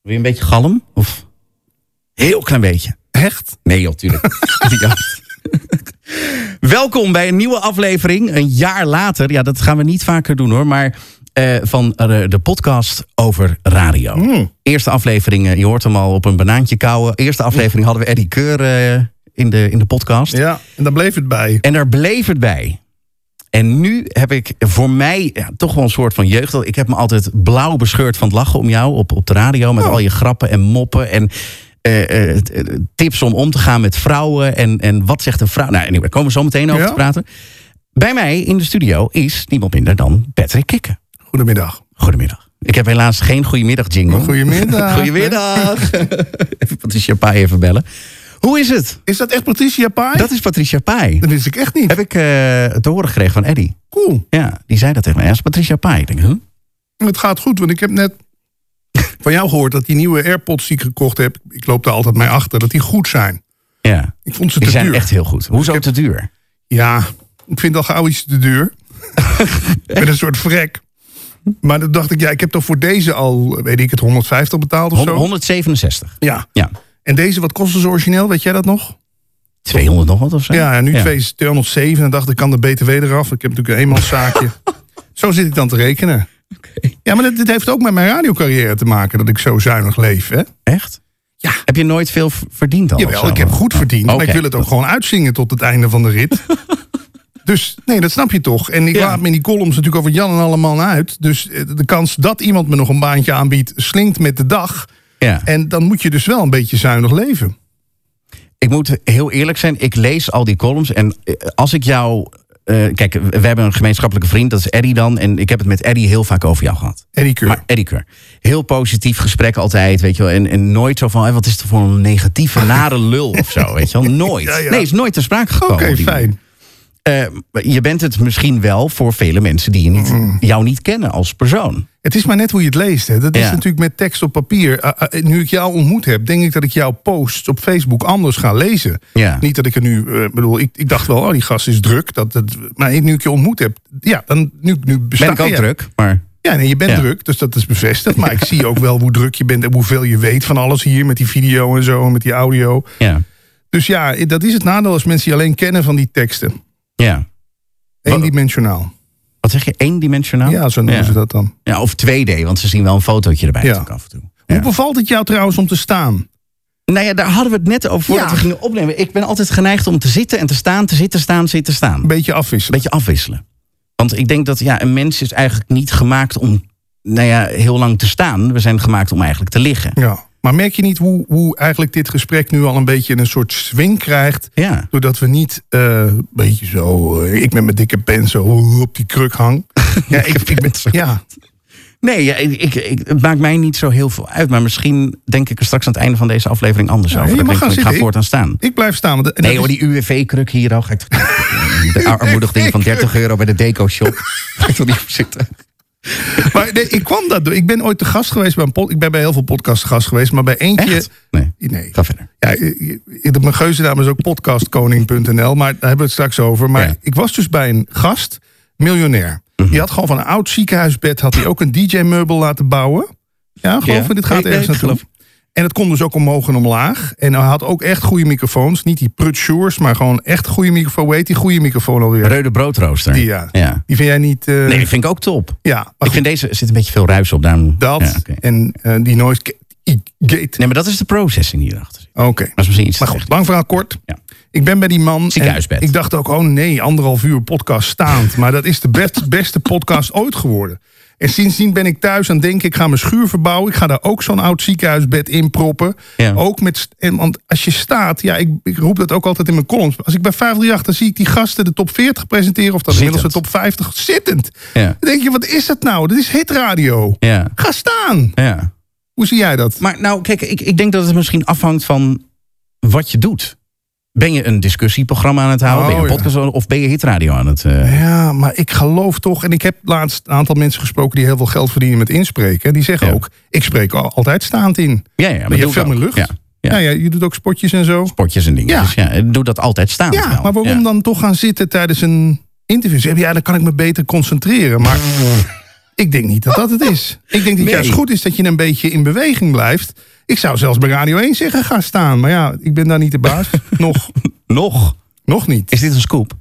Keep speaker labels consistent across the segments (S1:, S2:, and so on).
S1: Wil je een beetje galm? Of heel klein beetje?
S2: Echt?
S1: Nee, joh, tuurlijk. Ja. Welkom bij een nieuwe aflevering. Een jaar later. Ja, dat gaan we niet vaker doen hoor. Maar eh, van eh, de podcast over radio. Eerste aflevering, eh, je hoort hem al op een banaantje kauwen. Eerste aflevering hadden we Eddie Keur eh, in, de, in de podcast.
S2: Ja, en daar bleef het bij.
S1: En daar bleef het bij. En nu heb ik voor mij ja, toch wel een soort van jeugd. Ik heb me altijd blauw bescheurd van het lachen om jou op, op de radio. Met al je grappen en moppen en eh, eh, t- eh, tips om om te gaan met vrouwen. En, en wat zegt een vrouw? Nou, anyway, daar komen we zo meteen over
S2: Ja.
S1: te praten. Bij mij in de studio is niemand minder dan Patrick Kikken.
S2: Goedemiddag.
S1: Goedemiddag. Ik heb helaas geen goedemiddag jingle. Eh,
S2: Goedemiddag.
S1: Hm? Goedemiddag. even Patricia Pai even bellen. Hoe is het?
S2: Is dat echt Patricia Pai?
S1: Dat is Patricia Pai.
S2: Dat wist ik echt niet.
S1: Heb ik eh, te horen gekregen van Eddie.
S2: Cool.
S1: Ja, die zei dat tegen mij. Ja, Dat is Patricia Pai. Ik denk, huh?
S2: Het gaat goed, want ik heb net van jou gehoord dat die nieuwe AirPods die ik gekocht heb, ik loop daar altijd mee achter, dat die goed zijn.
S1: Ja,
S2: Ik vond ze
S1: die
S2: te
S1: zijn
S2: duur.
S1: echt heel goed. Hoezo
S2: Ik
S1: te duur?
S2: Ja, ik vind al gauw iets te duur. ik ben een soort vrek. Maar dan dacht ik, ja, ik heb toch voor deze al, weet ik het, 150 betaald of
S1: Hon-
S2: zo?
S1: 167.
S2: Ja.
S1: Ja,
S2: En deze, wat kost ze origineel? Weet jij dat nog?
S1: 200 nog wat of zo?
S2: Ja, en nu twee is 207. En dacht ik, kan de BTW eraf? Ik heb natuurlijk een eenmanszaakje. zo zit ik dan te rekenen. Ja, maar dit, dit heeft ook met mijn radiocarrière te maken dat ik zo zuinig leef. Hè?
S1: Echt?
S2: Ja.
S1: Heb je nooit veel v- verdiend dan? of
S2: Jawel,
S1: Oh, zo?
S2: ik heb goed verdiend, maar
S1: Oké.
S2: ik wil het ook gewoon uitzingen tot het einde van de rit. dus nee, dat snap je toch. En ik
S1: Ja.
S2: laat me in die columns natuurlijk over Jan en allemaal uit. Dus eh, de kans dat iemand me nog een baantje aanbiedt, slinkt met de dag.
S1: Ja.
S2: En dan moet je dus wel een beetje zuinig leven.
S1: Ik moet heel eerlijk zijn. Ik lees al die columns. En eh, als ik jou... eh, kijk, we hebben een gemeenschappelijke vriend. Dat is Eddie dan. En ik heb het met Eddie heel vaak over jou gehad.
S2: En die keur.
S1: Maar Eddie Keur, heel positief gesprek altijd, weet je wel. En, en nooit zo van, hé, wat is het voor een negatieve, nare lul of zo, weet je wel. Nooit.
S2: Ja, ja.
S1: Nee, is nooit ter sprake gekomen.
S2: Oké,
S1: op Oh, die
S2: fijn.
S1: Eh, je bent het misschien wel voor vele mensen die je niet,
S2: Mm.
S1: jou niet kennen als persoon.
S2: Het is maar net hoe je het leest. Hè. Dat is
S1: Ja.
S2: natuurlijk met tekst op papier. Ah, ah, nu ik jou ontmoet heb, denk ik dat ik jouw posts op Facebook anders ga lezen.
S1: Ja.
S2: Niet dat ik er nu, eh, bedoel, ik, ik dacht wel, oh die gast is druk. Dat, dat, maar nu ik je ontmoet heb, ja, dan nu, nu besta
S1: Ben ik ook
S2: ja.
S1: druk, maar
S2: Ja, nee, je bent
S1: Ja.
S2: druk, dus dat is bevestigd. Maar ik zie ook wel hoe druk je bent en hoeveel je weet van alles hier met die video en zo en met die audio.
S1: ja.
S2: Dus ja, dat is het nadeel als mensen je alleen kennen van die teksten.
S1: ja.
S2: Eendimensionaal.
S1: Wat zeg je, eendimensionaal?
S2: Ja, zo noemen
S1: ja.
S2: ze dat dan.
S1: Ja, of 2D, want ze zien wel een fotootje erbij
S2: Ja.
S1: natuurlijk af en toe. Ja.
S2: Hoe bevalt het jou trouwens om te staan?
S1: Nou ja, daar hadden we het net over voordat
S2: Ja.
S1: we gingen opnemen. Ik ben altijd geneigd om te zitten en te staan, te zitten, staan, zitten, staan.
S2: Een beetje afwisselen.
S1: een beetje afwisselen. Want ik denk dat ja, een mens is eigenlijk niet gemaakt om nou ja, heel lang te staan. We zijn gemaakt om eigenlijk te liggen.
S2: Ja. Maar merk je niet hoe, hoe eigenlijk dit gesprek nu al een beetje een soort swing krijgt?
S1: Ja.
S2: Doordat we niet eh, een beetje zo. eh, ik met mijn dikke pen zo op die kruk hang. ja, ik, ik ben, ja,
S1: Nee, ja, ik, ik, ik- het maakt mij niet zo heel veel uit. Maar misschien denk ik er straks aan het einde van deze aflevering anders
S2: Ja,
S1: over.
S2: je
S1: Dan
S2: mag
S1: denk ik,
S2: gaan
S1: ik ga
S2: zitten.
S1: voortaan staan.
S2: ik blijf staan. Want, en
S1: Nee
S2: dat
S1: hoor,
S2: is-
S1: die UWV-kruk hier al. Ga ik toch- de ar- armoedigding van 30 euro bij de deco-shop. Ga ik toch niet voor zitten?
S2: maar nee, ik kwam daardoor. Ik ben ooit te gast geweest bij een pod, Ik ben bij heel veel podcasts te gast geweest, maar bij eentje.
S1: Echt? Nee,
S2: Nee.
S1: ga verder.
S2: Ja, eh, eh, mijn geuzendame is ook podcastkoning.nl, maar daar hebben we het straks over. Maar
S1: Ja. Mhm.
S2: ik was dus bij een gast, miljonair. Die had gewoon van een oud ziekenhuisbed had hij ook een DJ-meubel laten bouwen. Ja, geloof
S1: Ja.
S2: me, dit
S1: Nee,
S2: gaat
S1: nee,
S2: ergens
S1: ik
S2: naartoe. En het kon dus ook omhoog en omlaag. En hij had ook echt goede microfoons. Niet die prutshures, maar gewoon echt goede microfoon. Weet die goede microfoon alweer?
S1: Reude broodrooster.
S2: Die, ja.
S1: ja.
S2: Die vind jij niet... eh,
S1: Nee, vind ik ook top.
S2: Ja, maar
S1: Ik vind deze, er zit een beetje veel ruis op. Daarom,
S2: dat.
S1: Ja, oké.
S2: En eh, die noise ga- i- gate.
S1: Nee, maar dat is de processing hierachter.
S2: Oké.
S1: Dat is misschien iets
S2: Maar
S1: te
S2: goed, lang verhaal kort.
S1: Ja.
S2: Ik ben bij die man. en
S1: Ziekenhuisbed.
S2: Ik dacht ook, oh nee, anderhalf uur podcast staand. Maar dat is de best, beste podcast ooit geworden. En sindsdien ben ik thuis aan het denken, ik ga mijn schuur verbouwen. Ik ga daar ook zo'n oud ziekenhuisbed in proppen.
S1: Ja.
S2: Ook met, st- en, want als je staat, ja, ik, ik roep dat ook altijd in mijn columns. Als ik bij 538, dan zie ik die gasten de top 40 presenteren. Of dan inmiddels de
S1: Zittend.
S2: top 50, zittend.
S1: Ja.
S2: Dan denk je, wat is dat nou? Dit is hitradio.
S1: Ja,
S2: Ga staan.
S1: ja.
S2: Hoe zie jij dat?
S1: Maar nou, kijk, ik, ik denk dat het misschien afhangt van wat je doet. Ben je een discussieprogramma aan het houden?
S2: Oh,
S1: ben je een
S2: ja.
S1: podcast aan- of ben je hitradio aan het... eh,
S2: Ja, maar ik geloof toch. En ik heb laatst een aantal mensen gesproken die heel veel geld verdienen met inspreken. Die zeggen
S1: Ja.
S2: ook: ik spreek al- altijd staand in.
S1: ja, ja, maar
S2: je
S1: doe
S2: hebt veel
S1: het
S2: meer
S1: ook.
S2: lucht.
S1: Ja, ja.
S2: Ja, ja, je doet ook spotjes en zo.
S1: potjes en dingen.
S2: Ja.
S1: Dus ja, doe dat altijd staan.
S2: Ja, maar waarom dan toch gaan zitten tijdens een interview? Zeggen, ja, dan kan ik me beter concentreren. Maar Ik denk niet dat dat het is. Ik denk dat het
S1: Nee.
S2: juist goed is dat je een beetje in beweging blijft. Ik zou zelfs bij Radio 1 zeggen, ga staan. Maar ja, ik ben daar niet de baas. Nog,
S1: Nog?
S2: nog niet.
S1: Is dit een scoop?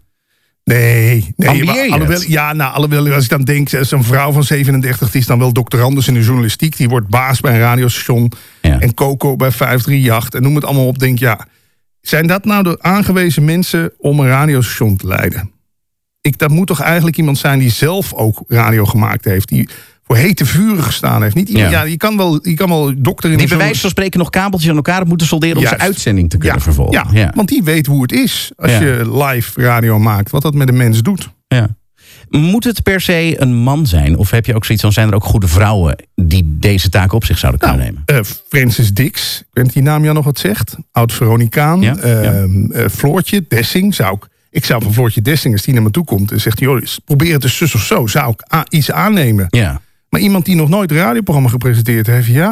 S2: Nee. nee
S1: Ambieer
S2: maar
S1: je het?
S2: alhoewel, ja, nou, alhoewel, als ik dan denk, eh, zo'n vrouw van 37, die is dan wel doctorandus in de journalistiek. Die wordt baas bij een radiostation.
S1: Ja.
S2: En Coco bij 538. En noem het allemaal op. Denk, ja, zijn dat nou de aangewezen mensen om een radiostation te leiden? Ik, dat moet toch eigenlijk iemand zijn die zelf ook radio gemaemand heeft. Die voor hete vuren gestaan heeft. Niet iemand, ja.
S1: Ja.
S2: je, kan wel, je kan wel dokter in
S1: Die
S2: de
S1: bij
S2: journalistiek-
S1: wijze van spreken nog kabeltjes aan elkaar moeten solderen... om
S2: Juist.
S1: zijn uitzending te kunnen vervolgen.
S2: Ja, want die weet hoe het is als
S1: Ja.
S2: je live radio maakt. Wat dat met een mens doet.
S1: Ja. Moet het per se een man zijn? Of heb je ook zoiets van, zijn er ook goede vrouwen... die deze taak op zich zouden kunnen nemen?
S2: Eh, Francis Dix, ik weet niet die naam jou nog wat zegt. Oud-Veronicaan.
S1: Ja,
S2: Eh,
S1: ja.
S2: eh, Floortje Dessing zou ik... Ik zou van Floortje Dessing, als die naar me toe komt... en zegt, joh, probeer het eens zus of zo. Zou ik a- iets aannemen.
S1: Ja.
S2: Maar iemand die nog nooit een radioprogramma gepresenteerd heeft... ja,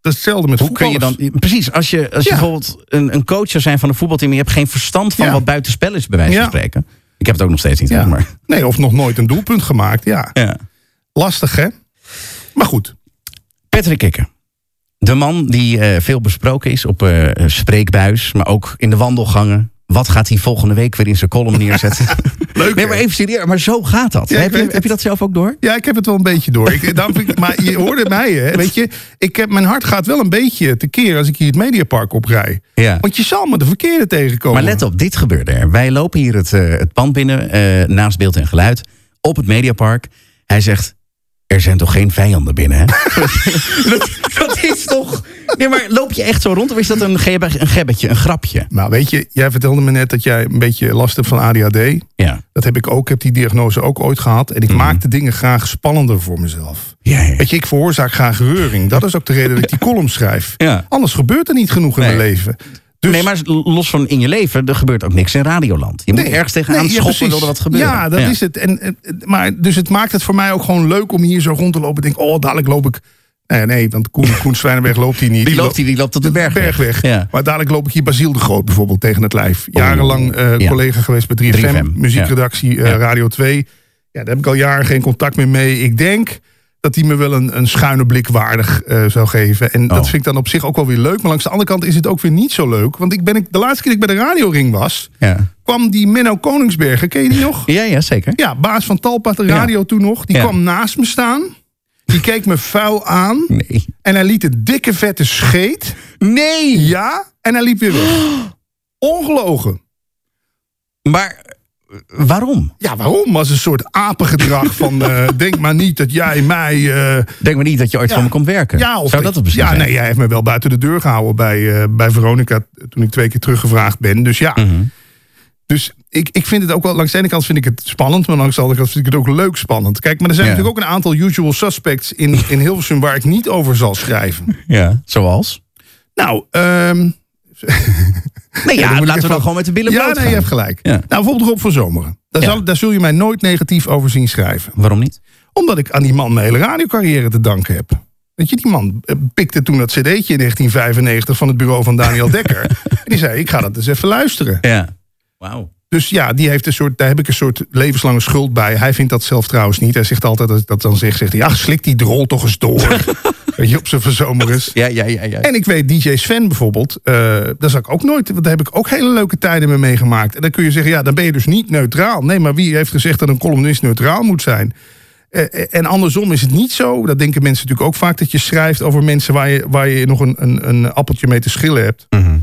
S2: dat is hetzelfde met
S1: Hoe kun je dan...
S2: voetballers.
S1: Precies, als je, als je
S2: Ja.
S1: bijvoorbeeld een, een coach zou zijn van een voetbalteam... en je hebt geen verstand van
S2: Ja.
S1: wat buitenspel is, bij wijze van
S2: Ja.
S1: spreken. Ik heb het ook nog steeds niet,
S2: Ja.
S1: hoor, maar...
S2: Nee, of nog nooit een doelpunt gemaakt. Ja,
S1: Ja.
S2: lastig hè? Maar goed,
S1: Patrick Kikker. De man die eh, veel besproken is op eh, spreekbuis, maar ook in de wandelgangen. Wat gaat hij volgende week weer in zijn column neerzetten?
S2: leuk
S1: nee,
S2: hè?
S1: maar even serieus, maar zo gaat dat.
S2: Ja, ik
S1: heb, je,
S2: weet het.
S1: heb je dat zelf ook door?
S2: Ja, ik heb het wel een beetje door. Ik, daarom vind ik- maar je hoorde mij, hè? Weet je, ik heb, mijn hart gaat wel een beetje tekeer als ik hier het Mediapark oprij.
S1: Ja.
S2: Want je zal me de verkeerde tegenkomen.
S1: Maar let op, dit gebeurde er. Wij lopen hier het, eh, het pand binnen, eh, naast beeld en geluid, op het Mediapark. Hij zegt, er zijn toch geen vijanden binnen, hè? dat, dat is toch... Nee, maar loop je echt zo rond of is dat een, gebe- een gebbetje, een grapje?
S2: Nou, weet je, jij vertelde me net dat jij een beetje last hebt van ADHD.
S1: Ja.
S2: Dat heb ik ook, ik heb die diagnose ook ooit gehad. En ik
S1: Mhm.
S2: maakte dingen graag spannender voor mezelf.
S1: Ja, ja.
S2: Weet je, ik veroorzaak graag reuring. Dat is ook de reden dat ik die column schrijf.
S1: Ja.
S2: Anders gebeurt er niet genoeg in
S1: Nee.
S2: mijn leven. Dus
S1: Nee, maar los van in je leven, er gebeurt ook niks in Radioland. Je moet ergens tegenaan
S2: Nee, ja,
S1: schoppen,
S2: precies.
S1: wil er wat gebeuren.
S2: Ja, dat is het. En, en, maar, dus het maakt het voor mij ook gewoon leuk om hier zo rond te lopen. Ik denk, oh, dadelijk loop ik... Nee, nee, want Koen, Koen Zwijnenberg loopt hier niet.
S1: Die loopt, die, die loopt op de berg.
S2: bergweg.
S1: Ja. Oh,
S2: Maar dadelijk loop ik hier Basiel de Groot bijvoorbeeld tegen het lijf. Jarenlang eh,
S1: Ja.
S2: collega geweest bij 3FM,
S1: 3FM,
S2: muziekredactie eh,
S1: Ja.
S2: Radio 2. Ja, daar heb ik al jaren geen contact meer mee. Ik denk dat hij me wel een, een schuine blik waardig eh, zou geven. En dat
S1: Oh.
S2: vind ik dan op zich ook wel weer leuk. Maar langs de andere kant is het ook weer niet zo leuk. Want ik ben, ik, de laatste keer dat ik bij de radioring was...
S1: Ja.
S2: kwam die Menno Koningsberger, ken je die nog?
S1: Ja, ja, zeker.
S2: Ja, baas van Talpa de
S1: Ja.
S2: radio toen nog. Die
S1: Ja.
S2: kwam naast me staan. Die keek me vuil aan.
S1: Nee.
S2: En hij liet een dikke vette scheet.
S1: Nee!
S2: Ja, en hij liep weer weg. Ongelogen.
S1: Maar eh, waarom?
S2: Ja, waarom? Was een soort apengedrag van... eh, denk maar niet dat jij mij... eh,
S1: Denk maar niet dat je ooit
S2: Ja.
S1: voor me komt werken.
S2: ja, of
S1: Zou dat het precies
S2: Ja,
S1: zijn?
S2: nee, hij heeft me wel buiten de deur gehouden bij, eh, bij Veronica... toen ik twee keer teruggevraagd ben. Dus ja,
S1: Mhm.
S2: dus ik, ik vind het ook wel... Langs de ene kant vind ik het spannend... maar langs de andere kant vind ik het ook leuk spannend. Kijk, maar er zijn
S1: Ja.
S2: natuurlijk ook een aantal usual suspects... In, in Hilversum waar ik niet over zal schrijven.
S1: Ja. Zoals?
S2: Nou, ehm,
S1: Nee,
S2: moet
S1: ja,
S2: ik
S1: laten we
S2: even-
S1: dan gewoon met de billen
S2: ja,
S1: bloot
S2: nee,
S1: gaan.
S2: je hebt gelijk.
S1: Ja.
S2: Nou, bijvoorbeeld Rob van Zomeren. Daar,
S1: Ja.
S2: zal, daar zul je mij nooit negatief over zien schrijven.
S1: Waarom niet?
S2: Omdat ik aan die man mijn hele radiocarrière te danken heb. Weet je, die man eh, pikte toen dat cd'tje in 1995 van het bureau van Daniel Dekker. en die zei, ik ga dat eens even luisteren.
S1: Ja. Wauw.
S2: Dus ja, die heeft een soort, daar heb ik een soort levenslange schuld bij. Hij vindt dat zelf trouwens niet. Hij zegt altijd, als ik dat dan zeg, zegt hij, ach, slik die drol toch eens door. Weet je, op zijn verzomerens.
S1: Ja, ja, ja, ja.
S2: En ik weet DJ Sven bijvoorbeeld, eh daar zag ik ook nooit, want daar heb ik ook hele leuke tijden mee meegemaakt. En dan kun je zeggen, ja, dan ben je dus niet neutraal. Nee, maar wie heeft gezegd dat een columnist neutraal moet zijn? Eh, eh, en andersom is het niet zo, dat denken mensen natuurlijk ook vaak, dat je schrijft over mensen waar je, waar je nog een, een, een appeltje mee te schillen hebt.
S1: Mhm.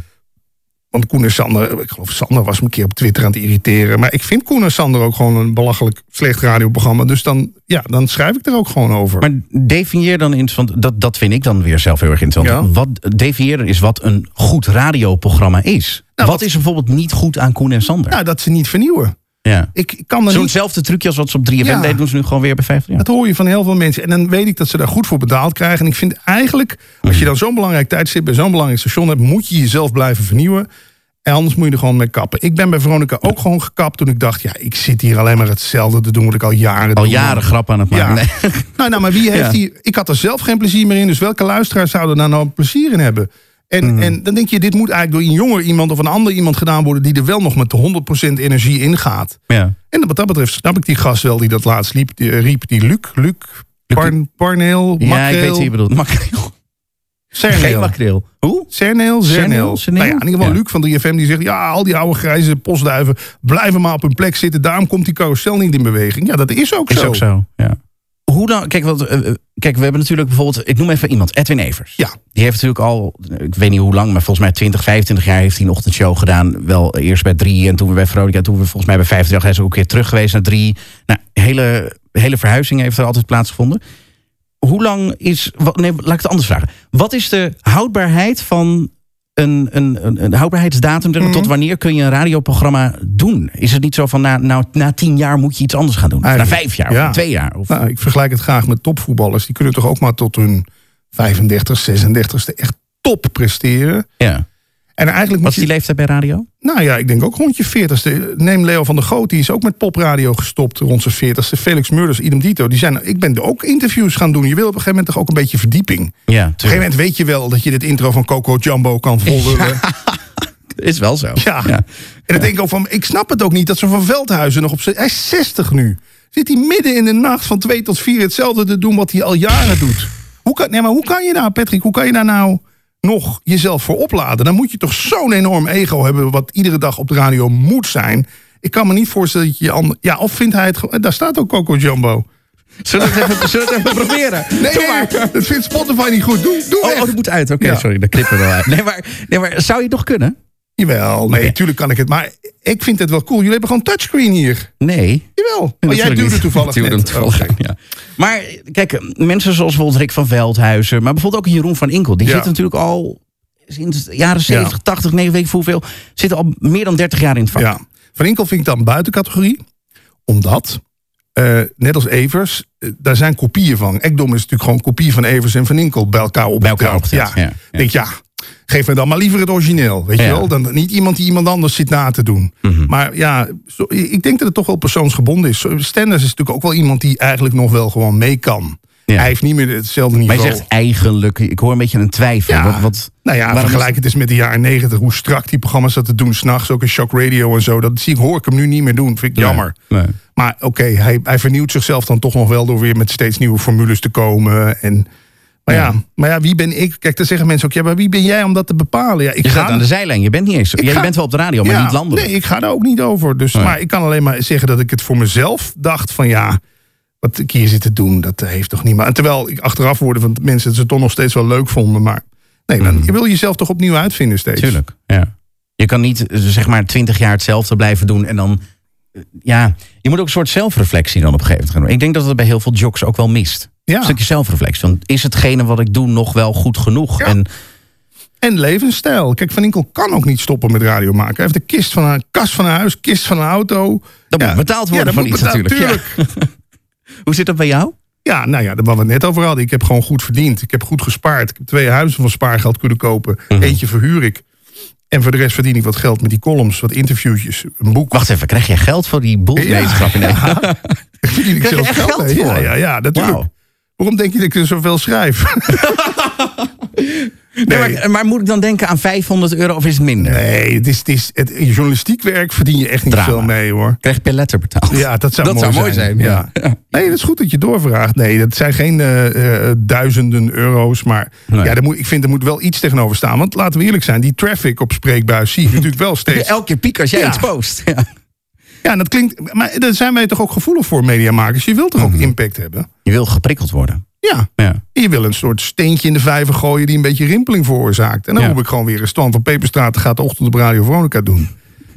S2: Want Koen en Sander, ik geloof Sander was me een keer op Twitter aan het irriteren. Maar ik vind Koen en Sander ook gewoon een belachelijk slecht radioprogramma. Dus dan, ja, dan schrijf ik er ook gewoon over.
S1: Maar definieer dan eens, want dat, dat vind ik dan weer zelf heel erg interessant.
S2: Ja.
S1: Wat, definieer dan eens wat een goed radioprogramma is. Nou, wat,
S2: wat-
S1: is er bijvoorbeeld niet goed aan Koen en Sander?
S2: ja, Nou, dat ze niet vernieuwen.
S1: ja.
S2: Ik ik kan er niet
S1: Zo'nzelfde trucje als wat ze op 3FM
S2: Ja.
S1: deden, doen ze nu gewoon weer bij 50 jaar.
S2: Dat hoor je van heel veel mensen. En dan weet ik dat ze daar goed voor betaald krijgen. En ik vind eigenlijk, als
S1: Mhm.
S2: je dan zo'n belangrijk tijdstip bij zo'n belangrijk station hebt, moet je jezelf blijven vernieuwen. En anders moet je er gewoon mee kappen. Ik ben bij Veronica ook gewoon gekapt toen ik dacht, ja, ik zit hier alleen maar hetzelfde te doen wat ik al jaren
S1: Al
S2: doe.
S1: jaren grap aan het maken.
S2: Ja.
S1: Nee.
S2: Nou, nou, maar wie heeft
S1: Ja.
S2: die... Ik had er zelf geen plezier meer in, dus welke luisteraar zou er nou, nou plezier in hebben? En,
S1: Mhm.
S2: en dan denk je, dit moet eigenlijk door een jonger iemand of een ander iemand gedaan worden... die er wel nog met de 100% energie in gaat.
S1: Ja.
S2: En wat dat betreft snap ik die gast wel die dat laatst liep, die, eh, riep, die Luc, Luc Parn, parneel,
S1: Ja, ik weet
S2: makreel,
S1: wie je bedoelt. Makreel. Geen
S2: cerneel.
S1: makreel. Hoe?
S2: Cerneel,
S1: Cerneel,
S2: Zerneel.
S1: Cerneel?
S2: Nou ja, in ieder geval
S1: Ja.
S2: Luc van 3FM die zegt... ja, al die oude grijze postduiven blijven maar op hun plek zitten. Daarom komt die carousel niet in beweging. Ja, dat is ook
S1: Is
S2: zo.
S1: ook zo. Ja. Hoe dan? Kijk, wat, eh, eh, kijk, we hebben natuurlijk bijvoorbeeld. Ik noem even iemand, Edwin Evers.
S2: Ja.
S1: Die heeft natuurlijk al, eh, ik weet niet hoe lang, maar volgens mij 20, 25 jaar heeft hij een ochtendshow gedaan. Wel eerst bij drie en toen weer bij Veronica. Toen we volgens mij bij 50 jaar is hij ook weer terug geweest naar drie. Nou, hele, hele verhuizing heeft er altijd plaatsgevonden. Hoe lang is. Wat, nee, laat ik het anders vragen. Wat is de houdbaarheid van. Een, een, een, een houdbaarheidsdatum. Tot wanneer kun je een radioprogramma doen? Is het niet zo van na, nou, na tien jaar moet je iets anders gaan doen? na
S2: Eigenlijk,
S1: vijf jaar of
S2: ja.
S1: na twee jaar? Of,
S2: Nou, ik vergelijk het graag met topvoetballers. Die kunnen toch ook maar tot hun 35, 36e echt top presteren.
S1: ja.
S2: En eigenlijk
S1: Wat
S2: moet
S1: is die
S2: je...
S1: leeftijd bij radio?
S2: Nou ja, ik denk ook rond je 40ste. Neem Leo van der Goot, die is ook met popradio gestopt rond zijn 40ste. Felix Murders, idem dito. Die zijn, ik ben ook interviews gaan doen. Je wil op een gegeven moment toch ook een beetje verdieping.
S1: Ja,
S2: Op een gegeven moment weet je wel dat je dit intro van Coco Jumbo kan volgen. Ja.
S1: Is wel zo.
S2: En dan denk ik ook van, ik snap het ook niet dat ze van Veldhuizen nog op zijn... Hij is 60 nu. Zit hij midden in de nacht van 2 tot 4 hetzelfde te doen wat hij al jaren doet. Hoe kan, nee, maar hoe kan je nou, Patrick, hoe kan je daar nou nog jezelf voor opladen? Dan moet je toch zo'n enorm ego hebben wat iedere dag op de radio moet zijn. Ik kan me niet voorstellen dat je... je ander- Ja, of vindt hij het... gewoon- Daar staat ook Coco Jumbo.
S1: Zullen we het even, zullen we het even proberen?
S2: Nee,
S1: Doe
S2: nee,
S1: maar.
S2: dat vindt Spotify niet goed. Doe, doe
S1: Oh, oh,
S2: echt.
S1: dat moet uit. Oké,
S2: Ja.
S1: sorry, dat knippen we wel uit. Nee maar, nee, maar zou je het nog kunnen?
S2: Jawel, nee,
S1: Oké.
S2: tuurlijk kan ik het. Maar ik vind het wel cool. Jullie hebben gewoon touchscreen hier.
S1: Nee.
S2: Jawel. Maar Oh, jij duwde toevallig
S1: duwde
S2: net. Oh,
S1: toevallig
S2: Oké.
S1: aan, ja. Maar kijk, mensen zoals bijvoorbeeld Rick van Veldhuizen... maar bijvoorbeeld ook Jeroen van Inkel... die
S2: Ja.
S1: zitten natuurlijk al sinds de jaren 70, 80, 9 weet ik veel hoeveel... zitten al meer dan 30 jaar in het vak.
S2: Ja. Van Inkel vind ik dan buiten categorie. Omdat, eh, net als Evers, eh, daar zijn kopieën van. Ekdom is natuurlijk gewoon kopie van Evers en Van Inkel bij elkaar op.
S1: Bij elkaar opgeteld, ja. Ja.
S2: denk ja, geef me dan maar liever het origineel. Weet
S1: Ja. Mhm.
S2: je wel? Dan niet iemand die iemand anders zit na te doen. Maar ja, zo- ik denk dat het toch wel persoonsgebonden is. Zo- Stenders is natuurlijk ook wel iemand die eigenlijk nog wel gewoon mee kan.
S1: Ja.
S2: Hij heeft niet meer hetzelfde
S1: Maar
S2: niveau.
S1: je zegt eigenlijk, ik hoor een beetje een twijfel.
S2: Ja.
S1: Wat, wat,
S2: Nou ja,
S1: waarom is-
S2: vergelijk het eens met de jaren negentig. Hoe strak die programma's dat te doen. S'nachts ook een shock radio en zo. Dat zie ik, hoor ik hem nu niet meer doen. Vind ik jammer.
S1: Nee.
S2: Maar oké, hij, hij vernieuwt zichzelf dan toch nog wel... door weer met steeds nieuwe formules te komen. En, maar, ja. maar ja, wie ben ik? Kijk, dan zeggen mensen ook... Ja, maar wie ben jij om dat te bepalen? Ja, ik
S1: Je
S2: ga
S1: staat aan de zijlijn, je bent niet eens. Ja, je
S2: ga-
S1: bent wel op de radio, maar
S2: ja,
S1: niet Oh landelijk.
S2: Nee, ik ga daar ook niet over. Dus, Maar ik kan alleen maar zeggen dat ik het voor mezelf dacht van ja... Wat ik hier zit te doen, dat heeft toch niemand. En terwijl ik achteraf hoorde van mensen dat ze het toch nog steeds wel leuk vonden. Maar nee, dan, je wil jezelf toch opnieuw uitvinden steeds.
S1: Hmm. Tuurlijk, ja. Je kan niet eh, zeg maar twintig jaar hetzelfde blijven doen en dan... eh, Ja, je moet ook een soort zelfreflectie dan op een gegeven moment gaan doen. Ik denk dat het bij heel veel jocks ook wel mist.
S2: Ja.
S1: Een stukje zelfreflectie. Dan is hetgene wat ik doe nog wel goed genoeg?
S2: Ja.
S1: En
S2: En levensstijl. Kijk, Van Inkel kan ook niet stoppen met radio maken. Hij heeft de kist van een kast van een huis, kist van een auto.
S1: dat moet betaald worden
S2: dat
S1: van
S2: moet
S1: iets
S2: betaald-
S1: natuurlijk. Ja.
S2: tuurlijk.
S1: Hoe zit dat bij jou?
S2: Ja, nou ja, waar we het net over hadden. Ik heb gewoon goed verdiend. Ik heb goed gespaard. Ik heb twee huizen van spaargeld kunnen kopen. Eentje verhuur ik. En voor de rest verdien ik wat geld met die columns, wat interviewtjes, een boek.
S1: Wacht even, krijg jij geld voor die boel?
S2: Ja.
S1: Nee, grapje, nee.
S2: verdien
S1: krijg
S2: ik
S1: je
S2: zelf
S1: echt
S2: geld
S1: geld
S2: mee. Ja,
S1: voor?
S2: ja, ja, natuurlijk.
S1: Wauw.
S2: Waarom denk je dat ik er zoveel schrijf?
S1: Nee, maar, maar moet ik dan denken aan 500 euro of is het minder?
S2: Nee, het is, het is, het journalistiek werk verdien je echt niet
S1: Drama.
S2: veel mee hoor.
S1: Krijg je per letter betaald?
S2: Ja, dat zou
S1: dat
S2: mooi
S1: zou
S2: zijn.
S1: mooi zijn.
S2: ja.
S1: Ja.
S2: Nee, dat is goed dat je doorvraagt. Nee, dat zijn geen eh, eh, duizenden euro's. Maar
S1: Nee.
S2: ja, er moet, ik vind er moet wel iets tegenover staan. Want laten we eerlijk zijn, die traffic op spreekbuis zie je natuurlijk wel steeds.
S1: Elke keer piek als jij
S2: Ja.
S1: iets post. Ja.
S2: Ja, en dat klinkt. Maar daar zijn wij toch ook gevoelig voor, mediamakers. Je wilt toch ook impact hebben?
S1: Je wil geprikkeld worden.
S2: Ja.
S1: Ja.
S2: Je wil een soort steentje in de vijver gooien die een beetje rimpeling veroorzaakt. En dan
S1: Ja.
S2: roep ik gewoon weer een stand van Peperstraat gaat de ochtend op Radio Veronica doen.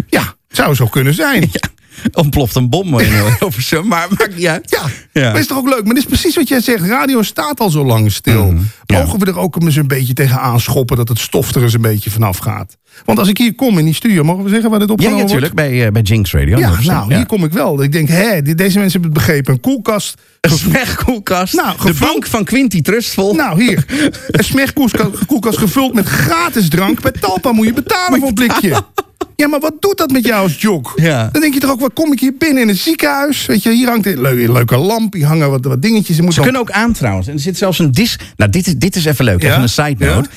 S2: Ja, zou zo kunnen zijn. Ja,
S1: Ontploft een bom in Hilversum, maar maakt niet uit. Ja.
S2: Maar is toch ook leuk? Maar dit is precies wat jij zegt. Radio staat al zo lang stil.
S1: Mhm.
S2: Mogen we er ook eens een beetje tegen aanschoppen dat het stof er eens een beetje vanaf gaat? Want als ik hier kom in die studio, mogen we zeggen waar dit
S1: Ja,
S2: opgenomen wordt?
S1: natuurlijk, bij, eh, bij Jinx Radio.
S2: Ja,
S1: Hilversum.
S2: nou,
S1: Ja.
S2: hier kom ik wel. Ik denk, hé, dit- deze mensen hebben het begrepen. Een koelkast,
S1: Een smegkoelkast.
S2: Nou,
S1: de
S2: gevuld-
S1: bank van Quinty Trustvol.
S2: Nou, hier. Een smegkoelkast gevuld met gratis drank. Bij Talpa moet je betalen voor een blikje. Ja, maar wat doet dat met jou als jok?
S1: Ja.
S2: Dan denk je toch ook, wat kom ik hier binnen in het ziekenhuis? Weet je, hier hangt een leu- leuke lamp, hier hangen wat, wat dingetjes. Je moet
S1: Ze kunnen ook aan trouwens. En er zit zelfs een dis... Nou, dit is, dit is even leuk.
S2: Ja?
S1: Even een side note.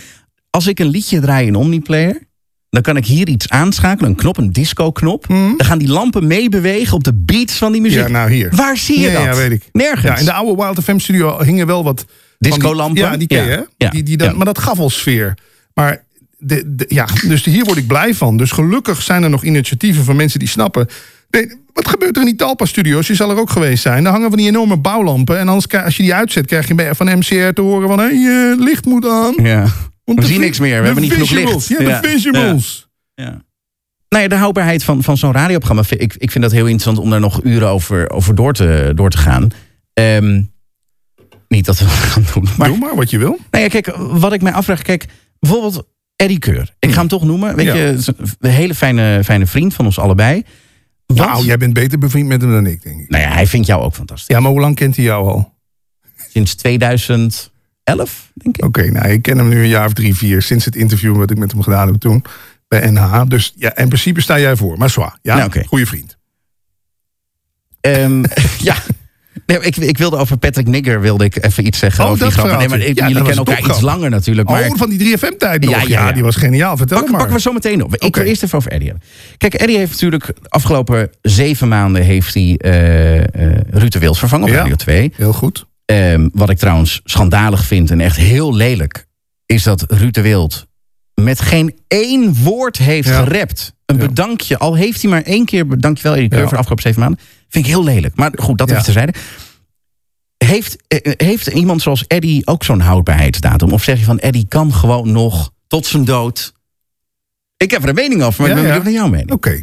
S1: Als ik een liedje draai in Omniplayer... Dan kan ik hier iets aanschakelen, een knop, een disco-knop. Dan gaan die lampen meebewegen op de beats van die muziek.
S2: Mhm. Ja, nou hier.
S1: Waar zie je
S2: Ja,
S1: dat?
S2: ja, weet ik.
S1: Nergens.
S2: Ja, in de oude Wild FM studio hingen wel wat... van die-
S1: Discolampen?
S2: Ja, die ken je,
S1: Ja,
S2: hè?
S1: ja,
S2: Die, die dan,
S1: ja.
S2: Maar dat gaf al sfeer. Maar de, de- ja, dus hier word ik blij van. Dus gelukkig zijn er nog initiatieven van mensen die snappen... Nee, wat gebeurt er in die Talpa-studio's? Je zal er ook geweest zijn. Daar hangen van die enorme bouwlampen. En anders, kri- als je die uitzet, krijg je bij- van MCR te horen van... Hé, hey, eh, licht moet aan.
S1: Ja.
S2: Want
S1: We
S2: de
S1: zien
S2: vi-
S1: niks meer, we
S2: de
S1: hebben niet genoeg
S2: visuals,
S1: licht.
S2: Ja, de
S1: Ja,
S2: visuals.
S1: Ja. Nou ja, de houdbaarheid van, van zo'n radioprogramma. vind Ik, ik vind dat heel interessant om daar nog uren over, over door, te, door te gaan. Ehm, niet dat we dat gaan doen. Maar
S2: Doe maar wat je wil.
S1: nou ja, kijk, wat ik mij afvraag. Kijk, bijvoorbeeld Eddie Keur. Ik ga hem toch noemen. Weet
S2: Ja.
S1: je, het is een hele fijne, fijne vriend van ons allebei. Wat?
S2: Nou, jij bent beter bevriend met hem dan ik, denk ik.
S1: Nou ja, hij vindt jou ook fantastisch.
S2: Ja, maar hoe lang kent hij jou al?
S1: Sinds 2011, denk ik.
S2: Oké, nou, ik ken hem nu een jaar of drie, vier. Sinds het interview wat ik met hem gedaan heb toen. Bij NH. Dus ja, in principe sta jij voor. Maar zwaar. Ja,
S1: Nou, oké.
S2: goede vriend.
S1: Ehm, ja. Nee, ik, ik wilde over Patrick Nigger wilde ik even iets zeggen.
S2: Oh,
S1: over die
S2: dat
S1: grap. Nee, maar
S2: verhaaltje.
S1: ik-
S2: Ja,
S1: jullie
S2: dat
S1: kennen
S2: was
S1: elkaar
S2: topgrap.
S1: iets langer natuurlijk. Maar
S2: oh, van die 3FM-tijd nog. Ja,
S1: Ja, ja, ja.
S2: die was geniaal. Vertel
S1: Pak,
S2: maar.
S1: pakken we zo meteen op. Ik
S2: Oké.
S1: wil eerst even over Eddie hebben. Kijk, Eddie heeft natuurlijk de afgelopen zeven maanden heeft hij eh, eh, Ruud de Wild vervangen op
S2: Ja.
S1: Radio 2.
S2: Heel goed.
S1: Ehm, wat ik trouwens schandalig vind en echt heel lelijk, is dat Ruud de Wild met geen één woord heeft
S2: Ja.
S1: gerept. Een
S2: Ja.
S1: bedankje, al heeft hij maar één keer bedankjewel Eddie Keur
S2: Ja.
S1: voor de afgelopen zeven maanden. Vind ik heel lelijk. Maar goed, dat
S2: Ja.
S1: even terzijde. Heeft, eh, heeft iemand zoals Eddie ook zo'n houdbaarheidsdatum? Of zeg je van Eddie kan gewoon nog tot zijn dood. Ik heb er een mening over, maar
S2: Ja,
S1: ik ben
S2: ja.
S1: benieuwd naar jouw mening.
S2: Oké.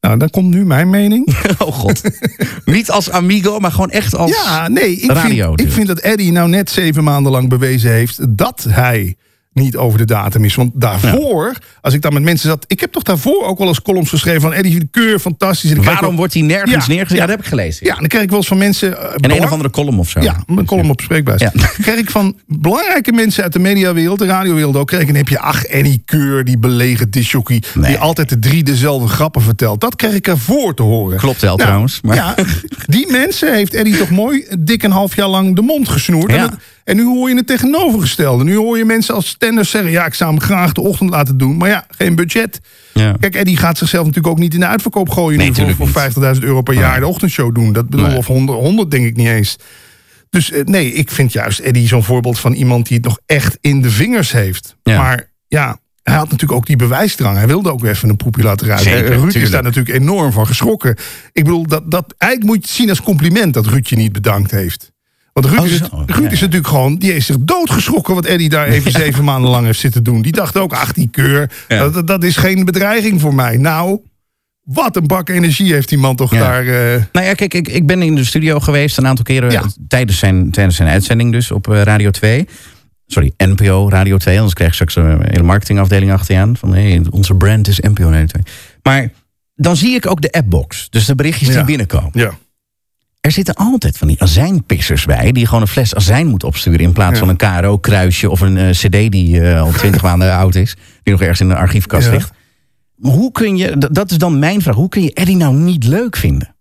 S2: Nou, dan komt nu mijn mening.
S1: Oh god. Niet als amigo, maar gewoon echt als...
S2: ja, nee. Ik,
S1: radio dus.
S2: vind, ik
S1: dude.
S2: vind dat Eddie nou net zeven maanden lang bewezen heeft dat hij niet over de datum is. Want daarvoor, als ik dan met mensen zat... Ik heb toch daarvoor ook wel eens columns geschreven van... Eddie de Keur, fantastisch. En ik kreeg
S1: Waarom
S2: wel-
S1: wordt hij nergens
S2: Ja,
S1: neergezet? Ja,
S2: ja.
S1: dat heb ik gelezen.
S2: Ja, dan krijg ik wel eens van mensen... eh,
S1: En een
S2: belang-
S1: of andere column of zo.
S2: Ja, een column op spreekbuis.
S1: Ja.
S2: Kreeg ik van belangrijke mensen uit de mediawereld, de radiowereld ook, kreeg ik een heb je ach Annie Keur, die belegen disjockey,
S1: Nee.
S2: die altijd de drie dezelfde grappen vertelt. Dat kreeg ik ervoor te horen.
S1: Klopt wel
S2: Nou,
S1: trouwens. Maar...
S2: Ja, die mensen heeft Eddie toch mooi eh, dik een half jaar lang de mond gesnoerd. En,
S1: Ja.
S2: dat- en nu hoor je het tegenovergestelde. Nu hoor je mensen als tenders zeggen, ja, ik zou hem graag de ochtend laten doen, maar ja, geen budget.
S1: Ja.
S2: Kijk, Eddie gaat zichzelf natuurlijk ook niet in de uitverkoop gooien.
S1: Nee,
S2: nu voor,
S1: tuurlijk
S2: voor
S1: niet.
S2: 50.000 euro per jaar de ochtendshow doen. Dat bedoel,
S1: Nee.
S2: of 100, 100 denk ik niet eens. Dus eh, nee, ik vind juist Eddie zo'n voorbeeld van iemand die het nog echt in de vingers heeft.
S1: Ja.
S2: Maar ja, hij had natuurlijk ook die bewijsdrang. Hij wilde ook even een poepje laten ruiken.
S1: Zeker,
S2: Eh, Ruud is
S1: tuurlijk.
S2: daar natuurlijk enorm van geschrokken. Ik bedoel, dat, dat, eigenlijk moet je het zien als compliment dat Ruud je niet bedankt heeft. Want Ruud,
S1: Oh,
S2: is,
S1: zo.
S2: Ruud
S1: Ja,
S2: is
S1: ja.
S2: natuurlijk gewoon, die is zich doodgeschrokken wat Eddie daar even zeven maanden lang heeft zitten doen. Die dacht ook, ach die keur,
S1: Ja.
S2: dat- dat, dat is geen bedreiging voor mij. Nou, wat een bak energie heeft die man toch
S1: Ja.
S2: daar. eh,
S1: Nou ja, kijk, ik, ik ben in de studio geweest een aantal keren
S2: Ja.
S1: tijdens, zijn, tijdens zijn uitzending dus op eh, Radio 2. Sorry, NPO Radio 2. Anders krijg ik straks een hele marketingafdeling achter je aan. Van hé, onze brand is NPO Radio 2. Maar dan zie ik ook de appbox. Dus de berichtjes die
S2: Ja.
S1: binnenkomen.
S2: ja.
S1: Er zitten altijd van die azijnpissers bij... die gewoon een fles azijn moeten opsturen... in plaats
S2: Ja.
S1: van een KRO-kruisje of een eh, cd die eh, al twintig maanden oud is... die nog ergens in de archiefkast
S2: Ja.
S1: ligt. Maar hoe kun je... d- Dat is dan mijn vraag. Hoe kun je Eddie nou niet leuk vinden?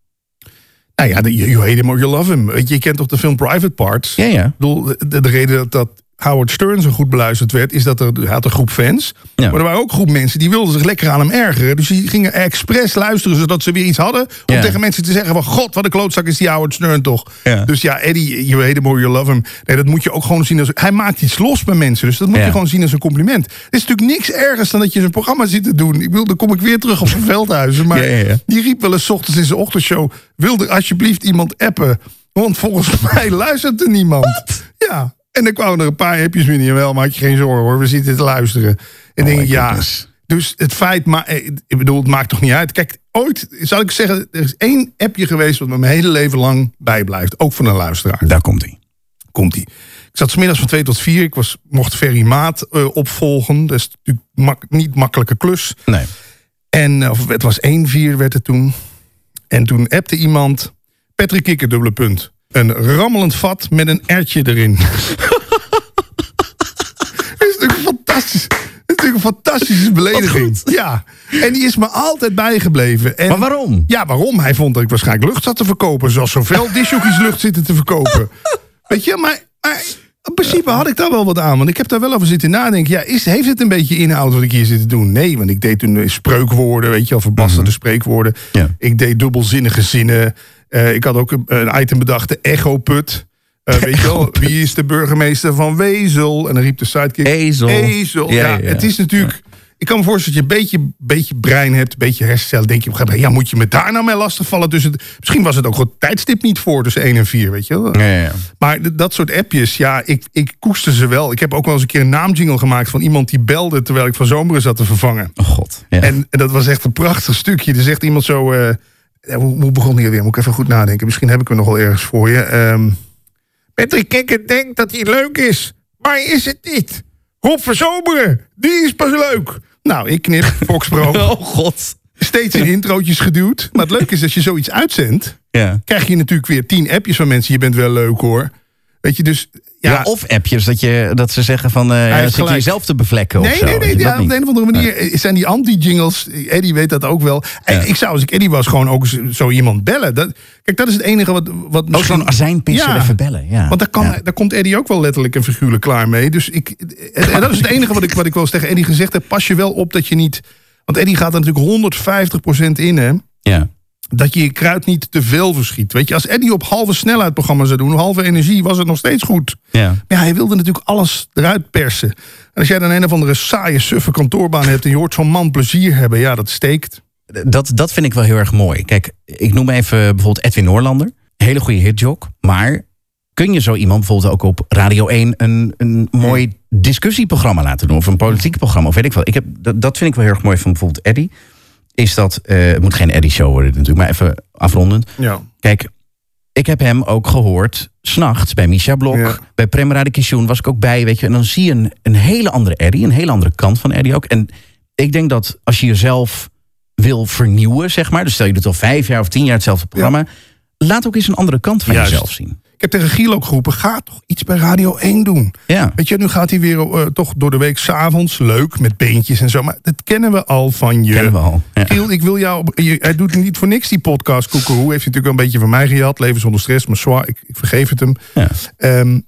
S2: Nou ja, de- you you hate him or you love him. Weet Je, je kent toch de film Private Parts?
S1: Ja, ja.
S2: Ik bedoel, de, de reden dat, dat Howard Stern zo goed beluisterd werd, is dat er, hij had een groep fans.
S1: Ja.
S2: Maar er waren ook een groep mensen die wilden zich lekker aan hem ergeren. Dus die gingen expres luisteren, zodat ze weer iets hadden. Om
S1: Ja.
S2: tegen mensen te zeggen: van god, wat een klootzak is die Howard Stern toch.
S1: Ja.
S2: Dus ja, Eddie, you hate him or you love him. Nee, dat moet je ook gewoon zien als. Hij maakt iets los bij mensen. Dus dat moet
S1: Ja.
S2: je gewoon zien als een compliment. Er is natuurlijk niks ergers dan dat je zo'n programma zit te doen. Ik wil, dan kom ik weer terug op zijn veldhuizen. Maar
S1: Ja, ja, ja.
S2: die riep wel eens 's ochtends in zijn ochtendshow: wil er alsjeblieft iemand appen? Want volgens mij luistert er niemand. Ja. En dan kwamen er een paar appjes binnen. Wel, maar had je geen zorgen hoor, we zitten te luisteren. En denk ik,
S1: Oh, my
S2: ja.
S1: goodness.
S2: Dus het feit, maar eh, ik bedoel, het maakt toch niet uit. Kijk, ooit zal ik zeggen, er is één appje geweest wat me mijn hele leven lang bijblijft. Ook van een luisteraar
S1: Daar komt hij.
S2: komt hij. Ik zat smiddags van 2 tot 4. Ik was, mocht Ferry Maat eh, opvolgen. Dat is natuurlijk mak- niet makkelijke klus.
S1: Nee.
S2: En eh, of, het was 1-4 werd het toen. En toen appte iemand... Patrick Kikker, dubbele punt. Een rammelend vat met een ertje erin. dat is natuurlijk fantastisch. Dat is natuurlijk een fantastische belediging. Ja. En die is me altijd bijgebleven. En
S1: Maar waarom?
S2: ja, waarom? Hij vond dat ik waarschijnlijk lucht zat te verkopen. Zoals zoveel disjockeys lucht zitten te verkopen. Weet je, maar, maar In principe had ik daar wel wat aan, want ik heb daar wel over zitten nadenken. Ja, is, heeft het een beetje inhoud wat ik hier zit te doen? Nee, want ik deed toen eh, spreukwoorden, weet je wel, verbasterde spreekwoorden.
S1: Ja.
S2: Ik deed dubbelzinnige zinnen. Eh, ik had ook een, een item bedacht, de echoput. Eh weet je wel, wie is de burgemeester van Wezel? En dan riep de sidekick...
S1: Ezel.
S2: Ezel, ja.
S1: Ja, ja,
S2: Het is natuurlijk... Ik kan me voorstellen dat je een beetje, beetje brein hebt, een beetje hersenstelsel. Denk je op een gegeven moment, ja, moet je me daar nou mee lastigvallen? Dus het, misschien was het ook gewoon tijdstip niet voor tussen 1 en 4, weet je wel.
S1: Ja, ja, ja.
S2: Maar d- dat soort appjes, ja, ik, ik koester ze wel. Ik heb ook wel eens een keer een naamjingle gemaakt van iemand die belde terwijl ik van zomeren zat te vervangen.
S1: Oh god. Ja.
S2: En dat was echt een prachtig stukje. Er zegt iemand zo. eh, ja, hoe, hoe begon hij weer? Moet ik even goed nadenken. Misschien heb ik hem nog wel ergens voor je. Ehm Patrick Kikker denkt dat hij leuk is. Maar hij is het niet. Rob Verzomeren, die is pas leuk. Nou, ik knip, Foxbro.
S1: Oh god.
S2: Steeds in introotjes geduwd. Maar het leuke is, als je zoiets uitzendt...
S1: Ja.
S2: krijg je natuurlijk weer tien appjes van mensen. Je bent wel leuk, hoor. Weet je, dus... Ja,
S1: Ja, of appjes dat, je, dat ze zeggen van eh,
S2: heeft
S1: zit je
S2: gelijk.
S1: jezelf te bevlekken of
S2: Nee,
S1: zo.
S2: nee,
S1: Is
S2: nee.
S1: dat
S2: Ja,
S1: niet?
S2: op de een of andere manier eh, zijn die anti-jingles. Eddie weet dat ook wel. En Ik zou, als ik Eddie was, gewoon ook zo- zo iemand bellen. Dat, kijk, dat is het enige wat. wat
S1: Ook Oh, zo'n azijnpisser
S2: Ja.
S1: even bellen. Ja.
S2: Want daar, kan,
S1: Ja.
S2: daar komt Eddie ook wel letterlijk en figuurlijk klaar mee. Dus ik, en, en dat is het enige wat ik, wat ik wel eens tegen Eddie gezegd heb. Pas je wel op dat je niet. Want Eddie gaat er natuurlijk 150% in, hè?
S1: Ja.
S2: Dat je je kruid niet te veel verschiet. Weet je, als Eddie op halve snelheid programma's zou doen, halve energie, was het nog steeds goed.
S1: Ja.
S2: Maar ja, hij wilde natuurlijk alles eruit persen. En als jij dan een of andere saaie, suffe kantoorbaan hebt... en je hoort zo'n man plezier hebben, ja, dat steekt.
S1: Dat, dat vind ik wel heel erg mooi. Kijk, ik noem even bijvoorbeeld Edwin Noorlander. Hele goede hitjok. Maar kun je zo iemand bijvoorbeeld ook op Radio 1 een, een mooi discussieprogramma laten doen? Of een politiek programma, of weet ik wel. Ik heb, dat, dat vind ik wel heel erg mooi van bijvoorbeeld Eddy. Is dat, eh, het moet geen Eddy-show worden natuurlijk, maar even afrondend.
S2: Ja.
S1: Kijk, ik heb hem ook gehoord s'nachts bij Misha Blok.
S2: Ja.
S1: Bij Prem Radikishun was ik ook bij, weet je. En dan zie je een, een hele andere Eddie, een hele andere kant van Eddie ook. En ik denk dat als je jezelf wil vernieuwen, zeg maar... dus stel je doet al vijf jaar of tien jaar hetzelfde programma... laat ook eens een andere kant van
S2: Juist.
S1: jezelf zien.
S2: Ik heb tegen Giel ook geroepen, ga toch iets bij Radio 1 doen.
S1: Ja,
S2: Weet je, nu gaat hij weer eh, toch door de week s'avonds leuk met beentjes en zo. Maar dat kennen we al van je.
S1: kennen we al. Ja.
S2: Giel, ik wil jou... op- je- hij doet niet voor niks die podcast, Koekeroe. Heeft hij natuurlijk wel een beetje van mij gejat. Leven zonder stress, maar zwaar, ik, ik vergeef het hem.
S1: Ja.
S2: Ehm,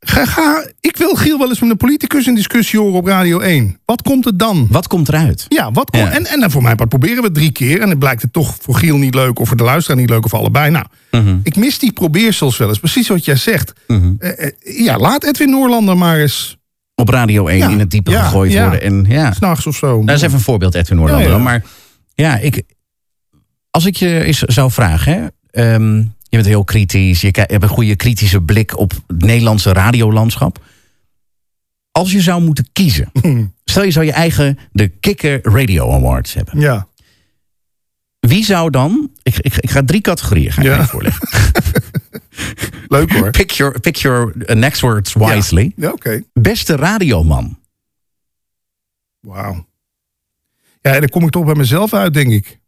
S2: ga, ga, ik wil Giel wel eens met een politicus een discussie horen op Radio 1. Wat komt er dan?
S1: Wat komt eruit?
S2: Ja, wat kon-
S1: Ja.
S2: En, en dan voor mij part proberen we het drie keer. En het blijkt het toch voor Giel niet leuk of voor de luisteraar niet leuk of allebei. Nou,
S1: Mhm.
S2: ik mis die probeersels wel eens. Precies wat jij zegt. Eh, eh, ja, laat Edwin Noorlander maar eens
S1: Op Radio 1
S2: Ja,
S1: in het diepe
S2: ja,
S1: gegooid
S2: ja.
S1: worden. En, ja.
S2: s'nachts of zo.
S1: Dat is even een voorbeeld, Edwin Noorlander.
S2: Ja, ja.
S1: Maar ja, ik, als ik je eens zou vragen... Hè, ehm, je bent heel kritisch, je, ki- je hebt een goede kritische blik... op het Nederlandse radiolandschap. Als je zou moeten kiezen... stel je zou je eigen de Kikker Radio Awards hebben.
S2: Ja.
S1: Wie zou dan... Ik, ik, ik ga drie categorieën gaan
S2: Ja.
S1: voorleggen.
S2: Leuk hoor.
S1: Pick your, pick your eh, next words wisely.
S2: Ja, oké.
S1: Beste radioman.
S2: Wauw. Ja, en dan kom ik toch bij mezelf uit, denk ik.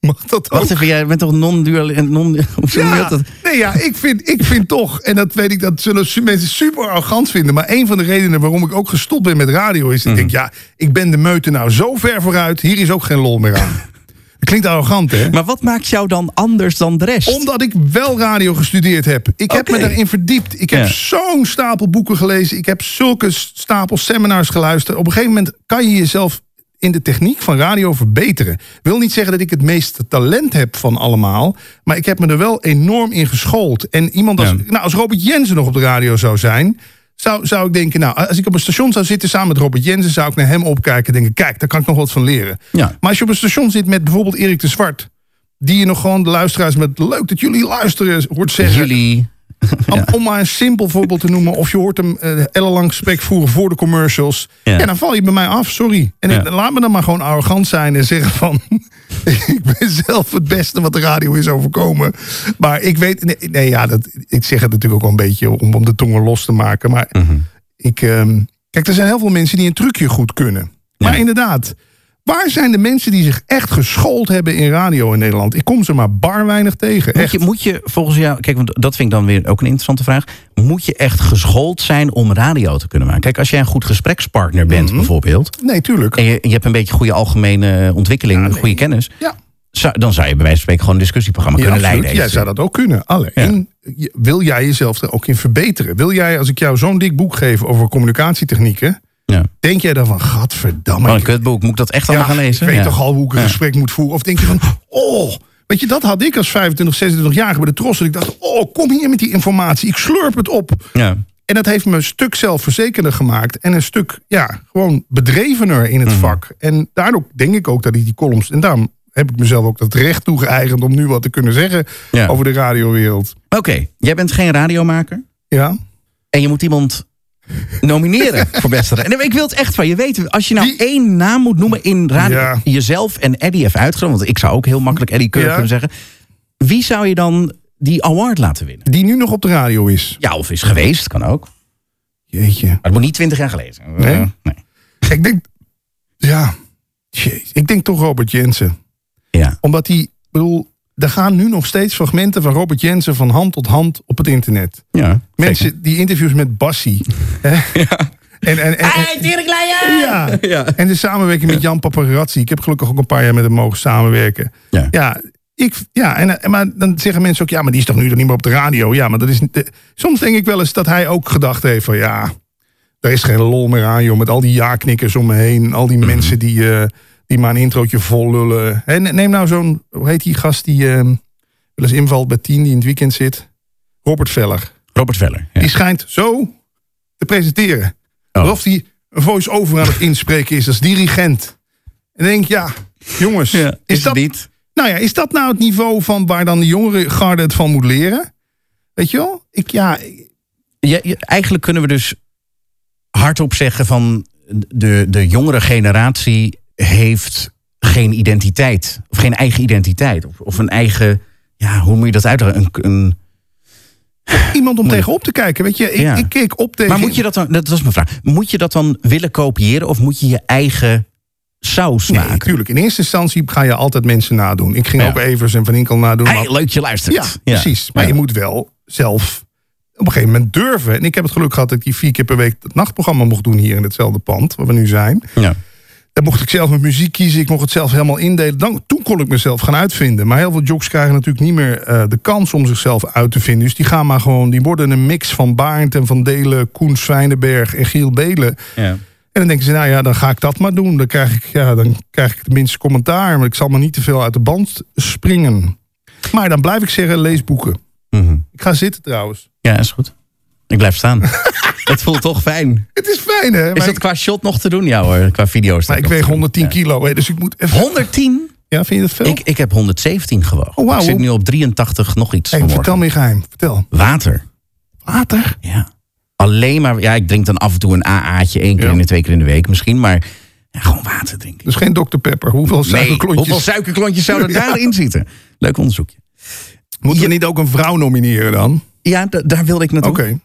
S2: Mag dat ook?
S1: Wacht even, jij bent toch non-dual... Non, hoe zeg je
S2: Ja,
S1: dat?
S2: nee, ja ik, vind, ik vind toch, en dat weet ik, dat zullen su- mensen super arrogant vinden. Maar een van de redenen waarom ik ook gestopt ben met radio is. dat Ik denk, ja, ik ben de meute nou zo ver vooruit, hier is ook geen lol meer aan. Dat klinkt arrogant, hè?
S1: Maar wat maakt jou dan anders dan de rest?
S2: Omdat ik wel radio gestudeerd heb. Ik heb
S1: Oké.
S2: me daarin verdiept. Ik heb
S1: Ja.
S2: zo'n stapel boeken gelezen. Ik heb zulke stapel seminars geluisterd. Op een gegeven moment kan je jezelf in de techniek van radio verbeteren. Wil niet zeggen dat ik het meeste talent heb van allemaal. Maar ik heb me er wel enorm in geschoold. En iemand als,
S1: Ja.
S2: nou, als Robert Jensen nog op de radio zou zijn... Zou, zou ik denken, nou, als ik op een station zou zitten samen met Robert Jensen... zou ik naar hem opkijken en denken, kijk, daar kan ik nog wat van leren.
S1: Ja.
S2: Maar als je op een station zit met bijvoorbeeld Erik de Zwart... die je nog gewoon de luisteraars met leuk dat jullie luisteren hoort zeggen...
S1: Jullie...
S2: Om, om maar een simpel voorbeeld te noemen... of je hoort hem eh, ellenlang gesprek voeren voor de commercials...
S1: Ja.
S2: ja, dan val je bij mij af, sorry. En ik-
S1: Ja.
S2: laat me dan maar gewoon arrogant zijn en zeggen van... ik ben zelf het beste wat de radio is overkomen. Maar ik weet... Nee, nee, ja, dat, ik zeg het natuurlijk ook wel een beetje om, om de tongen los te maken. Maar ik... ehm, kijk, er zijn heel veel mensen die een trucje goed kunnen. Maar inderdaad... Waar zijn de mensen die zich echt geschoold hebben in radio in Nederland? Ik kom ze maar bar weinig tegen.
S1: Moet
S2: Echt.
S1: je, moet je volgens jou, kijk, want dat vind ik dan weer ook een interessante vraag. Moet je echt geschoold zijn om radio te kunnen maken? Kijk, als jij een goed
S2: Mhm.
S1: gesprekspartner bent bijvoorbeeld.
S2: Nee, tuurlijk.
S1: En je, je hebt een beetje goede algemene ontwikkeling, goede kennis.
S2: Ja.
S1: zou- dan zou je bij wijze van spreken gewoon een discussieprogramma
S2: Ja,
S1: kunnen
S2: absoluut.
S1: leiden.
S2: Jij zou dat ook kunnen. Alleen, je- wil jij jezelf er ook in verbeteren? Wil jij, als ik jou zo'n dik boek geef over communicatietechnieken...
S1: Ja.
S2: Denk jij dan van, gadverdamme,
S1: Wat een
S2: ik-
S1: kutboek. Moet ik dat echt allemaal gaan lezen?
S2: Ik weet
S1: Ja.
S2: toch al hoe ik een gesprek moet voeren. Of denk je van, oh. Weet je, dat had ik als 25, 26 jaar bij de Tros. En ik dacht, oh, kom hier met die informatie. Ik slurp het op.
S1: Ja.
S2: En dat heeft me een stuk zelfverzekerder gemaakt. En een stuk, ja, gewoon bedrevener in het vak. En daardoor denk ik ook dat ik die columns... En daarom heb ik mezelf ook dat recht toegeëigend... om nu wat te kunnen zeggen
S1: Ja.
S2: over de radiowereld.
S1: Oké, jij bent geen radiomaker.
S2: Ja?
S1: En je moet iemand nomineren voor beste radio. Nee, maar ik wil het echt van je weten. Als je nou
S2: Wie-
S1: één naam moet noemen in radio...
S2: Ja.
S1: Jezelf en Eddie heeft uitgenomen. Want ik zou ook heel makkelijk Eddie Keur
S2: Ja.
S1: kunnen zeggen. Wie zou je dan die award laten winnen?
S2: Die nu nog op de radio is.
S1: Ja, of is geweest, kan ook. Maar
S2: Jeetje.
S1: het moet niet twintig jaar geleden zijn.
S2: Nee?
S1: Eh, nee.
S2: Ik denk, ja. Jeez. Ik denk toch Robert Jensen.
S1: Ja.
S2: Omdat die, ik bedoel, er gaan nu nog steeds fragmenten van Robert Jensen van hand tot hand op het internet.
S1: ja.
S2: Mensen die interviews met Bassie. hè? En, en, en, en- ja.
S1: Ja.
S2: en de samenwerking met Jan Paparazzi. Ik heb gelukkig ook een paar jaar met hem mogen samenwerken.
S1: Ja.
S2: Ja, ik, ja en, en- maar dan zeggen mensen ook, ja, maar die is toch nu nog niet meer op de radio. Ja, maar dat is. niet- eh, soms denk ik wel eens dat hij ook gedacht heeft van ja, daar is geen lol meer aan, joh. Met al die ja-knikkers om me heen. Al
S1: Mhm.
S2: die mensen die, eh, die maar een introotje vol lullen. En neem nou zo'n, hoe heet die gast die eh, wel eens invalt bij tien die in het weekend zit? Robert Veller.
S1: Robert Veller. Ja.
S2: Die schijnt zo te presenteren.
S1: Oh.
S2: Alsof hij een voice-over aan het inspreken is als dirigent. En dan denk ik, ja, jongens,
S1: Ja,
S2: is, dat,
S1: niet?
S2: nou ja, is dat nou het niveau van waar dan de jongere garde het van moet leren? Weet je wel? Ik, ja, ik-
S1: Ja, ja, eigenlijk kunnen we dus hardop zeggen van de, de jongere generatie heeft geen identiteit. Of geen eigen identiteit. Of, of een eigen, ja, hoe moet je dat uitdrukken? Een, een,
S2: iemand om tegenop te kijken. Weet je, ik,
S1: Ja.
S2: ik keek op tegen...
S1: maar moet je dat dan, dat was mijn vraag, moet je dat dan willen kopiëren of moet je je eigen saus
S2: Nee,
S1: maken?
S2: tuurlijk. In eerste instantie ga je altijd mensen nadoen. Ik ging
S1: Ja.
S2: ook Evers en Van Inkel nadoen. maar-
S1: Hey, leuk je luistert.
S2: Ja, precies. Maar
S1: Ja.
S2: je moet wel zelf op een gegeven moment durven. En ik heb het geluk gehad dat ik die vier keer per week het nachtprogramma mocht doen hier in hetzelfde pand waar we nu zijn.
S1: Ja.
S2: Daar mocht ik zelf mijn muziek kiezen. Ik mocht het zelf helemaal indelen. Dan, toen kon ik mezelf gaan uitvinden. Maar heel veel jocks krijgen natuurlijk niet meer eh, de kans om zichzelf uit te vinden. Dus die gaan maar gewoon, die worden een mix van Baarnt en Van Delen, Koen Zwijnenberg en Giel Belen.
S1: Ja.
S2: En dan denken ze, nou ja, dan ga ik dat maar doen. Dan krijg ik, ja, dan krijg ik tenminste commentaar. Maar ik zal maar niet te veel uit de band springen. Maar dan blijf ik zeggen, lees boeken.
S1: Mhm.
S2: Ik ga zitten trouwens.
S1: ja, is goed. Ik blijf staan. het voelt toch fijn.
S2: Het is fijn, hè?
S1: Is
S2: maar,
S1: dat
S2: ik,
S1: qua shot nog te doen? Ja hoor, qua video's.
S2: maar ik weeg 110 kilo, hè, dus ik moet even...
S1: 110?
S2: Ja, vind je dat veel?
S1: Ik, ik heb 117 gewogen.
S2: Oh, wauw.
S1: Ik zit nu op 83 nog iets
S2: Hey,
S1: vanmorgen.
S2: vertel me je geheim. Vertel.
S1: Water.
S2: Water?
S1: Ja. Alleen maar... Ja, ik drink dan af en toe een AA'tje. één keer
S2: Ja.
S1: in de twee keer in de week misschien. Maar ja, gewoon water drinken.
S2: Dus geen Dr. Pepper. Hoeveel
S1: Nee,
S2: suikerklontjes?
S1: hoeveel suikerklontjes zouden daarin zitten? Leuk onderzoekje.
S2: Moeten we niet ook een vrouw nomineren dan?
S1: Ja, da- daar wilde ik
S2: Oké.
S1: naartoe.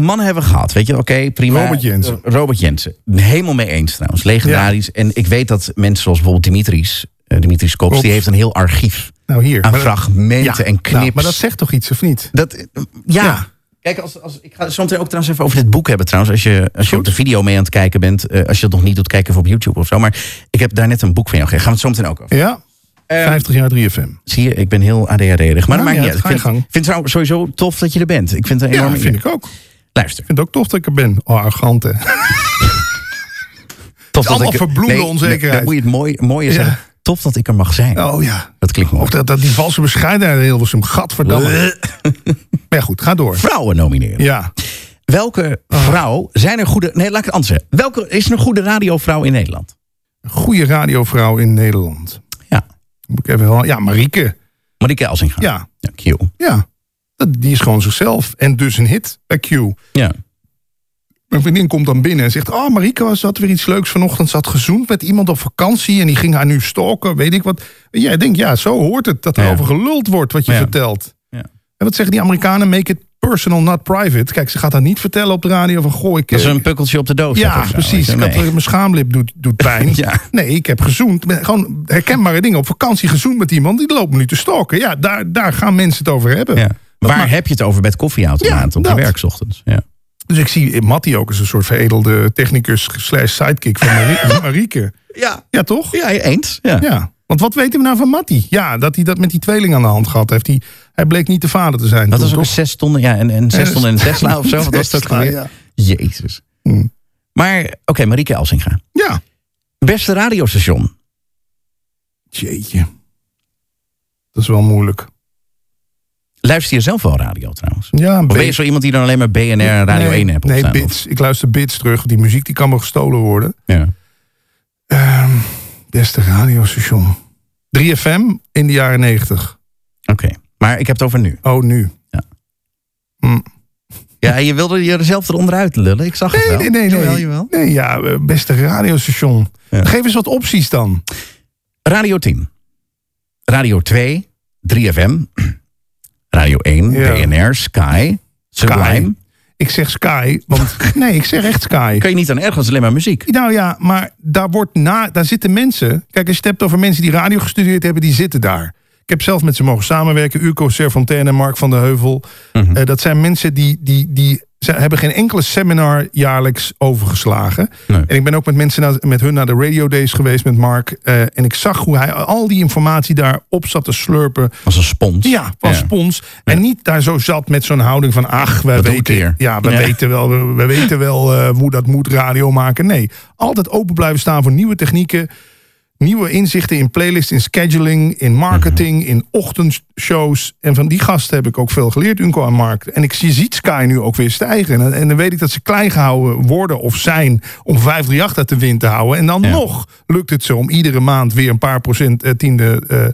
S1: Mannen hebben we gehad, weet je. Oké, prima.
S2: Robert Jensen.
S1: Eh, Robert Jensen. Helemaal mee eens trouwens. Legendarisch. En ik weet dat mensen zoals bijvoorbeeld Dimitris... eh, Dimitris Kops,
S2: Kops.
S1: die heeft een heel archief
S2: Nou, hier.
S1: aan
S2: Maar dat-
S1: fragmenten en
S2: nou,
S1: knips.
S2: maar dat zegt toch iets, of niet?
S1: Dat, ja.
S2: Ja.
S1: Kijk, als, als, ik ga het zo meteen ook trouwens even over dit boek hebben. Trouwens, als je, als je op de video mee aan het kijken bent. eh, als je dat nog niet doet, kijk even op YouTube of zo. Maar ik heb daar net een boek van jou gegeven. Gaan we het zo meteen ook over.
S2: Ja.
S1: Eh,
S2: 50 jaar 3FM.
S1: Zie je, ik ben heel ADHD-erig. Maar dat
S2: Nou,
S1: maakt
S2: ja,
S1: niet uit. Ik
S2: ga je
S1: vind,
S2: gang.
S1: vind het trouwens sowieso tof dat je er bent. Ik vind het een
S2: Ja,
S1: enorm...
S2: vind ik ook. Ik
S1: Luister.
S2: vind het ook tof dat ik er ben. Oh, arrogant, hè?
S1: Tof
S2: allemaal verbloemde
S1: Nee,
S2: onzekerheid.
S1: dan moet je het mooi, mooie zeggen. Tof dat ik er mag zijn.
S2: Oh ja.
S1: Dat klinkt
S2: Of
S1: mooi.
S2: dat, dat die valse bescheidenheid in Hilversum. Gadverdamme. Maar ja, goed, ga door.
S1: Vrouwen nomineren.
S2: Ja. Oh.
S1: Welke vrouw zijn er goede... Nee, laat ik het anders zeggen. Welke is er een goede radiovrouw in Nederland?
S2: Goede radiovrouw in Nederland.
S1: Ja.
S2: Moet ik even wel. Ja, Marieke.
S1: Marieke Elsinga.
S2: Ja.
S1: Ja, Q.
S2: Ja. Dat, die is gewoon zichzelf. En dus een hit bij Q.
S1: Ja.
S2: Mijn vriendin komt dan binnen en zegt... Oh, Marieke was dat weer iets leuks vanochtend. Ze had gezoend met iemand op vakantie... en die ging haar nu stalken, weet ik wat. En jij denkt, ja, zo hoort het. Dat er
S1: Ja.
S2: over geluld wordt wat je
S1: Ja.
S2: vertelt.
S1: Ja.
S2: En wat zeggen die Amerikanen? Make it personal, not private. Kijk, ze gaat dat niet vertellen op de radio van... Goh, ik...
S1: Dat ze
S2: eh,
S1: een pukkeltje op de doos
S2: Ja,
S1: hebben of zo,
S2: precies.
S1: weet
S2: Ik
S1: je,
S2: had,
S1: nee.
S2: eh, mijn schaamlip doet, doet pijn.
S1: Ja.
S2: Nee, ik heb gezoend. Met- Gewoon herkenbare dingen. Op vakantie gezoend met iemand. Die loopt me nu te stalken. Ja, daar, daar gaan mensen het over hebben.
S1: Ja. Waar
S2: maakt-
S1: heb je het over bij het koffieautomaat
S2: Ja,
S1: op de
S2: dat.
S1: werksochtends? Ja.
S2: Dus ik zie Matty ook als een soort veredelde technicus slash sidekick van Marie- Marieke.
S1: Ja.
S2: Ja, toch?
S1: ja, eens. Ja.
S2: Ja. Want wat weten we nou van Matti? Ja, dat hij dat met die tweeling aan de hand gehad heeft. Die, hij bleek niet de vader te zijn.
S1: Dat
S2: toen,
S1: was ook een
S2: toch?
S1: zes tonnen, ja, en, en zes tonnen in een Tesla of zo. Wat was dat ook
S2: Tesla,
S1: alweer?
S2: ja.
S1: Jezus.
S2: Hm.
S1: Maar, oké, Marieke Elsinga.
S2: Ja.
S1: Beste radiostation.
S2: Jeetje. Dat is wel moeilijk.
S1: Luister je zelf wel radio trouwens?
S2: Ja, een
S1: Of ben je
S2: beetje-
S1: zo iemand die dan alleen maar BNR en Radio
S2: nee,
S1: 1 hebt
S2: Nee,
S1: opstaan?
S2: bits. Ik luister bits terug. Die muziek die kan me gestolen worden.
S1: Ja.
S2: Ehm, beste radiostation. 3FM in de jaren 90.
S1: Oké, maar ik heb het over nu.
S2: Oh, nu.
S1: Ja, je wilde jezelf eronder uit lullen. Ik zag het wel.
S2: Nee, nee, nee. nee.
S1: Jawel, jawel.
S2: Nee, ja, eh, beste radiostation.
S1: Ja.
S2: Geef eens wat opties dan.
S1: Radio 10. Radio 2. 3FM. Radio 1.
S2: Ja.
S1: BNR. Sky. Sublime.
S2: Ik zeg Sky, want... nee, ik zeg echt Sky.
S1: Kan je niet aan ergens alleen maar muziek?
S2: Nou ja, maar daar, wordt na, daar zitten mensen... Kijk, als je het hebt over mensen die radio gestudeerd hebben... die zitten daar. Ik heb zelf met ze mogen samenwerken. Urco Serfontaine en Mark van der Heuvel. Eh, dat zijn mensen die... die, die ze hebben geen enkele seminar jaarlijks overgeslagen.
S1: Nee.
S2: En ik ben ook met mensen naar, met hun naar de Radio Days geweest met Mark. eh, en ik zag hoe hij al die informatie daarop zat te slurpen.
S1: Als een spons.
S2: Ja, van
S1: Ja.
S2: spons. En niet daar zo zat met zo'n houding van... ach, we
S1: Wat doe ik hier?
S2: weten, ja, we
S1: Ja.
S2: weten wel, we, we weten wel eh, hoe dat moet radio maken. Nee, altijd open blijven staan voor nieuwe technieken... nieuwe inzichten in playlist, in scheduling, in marketing...
S1: Mhm.
S2: in ochtendshows. En van die gasten heb ik ook veel geleerd, Unco en Mark. En ik, je ziet Sky nu ook weer stijgen. En, en dan weet ik dat ze klein gehouden worden of zijn... om 538 uit de wind te houden. En dan
S1: Ja.
S2: nog lukt het ze om iedere maand weer een paar procent... eh, tiende... eh,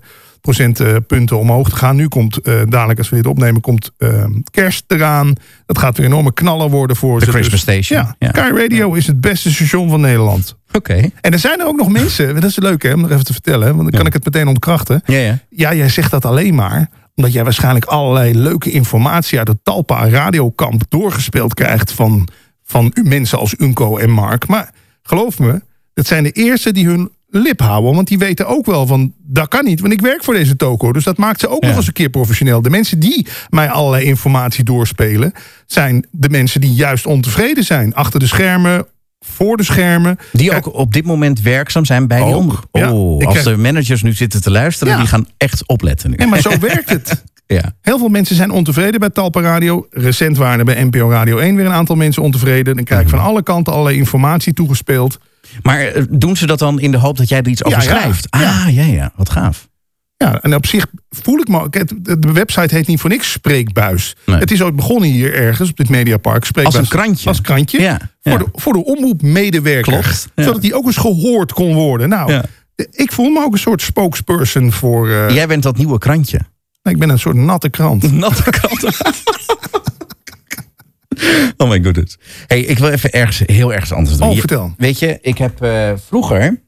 S2: procentpunten omhoog te gaan. Nu komt eh, dadelijk, als we dit opnemen, komt eh, kerst eraan. Dat gaat weer enorme knallen worden voor
S1: De
S2: ze. dus
S1: Christmas station,
S2: Ja,
S1: Dus- ja.
S2: Sky Radio is het beste station van Nederland.
S1: Oké.
S2: En er zijn er ook nog mensen, dat is leuk hè, om nog even te vertellen, want dan kan ik het meteen ontkrachten.
S1: Ja, ja.
S2: Ja, jij zegt dat alleen maar omdat jij waarschijnlijk allerlei leuke informatie uit het Talpa radiokamp doorgespeeld krijgt van, van u- mensen als Unco en Mark. Maar geloof me, dat zijn de eerste die hun lip houden, want die weten ook wel van dat kan niet, want ik werk voor deze toko, dus dat maakt ze ook
S1: Ja.
S2: nog eens een keer professioneel. De mensen die mij allerlei informatie doorspelen, zijn de mensen die juist ontevreden zijn achter de schermen, voor de schermen.
S1: Die ook op dit moment werkzaam zijn bij die
S2: Ook,
S1: omroep.
S2: ja.
S1: Oh,
S2: Ik
S1: als
S2: krijg-
S1: de managers nu zitten te luisteren,
S2: Ja.
S1: die gaan echt opletten nu.
S2: Nee, maar zo werkt het.
S1: Ja.
S2: Heel veel mensen zijn ontevreden bij Talpa Radio. Recent waren er bij NPO Radio 1 weer een aantal mensen ontevreden. Dan krijg ik
S1: Mhm.
S2: van alle kanten allerlei informatie toegespeeld.
S1: Maar eh, doen ze dat dan in de hoop dat jij er iets over
S2: Ja, ja.
S1: schrijft? Ah, ja, ja. Wat gaaf.
S2: Ja, en op zich voel ik me... ook- het- De website heet niet voor niks Spreekbuis.
S1: Nee.
S2: Het is ooit begonnen hier ergens op dit Mediapark. Spreekbuis.
S1: Als een krantje.
S2: Als krantje.
S1: Ja, ja.
S2: Voor, de, voor de omroepmedewerker.
S1: Klopt, ja.
S2: Zodat die ook eens gehoord kon worden. Nou,
S1: Ja.
S2: ik voel me ook een soort spokesperson voor... eh,
S1: Jij bent dat nieuwe krantje.
S2: Ik ben een soort natte krant.
S1: Natte kranten. oh my goodness. Hey, ik wil even ergens, heel ergens anders doen.
S2: Oh,
S1: Je-
S2: vertel.
S1: Weet je, ik heb eh, vroeger...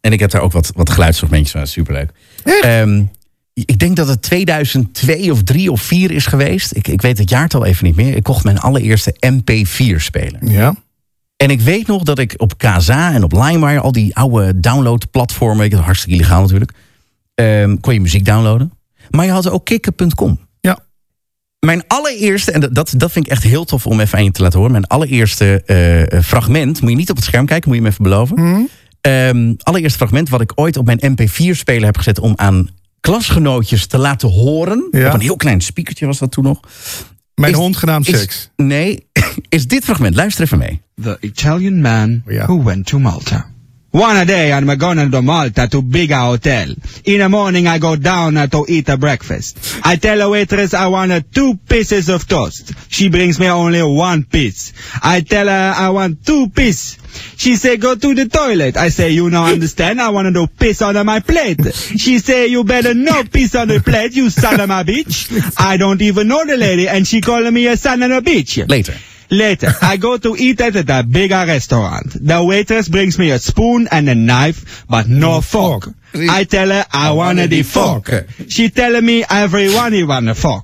S1: En ik heb daar ook wat, wat geluidsfragmentjes van. Superleuk.
S2: Echt?
S1: Ehm, ik denk dat het 2002 of 3 of 4 is geweest. Ik, ik weet het jaartal even niet meer. Ik kocht mijn allereerste MP4-speler.
S2: Ja.
S1: En ik weet nog dat ik op Kaza en op LimeWire... al die oude downloadplatformen... ik- hartstikke illegaal natuurlijk... ehm, kon je muziek downloaden. Maar je had ook kikken.com.
S2: Ja.
S1: Mijn allereerste, en dat- dat, dat vind ik echt heel tof om even aan je te laten horen. Mijn allereerste eh, eh, fragment, moet je niet op het scherm kijken, moet je me even beloven.
S2: Hmm?
S1: Ehm, allereerste fragment wat ik ooit op mijn MP4-speler heb gezet om aan klasgenootjes te laten horen.
S2: Ja.
S1: Op een heel klein spiekertje was dat toen nog.
S2: Mijn
S1: Is-
S2: hond genaamd
S1: is-
S2: Seks.
S1: Nee, is dit fragment. Luister even mee.
S3: The Italian man
S2: Oh, yeah.
S3: who went to Malta. One day I'm going to Malta to bigger hotel. In the morning I go down uh, to eat a breakfast. I tell a waitress I want uh, two pieces of toast. She brings me only one piece. I tell her I want two piece. She say go to the toilet. I say you now understand I want to piss on my plate. She say you better no piss on the plate you son of a bitch. I don't even know the lady and she calling me a son of a bitch.
S1: Later.
S3: Later, I go to eat at the bigger restaurant. The waitress brings me a spoon and a knife, but no Mm, fork. I tell her I wanna the fork. She tell me everyone you wanna fork.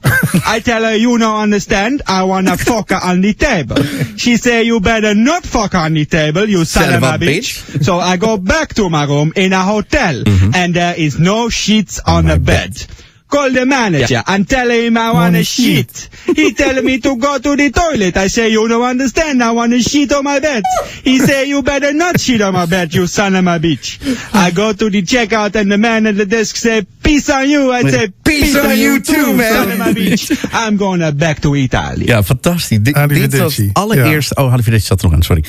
S3: I tell her you don't understand, I wanna fork on the table. She say you better not fork on the table, you son of a bitch. So I go back to Mm-hmm. my room in a hotel and there is no sheets on the bed. Call the manager and tell him I wanna shit. He tell me to go to the toilet. I say you don't understand. I wanna shit on my bed. He say you better not shit on my bed, you son of my bitch. I go to the checkout and the man at the desk say peace on you. I say peace, on, you too, man. Son of my bitch. I'm going back to Italy.
S1: Ja, fantastisch. Di-
S2: Arrivederci.
S1: dit was het allereerste... Oh, Halifidetti zat er nog aan, sorry.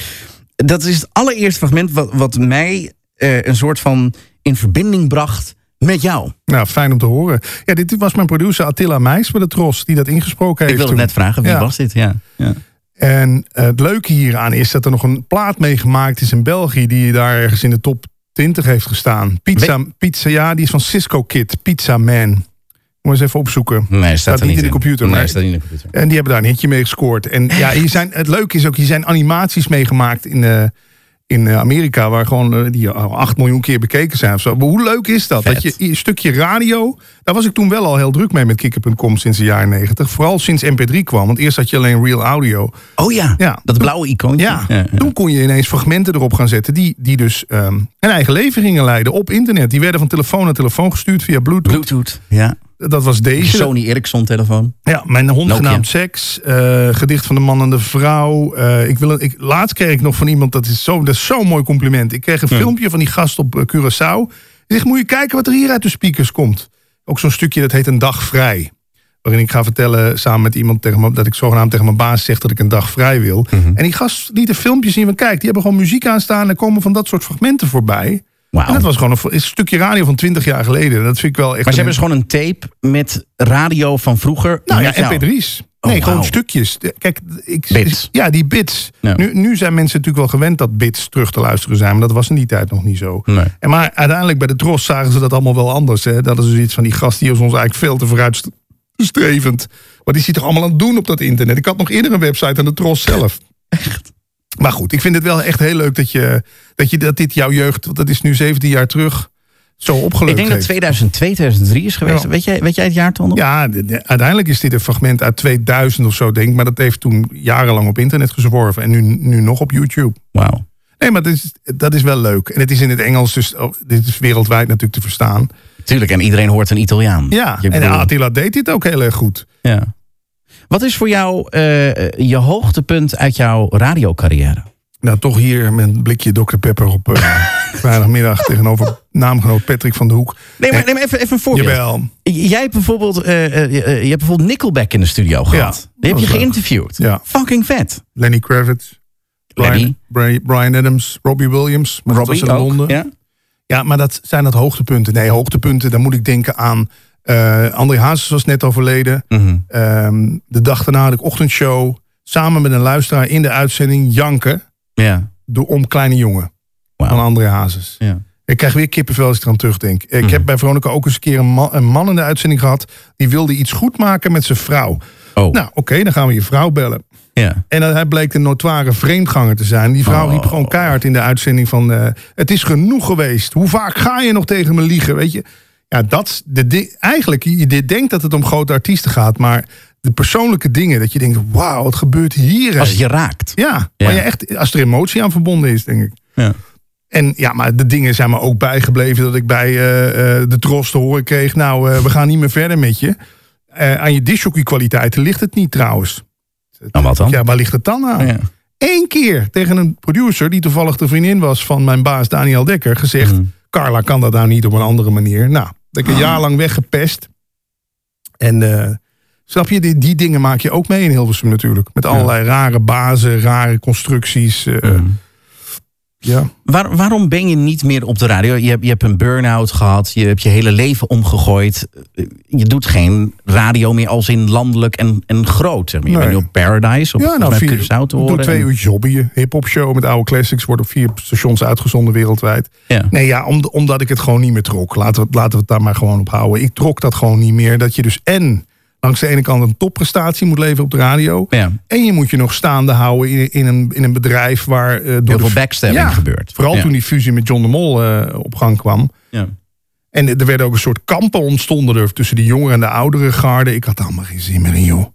S1: Dat is het allereerste fragment wat, wat mij eh, een soort van in verbinding bracht met jou.
S2: Nou, fijn om te horen. Ja, dit was mijn producer Attila Meijs bij de Tros, die dat ingesproken heeft.
S1: Ik wilde
S2: toen.
S1: net vragen, wie
S2: Ja.
S1: was dit? Ja. ja.
S2: En eh, het leuke hieraan is dat er nog een plaat mee gemaakt is in België... die daar ergens in de top 20 heeft gestaan. Pizza, pizza ja, die is van Cisco Kid, Pizza Man. Moet je eens even opzoeken.
S1: Nee, staat,
S2: Staat
S1: er
S2: niet
S1: niet
S2: in de computer,
S1: Nee,
S2: maar-
S1: staat niet in de computer.
S2: En die hebben daar een hitje mee gescoord. En ja, hier zijn, het leuke is ook, hier zijn animaties meegemaakt in, eh, in eh, Amerika... waar gewoon eh, die al 8 miljoen keer bekeken zijn of zo. Maar hoe leuk is dat?
S1: Vet.
S2: Dat je een stukje radio... Daar was ik toen wel al heel druk mee met kikker.com sinds de jaren 90. Vooral sinds MP3 kwam, want eerst had je alleen real audio...
S1: Oh ja,
S2: Ja.
S1: dat blauwe icoontje.
S2: Ja, toen kon je ineens fragmenten erop gaan zetten die, die dus ehm een eigen leven gingen leiden op internet. Die werden van telefoon naar telefoon gestuurd via Bluetooth.
S1: Bluetooth. Ja.
S2: Dat was deze.
S1: Sony Ericsson telefoon.
S2: Ja, mijn hond
S1: Nokia.
S2: genaamd Seks, eh, gedicht van de man en de vrouw. eh, ik wil, een- ik, laatst kreeg ik nog van iemand, dat is zo'n dat is zo'n mooi compliment. Ik kreeg een filmpje van die gast op eh, Curaçao. Die zegt, moet je kijken wat er hier uit de speakers komt. Ook zo'n stukje, dat heet een dag vrij. Waarin ik ga vertellen samen met iemand tegen me, dat ik zogenaamd tegen mijn baas zeg dat ik een dag vrij wil.
S1: Mhm.
S2: En die gast liet een filmpje zien van kijk, die hebben gewoon muziek aanstaan en komen van dat soort fragmenten voorbij.
S1: Wauw.
S2: En dat was gewoon een, een stukje radio van 20 jaar geleden. Dat vind ik wel echt.
S1: Maar ze
S2: een-
S1: hebben dus gewoon een tape met radio van vroeger.
S2: nou ja,
S1: met jou.
S2: mp3's.
S1: Oh,
S2: Nee, gewoon
S1: wauw.
S2: stukjes. De- Kijk, ik,
S1: Bits.
S2: Ja, die bits.
S1: Ja.
S2: Nu, nu zijn mensen natuurlijk wel gewend dat bits terug te luisteren zijn. Maar dat was in die tijd nog niet zo.
S1: Nee.
S2: En maar uiteindelijk bij de Tros zagen ze dat allemaal wel anders. Hè? Dat is dus iets van die gast die is ons eigenlijk veel te vooruitstrevend. Wat is hij toch allemaal aan het doen op dat internet? Ik had nog eerder een website aan de Tros zelf. Maar goed, ik vind het wel echt heel leuk dat, je, dat, je, dat dit jouw jeugd, want dat is nu 17 jaar terug, zo opgelukt
S1: Ik denk dat
S2: heeft.
S1: 2002, 2003 is geweest.
S2: Ja.
S1: Weet, jij, weet jij het jaartal nog?
S2: Ja, de- de- uiteindelijk is dit een fragment uit 2000 of zo, denk ik. Maar dat heeft toen jarenlang op internet gezworven. En nu, nu nog op YouTube.
S1: Wauw.
S2: Nee, maar dat is, dat is wel leuk. En het is in het Engels, dus oh, dit is wereldwijd natuurlijk te verstaan.
S1: Tuurlijk, en iedereen hoort een Italiaan.
S2: Ja,
S1: Je
S2: en eh,
S1: bedoelt-
S2: Attila deed dit ook heel erg goed.
S1: ja. Wat is voor jou eh, je hoogtepunt uit jouw radiocarrière?
S2: Nou, toch hier met een blikje Dr. Pepper op eh, vrijdagmiddag tegenover naamgenoot Patrick van de Hoek.
S1: Nee, maar Oh,
S2: maar-
S1: neem even, even een voorbeeld.
S2: Eh, Jawel.
S1: J- Jij hebt bijvoorbeeld, eh, eh, eh, je hebt bijvoorbeeld Nickelback in de studio gehad. Die heb
S2: Oh, dat
S1: je
S2: is leuk.
S1: geïnterviewd.
S2: Ja.
S1: Fucking vet.
S2: Lenny Kravitz.
S1: Lenny.
S2: Brian, Bri- Brian Adams, Robbie Williams. maar dat
S1: Robbie
S2: was in
S1: ook.
S2: Londen.
S1: Ja?
S2: Ja, maar dat zijn dat hoogtepunten. Nee, hoogtepunten, dan moet ik denken aan... eh André Hazes was net overleden.
S1: Mhm.
S2: Ehm, de dag daarna had ik ochtendshow. Samen met een luisteraar in de uitzending Janken.
S1: ja.
S2: Door Om Kleine Jongen.
S1: Wauw.
S2: Van André Hazes.
S1: Ja.
S2: Ik krijg weer kippenvel als ik eraan terugdenk. Ik heb bij Veronica ook eens een keer een man, een man in de uitzending gehad. Die wilde iets goed maken met zijn vrouw.
S1: Oh,
S2: Nou, oké, dan gaan we je vrouw bellen.
S1: ja.
S2: En dan- hij bleek een notoire vreemdganger te zijn. Die vrouw
S1: Oh.
S2: riep gewoon keihard in de uitzending van... eh, het is genoeg geweest. Hoe vaak ga je nog tegen me liegen? Weet je? Ja, dat is de di- Eigenlijk, je, je denkt dat het om grote artiesten gaat. Maar de persoonlijke dingen, dat je denkt... Wauw, wat gebeurt hier? hè?
S1: Als het je raakt.
S2: Ja,
S1: Ja.
S2: Maar je echt, als er emotie aan verbonden is, denk ik.
S1: Ja.
S2: En ja, maar de dingen zijn me ook bijgebleven dat ik bij eh, eh, de Tros te horen kreeg. Nou, eh, we gaan niet meer verder met je. Eh, aan je dishockey kwaliteiten ligt het niet trouwens.
S1: Nou, wat dan?
S2: Ja, waar ligt het dan aan?
S1: Ja.
S2: Eén keer tegen een producer die toevallig de vriendin was van mijn baas Daniel Dekker gezegd:
S1: Mm.
S2: Carla kan dat nou niet op een andere manier. Nou, dat ik een
S1: Ah.
S2: jaar lang weggepest. En eh, snap je, die, die dingen maak je ook mee in Hilversum natuurlijk. Met allerlei rare bazen, rare constructies. eh, Ja.
S1: Waar- waarom ben je niet meer op de radio? Je hebt, je hebt een burn-out gehad. Je hebt je hele leven omgegooid. Eh, Je doet geen radio meer als in landelijk en, en groot. Zeg maar. Je
S2: Nee.
S1: bent nu op Paradise. Op,
S2: Ja, nou,
S1: volgens mij
S2: vier,
S1: Curaçao te
S2: ik doe
S1: horen.
S2: twee
S1: En-
S2: uur jobbyen. Hip-hop show met oude classics wordt op vier stations uitgezonden wereldwijd.
S1: Ja.
S2: Nee, ja, om, omdat ik het gewoon niet meer trok. Laten we, laten we het daar maar gewoon op houden. Ik trok dat gewoon niet meer. Dat je dus en langs de ene kant een topprestatie moet leveren op de radio.
S1: Ja.
S2: En je moet je nog staande houden in, in, een, in een bedrijf waar... eh, door de
S1: veel
S2: fu-
S1: backstabbing gebeurt.
S2: Vooral
S1: Ja.
S2: toen die fusie met John de Mol eh, op gang kwam.
S1: Ja.
S2: En er werden ook een soort kampen ontstonden er tussen de jongeren en de oudere garde. Ik had daar allemaal geen zin meer in, joh.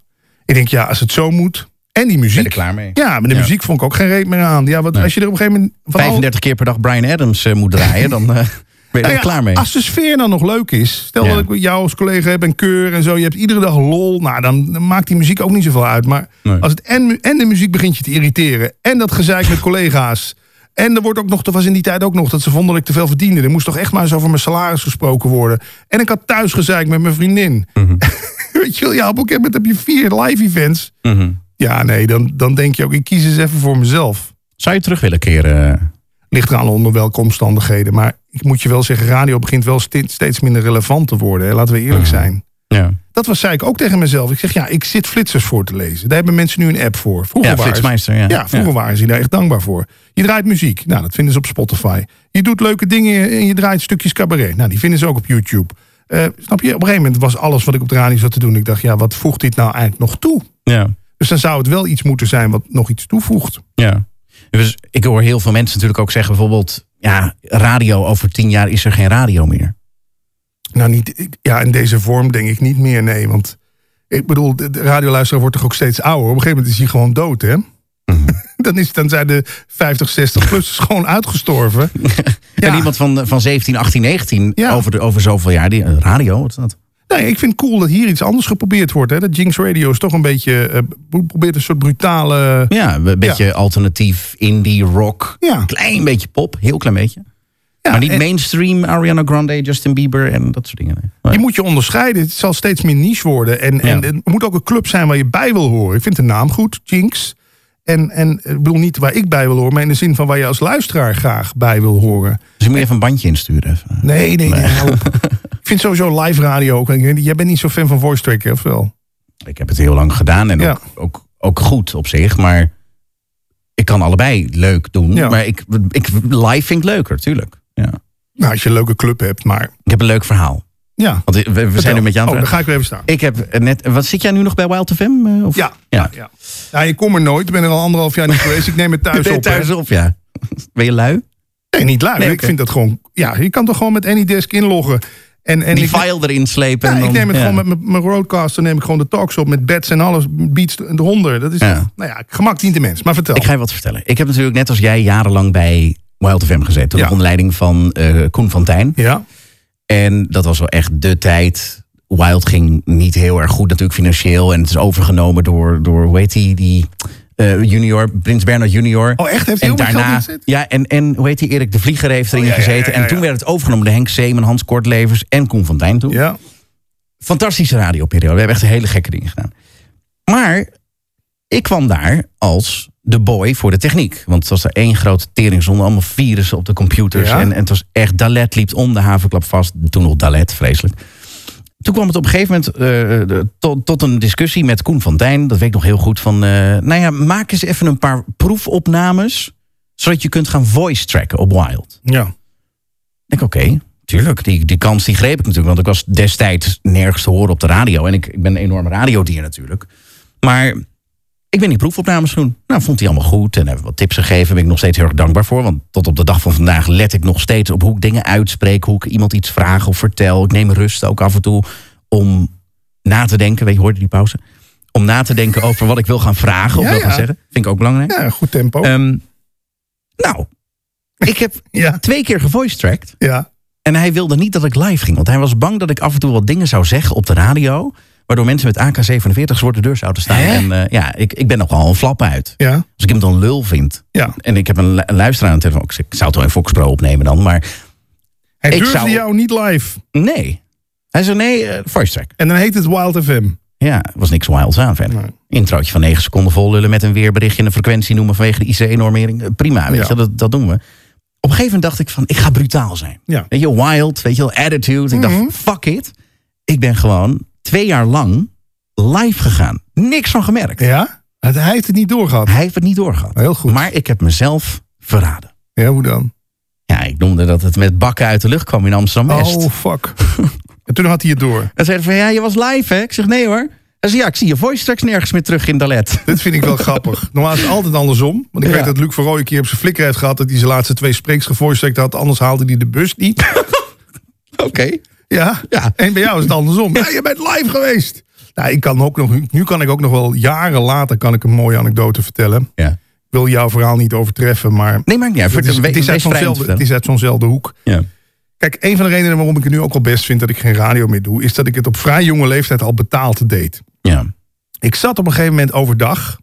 S2: Ik denk, ja, als het zo moet. En die muziek.
S1: er klaar mee?
S2: Ja, maar de
S1: Ja.
S2: muziek vond ik ook geen reet meer aan. Ja, wat, als je er op een gegeven moment. van al-
S1: 35 keer per dag Brian Adams eh, moet draaien. dan, eh, Ben je
S2: Nou
S1: er
S2: ja,
S1: klaar mee?
S2: Als de sfeer dan nog leuk is. Stel
S1: Ja.
S2: dat ik jou als collega heb en keur en zo. Je hebt iedere dag lol. Nou, dan, dan maakt die muziek ook niet zoveel uit. Maar
S1: Nee.
S2: als het en, mu- en de muziek begint je te irriteren. En dat gezeik met collega's. En er wordt ook nog, er was in die tijd ook nog dat ze vonden dat ik te veel verdiende. Er moest toch echt maar eens over mijn salaris gesproken worden. En ik had thuis gezeik met mijn vriendin.
S1: Mhm.
S2: Weet je wel, ja, op een gegeven moment heb je vier live events.
S1: Mhm.
S2: Ja, nee, dan, dan denk je ook, ik kies eens even voor mezelf.
S1: Zou je terug willen keren?
S2: Ligt eraan onder welke omstandigheden. Maar ik moet je wel zeggen, radio begint wel sti- steeds minder relevant te worden. Hè? Laten we
S1: Mhm.
S2: eerlijk zijn.
S1: Ja,
S2: Dat was, zei ik ook tegen mezelf. Ik zeg, ja, ik zit flitsers voor te lezen. Daar hebben mensen nu een app voor. Vroeger,
S1: ja
S2: waren, ze,
S1: Flitsmeister. Ja,
S2: ja, vroeger waren ze daar echt dankbaar voor. Je draait muziek. Nou, dat vinden ze op Spotify. Je doet leuke dingen en je draait stukjes cabaret. Nou, die vinden ze ook op YouTube. Eh, snap je? Op een gegeven moment was alles wat ik op de radio zat te doen. Ik dacht, ja, wat voegt dit nou eigenlijk nog toe?
S1: ja.
S2: Dus dan zou het wel iets moeten zijn wat nog iets toevoegt.
S1: Ja. Dus ik hoor heel veel mensen natuurlijk ook zeggen bijvoorbeeld... ja, radio over tien jaar is er geen radio meer.
S2: Nou, niet, ik- ja, in deze vorm denk ik niet meer, nee. Want ik bedoel, de de radioluisteraar wordt toch ook steeds ouder. Op een gegeven moment is hij gewoon dood, hè?
S1: Mhm.
S2: dan, is, dan zijn de 50, 60 plus gewoon uitgestorven. ja,
S1: En iemand van, van 17, 18, 19
S2: Ja.
S1: over, de, over zoveel jaar... Die, eh, radio, wat is dat?
S2: nee, ik vind het cool dat hier iets anders geprobeerd wordt. Hè? Dat Jinx Radio is toch een beetje... eh, pro- probeert een soort brutale...
S1: Ja, een beetje alternatief, indie, rock.
S2: Ja.
S1: Klein beetje pop, heel klein beetje.
S2: Ja,
S1: maar niet
S2: en
S1: mainstream, Ariana Grande, Justin Bieber en dat soort dingen. nee. Maar-
S2: je moet je onderscheiden. Het zal steeds meer niche worden. En, en
S1: Ja.
S2: het moet ook een club zijn waar je bij wil horen. Ik vind de naam goed, Jinx. En, en eh, ik bedoel niet waar ik bij wil horen, maar in de zin van waar je als luisteraar graag bij wil horen.
S1: Dus ik moet je even een bandje insturen. even.
S2: Nee, nee, nee. hou op. ik vind sowieso live radio ook. Ik weet niet, Jij bent niet zo fan van voice track, hè, of wel?
S1: Ik heb het heel lang gedaan en
S2: Ja.
S1: ook, ook, ook goed op zich, maar... Ik kan allebei leuk doen,
S2: Ja.
S1: maar ik, ik, live vind ik leuker, tuurlijk. Ja.
S2: Nou, als je een leuke club hebt, maar
S1: Ik heb een leuk verhaal.
S2: ja.
S1: Want we, we zijn nu met jou aan
S2: Oh,
S1: het praten.
S2: dan ga ik weer even staan.
S1: Ik heb eh, net. Wat zit jij nu nog bij Wild FM? eh, Of?
S2: Ja.
S1: ja.
S2: Ja. ja, je komt er nooit. Ik ben er al anderhalf jaar niet geweest. Ik neem het thuis
S1: Ben je
S2: op. hè.
S1: thuis op, ja. Ben je lui?
S2: Nee, niet lui.
S1: Nee,
S2: ik
S1: oké.
S2: vind dat gewoon... Ja, je kan toch gewoon met Anydesk inloggen. En, en
S1: Die
S2: ik,
S1: file erin slepen.
S2: ja,
S1: en dan,
S2: ik neem het
S1: ja.
S2: gewoon met mijn- mijn roadcaster. neem ik gewoon de talks op met beds en alles. Beats eronder. Dat is
S1: Ja.
S2: toch- nou ja, gemak dient de mens. Maar vertel.
S1: Ik ga je wat vertellen. Ik heb natuurlijk net als jij jarenlang bij Wild FM gezeten.
S2: Ja.
S1: Onder leiding van eh, Koen van Tijn.
S2: Ja,
S1: En dat was wel echt de tijd. Wild ging niet heel erg goed natuurlijk financieel. En het is overgenomen door, door hoe heet die, die eh, junior, Prins Bernhard junior.
S2: Oh, echt? Heeft hij
S1: en
S2: ook met geld
S1: daarna,
S2: in gezeten?
S1: Ja, en, en hoe heet die, Erik de Vlieger heeft erin
S2: Oh, ja, ja, ja,
S1: gezeten.
S2: ja,
S1: En toen
S2: ja.
S1: werd het overgenomen door Henk Zeeman, Hans Kortlevers en Koen van Dijn toen.
S2: ja.
S1: Fantastische radioperiode. We hebben echt hele gekke dingen gedaan. Maar ik kwam daar als de boy voor de techniek. Want het was er één grote teringzonde. Allemaal virussen op de computers.
S2: Ja.
S1: En, en het was echt... Dalet liep om de havenklap vast. Toen nog Dalet, vreselijk. Toen kwam het op een gegeven moment eh, de- tot, tot een discussie met Koen van Dijn. Dat weet ik nog heel goed. Van, eh, nou ja, maak eens even een paar proefopnames. Zodat je kunt gaan voice tracken op Wild.
S2: ja.
S1: Ik denk, oké, tuurlijk. Die, die kans die greep ik natuurlijk. Want ik was destijds nergens te horen op de radio. En ik, ik ben een enorme radiodier natuurlijk. Maar ik ben die proefopnames doen. Nou, vond hij allemaal goed. En hebben wat tips gegeven. Daar ben ik nog steeds heel erg dankbaar voor. Want tot op de dag van vandaag let ik nog steeds op hoe ik dingen uitspreek. Hoe ik iemand iets vraag of vertel. Ik neem rust ook af en toe om na te denken. Weet je, hoorde die pauze? Om na te denken over wat ik wil gaan vragen of
S2: Ja,
S1: wil
S2: ja.
S1: gaan zeggen. Vind ik ook belangrijk.
S2: ja, goed tempo.
S1: Ehm, nou, ik heb
S2: ja,
S1: twee keer gevoicetracked.
S2: ja.
S1: En hij wilde niet dat ik live ging. Want hij was bang dat ik af en toe wat dingen zou zeggen op de radio. Waardoor mensen met AK-47's voor de deur zouden staan.
S2: Hè?
S1: En eh, ja, ik, ik ben nogal een flap uit.
S2: Ja,
S1: Als ik hem dan lul vind.
S2: ja.
S1: En ik heb een, lu- een luisteraar aan de telefoon. Ik zeg, ik zou het wel in Foxpro opnemen dan. Maar
S2: Hij
S1: Ik
S2: durfde
S1: zou-
S2: jou niet live.
S1: nee. Hij zei nee, eh, voice track.
S2: En dan heet het Wild FM.
S1: Ja, er was niks wilds aan verder.
S2: Nee.
S1: Introotje van 9 seconden vol lullen met een weerberichtje en een frequentie noemen vanwege de IC-normering. Eh, Prima, weet
S2: Ja.
S1: je, dat, dat doen we. Op een gegeven moment dacht ik van, ik ga brutaal zijn.
S2: Ja.
S1: Weet je, wild, weet je wel, attitude. Ik
S2: Mhm.
S1: dacht, fuck it. Ik ben gewoon twee jaar lang live gegaan. Niks van gemerkt.
S2: Ja? Het- Hij heeft het niet doorgehad.
S1: Hij heeft het niet doorgehad.
S2: Heel goed.
S1: Maar ik heb mezelf verraden.
S2: Ja, hoe dan?
S1: Ja, ik noemde dat het met bakken uit de lucht kwam in Amsterdam-West.
S2: Oh, fuck. en toen had hij het door.
S1: Hij zei van, ja, je was live, hè? Ik zeg, nee hoor. Hij zei, ja, ik zie je voice tracks nergens meer terug in E Dalet.
S2: Dit vind ik wel grappig. Normaal is het altijd andersom. Want ik
S1: Ja.
S2: weet dat Luc van Rooij een keer op zijn flikker heeft gehad... dat hij zijn laatste twee spreeks gevoorstekt had. Anders haalde hij de bus niet.
S1: Oké.
S2: Ja.
S1: Ja.
S2: En bij jou is het andersom. Ja, je bent live geweest. Nou, ik kan ook nog, nu kan ik ook nog wel jaren later kan ik een mooie anekdote vertellen. Ik
S1: Ja.
S2: wil jouw verhaal niet overtreffen, maar...
S1: Nee, maakt niet uit.
S2: Het is,
S1: Wees-
S2: het is
S1: wees vrij om
S2: uit
S1: te
S2: zo'nzelfde- het
S1: vertellen.
S2: is uit zo'nzelfde hoek.
S1: Ja.
S2: Kijk, een van de redenen waarom ik het nu ook al best vind dat ik geen radio meer doe, is dat ik het op vrij jonge leeftijd al betaald deed.
S1: Ja.
S2: Ik zat op een gegeven moment overdag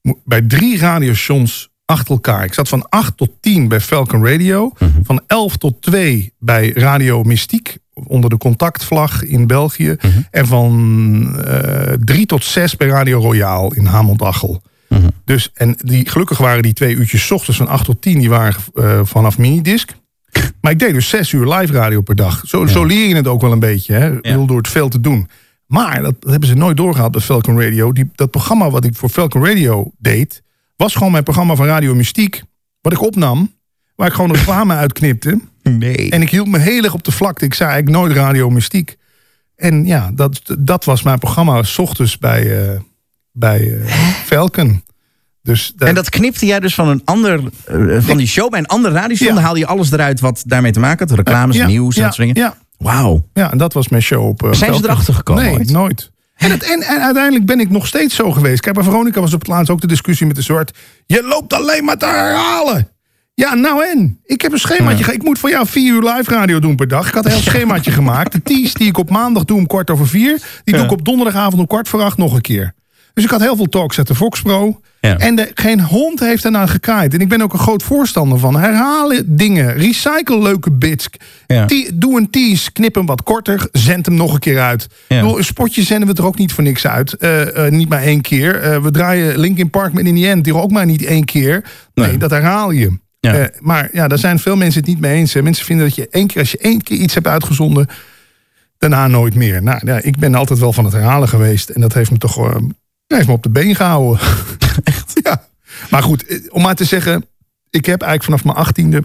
S2: mo- bij drie radiostations achter elkaar. Ik zat van 8 tot 10 bij Falcon Radio, van 11 tot 2 bij Radio Mystiek onder de contactvlag in België en van eh 3 tot 6 bij Radio Royaal in Hamond-Achel. Dus, en die, gelukkig waren die twee uurtjes 's ochtends van 8 tot 10, die waren eh, vanaf minidisc. Maar ik deed dus zes uur live radio per dag. Zo, zo leer je het ook wel een beetje, hè? Ik bedoel, door het veel te doen. Maar dat, dat hebben ze nooit doorgehaald bij Falcon Radio. Die, dat programma wat ik voor Falcon Radio deed, was gewoon mijn programma van Radio Mystiek. Wat ik opnam, waar ik gewoon reclame uitknipte.
S1: Nee.
S2: En ik hield me heel erg op de vlakte. Ik zei eigenlijk nooit Radio Mystiek. En ja, dat, dat was mijn programma s ochtends bij, eh, bij eh, Falcon. Dus dat,
S1: En dat knipte jij dus van een ander, eh, van die show bij een ander radiostation.
S2: Ja.
S1: Dan haalde je alles eruit wat daarmee te maken had. Reclames,
S2: Ja,
S1: nieuws, en
S2: ja,
S1: dat soort dingen.
S2: Ja,
S1: Wauw.
S2: Ja, en dat was mijn show op. eh,
S1: Zijn ze
S2: Velpen.
S1: erachter gekomen
S2: Nee,
S1: ooit?
S2: nooit. En, het, en, en uiteindelijk ben ik nog steeds zo geweest. Kijk, bij Veronica was op het laatst ook de discussie met de soort. Je loopt alleen maar te herhalen. Ja, nou en? Ik heb een schemaatje. ge- Ik moet voor jou vier uur live radio doen per dag. Ik had een heel schemaatje gemaakt. De tease die ik op maandag doe om kwart over vier. Die doe ik op donderdagavond om kwart voor acht nog een keer. Dus ik had heel veel talks uit de Fox Pro.
S1: Ja.
S2: En de, geen hond heeft daarna gekaaid. En ik ben ook een groot voorstander van. Herhalen dingen. Recycle leuke bits.
S1: Ja.
S2: Te- doe een tease, knip hem wat korter, zend hem nog een keer uit.
S1: Ja.
S2: Ik bedoel, een spotje zenden we er ook niet voor niks uit. Eh, eh, niet maar één keer. Eh, we draaien Linkin Park met In The End, die ook maar niet één keer. Nee, dat herhaal je.
S1: Ja.
S2: Eh, maar ja, daar zijn veel mensen het niet mee eens. Hè. Mensen vinden dat je één keer, als je één keer iets hebt uitgezonden, daarna nooit meer. Nou, ja, ik ben altijd wel van het herhalen geweest. En dat heeft me toch eh, heeft me op de been gehouden. Echt? Ja. Maar goed, eh, om maar te zeggen, ik heb eigenlijk vanaf mijn achttiende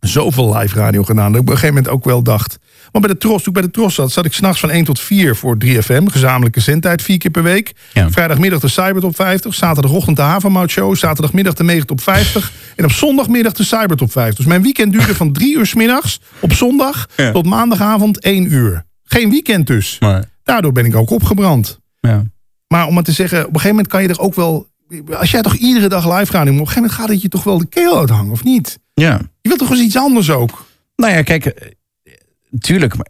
S2: zoveel live radio gedaan. Dat ik op een gegeven moment ook wel dacht. Want bij de Tros, toen ik bij de Tros zat, zat ik s'nachts van 1 tot 4 voor 3FM. Gezamenlijke zendtijd, vier keer per week.
S1: Ja.
S2: Vrijdagmiddag de Cybertop 50. Zaterdagochtend de Havermout Show. Zaterdagmiddag de Megatop 50. en op zondagmiddag de Cybertop 50. Dus mijn weekend duurde van 3 uur 's middags op zondag
S1: Ja.
S2: tot maandagavond 1 uur. Geen weekend dus.
S1: Maar,
S2: Daardoor ben ik ook opgebrand.
S1: ja.
S2: Maar om het te zeggen, op een gegeven moment kan je er ook wel... Als jij toch iedere dag live gaat doen, op een gegeven moment gaat het je toch wel de keel uithangen, of niet?
S1: ja.
S2: Je wilt toch eens iets anders ook?
S1: Nou ja, kijk, eh, tuurlijk. maar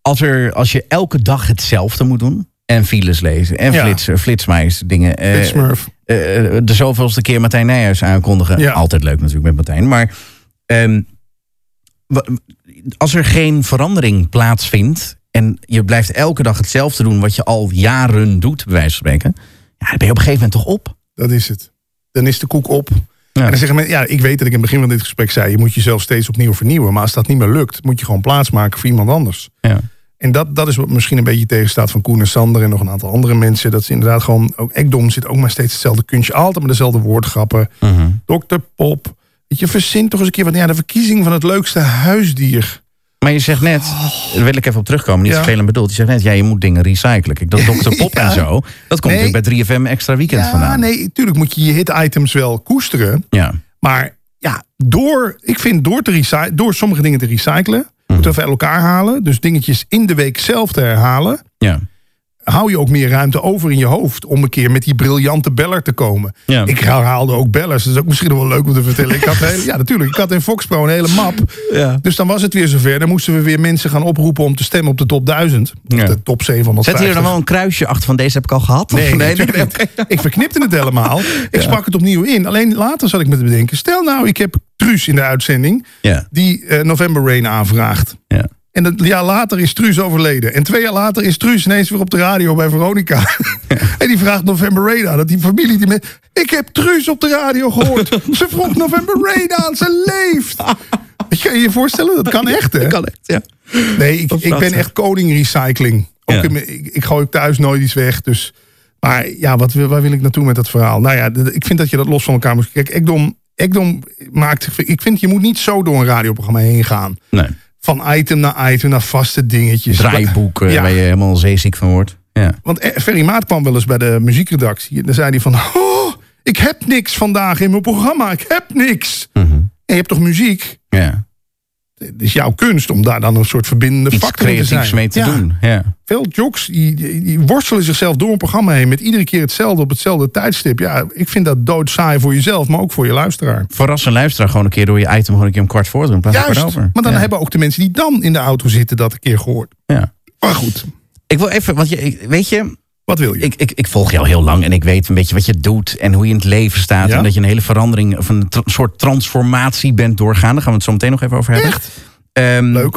S1: Als, er, als je elke dag hetzelfde moet doen. En files lezen. En
S2: Ja.
S1: flitsen, flitsmuis dingen. eh,
S2: Dit Smurf.
S1: eh, de zoveelste keer Martijn Nijhuis aankondigen.
S2: Ja.
S1: Altijd leuk natuurlijk met Martijn. Maar ehm, wa- als er geen verandering plaatsvindt... en je blijft elke dag hetzelfde doen... wat je al jaren doet, bij wijze van spreken... Ja, dan ben je op een gegeven moment toch op.
S2: Dat is het. Dan is de koek op. En dan zeggen mensen, ja, ik weet dat ik in het begin van dit gesprek zei... je moet jezelf steeds opnieuw vernieuwen. Maar als dat niet meer lukt, moet je gewoon plaatsmaken voor iemand anders.
S1: Ja.
S2: En dat, dat is wat misschien een beetje tegenstaat van Koen en Sander... en nog een aantal andere mensen. Dat ze inderdaad gewoon... ook Ekdom zit ook maar steeds hetzelfde kunstje. Altijd maar dezelfde woordgrappen.
S1: Mhm.
S2: Dr. Pop. Weet je, verzin toch eens een keer... wat ja, de verkiezing van het leukste huisdier.
S1: Maar je zegt net, daar wil ik even op terugkomen, niet
S2: Ja.
S1: vervelend bedoeld. Je zegt net, Oh. ja, je moet dingen recyclen. Kijk, dat Dr. Pop
S2: Ja.
S1: en zo, dat komt
S2: Nee.
S1: natuurlijk bij 3FM Extra Weekend
S2: Ja,
S1: vandaan.
S2: Ah, nee, tuurlijk moet je je hit-items wel koesteren...
S1: Ja,
S2: Maar ja, door, ik vind door, te recy- door sommige dingen te recyclen,
S1: Mhm.
S2: moeten we even uit elkaar halen. Dus dingetjes in de week zelf te herhalen.
S1: ja.
S2: Hou je ook meer ruimte over in je hoofd om een keer met die briljante beller te komen.
S1: Ja.
S2: Ik herhaalde ook bellers. Dat is ook misschien nog wel leuk om te vertellen. Ik had een hele, ja, natuurlijk. Ik had in Foxpro een hele map.
S1: Ja.
S2: Dus dan was het weer zover. Dan moesten we weer mensen gaan oproepen om te stemmen op de top 1000. Of
S1: Ja.
S2: de top 750.
S1: Zet hier dan wel een kruisje achter van deze heb ik al gehad? Of-
S2: Nee, natuurlijk niet. Ik verknipte het helemaal. Ik sprak het opnieuw in. Alleen later zat ik me te bedenken. Stel nou, ik heb Truus in de uitzending.
S1: Ja.
S2: Die eh, November Rain aanvraagt.
S1: Ja.
S2: En een jaar later is Truus overleden. En twee jaar later is Truus ineens weer op de radio bij Veronica. en die vraagt November Rain aan. Dat die familie die met... Ik heb Truus op de radio gehoord. ze vroeg November Rain aan. Ze leeft. Kan je je voorstellen? Dat kan echt, hè?
S1: kan echt, ja.
S2: Nee, ik, ik ben
S1: prachtig.
S2: echt koning recycling. Ook
S1: Ja.
S2: in mijn- ik, ik gooi ook thuis nooit iets weg. Dus, maar ja, wat, wil- waar wil ik naartoe met dat verhaal? Nou ja, d- ik vind dat je dat los van elkaar moet... Kijk, Ekdom, Ekdom maakt... Ik vind, je moet niet zo door een radioprogramma heen gaan.
S1: Nee.
S2: Van item naar item, naar vaste dingetjes.
S1: Draaiboek eh,
S2: Ja.
S1: waar je helemaal zeeziek van wordt. Ja.
S2: Want eh, Ferry Maat kwam wel eens bij de muziekredactie. En dan zei hij van... Oh, ik heb
S1: Mhm.
S2: niks vandaag in mijn programma. Ik heb niks. En je hebt toch muziek?
S1: Ja.
S2: Het is jouw kunst om daar dan een soort verbindende
S1: Iets
S2: factor in te zijn.
S1: creatiefs mee te
S2: Ja.
S1: doen. Ja.
S2: Veel jocks die, die- die worstelen zichzelf door een programma heen... met iedere keer hetzelfde op hetzelfde tijdstip. Ja, ik vind dat doodsaai voor jezelf, maar ook voor je luisteraar.
S1: Verras een luisteraar gewoon een keer door je item gewoon een keer om kwart voor te doen. in plaats van
S2: Juist,
S1: kwart over.
S2: maar dan
S1: ja.
S2: hebben ook de mensen die dan in de auto zitten dat een keer gehoord.
S1: Ja.
S2: Maar goed,
S1: Ik wil even, want je, ik- weet je,
S2: wat wil je?
S1: ik, ik, ik volg jou heel lang en ik weet een beetje wat je doet en hoe je in het leven staat.
S2: Ja.
S1: En dat je een hele verandering of een tra- soort transformatie bent doorgaan. Daar gaan we het zo meteen nog even over hebben.
S2: Echt?
S1: Ehm,
S2: Leuk.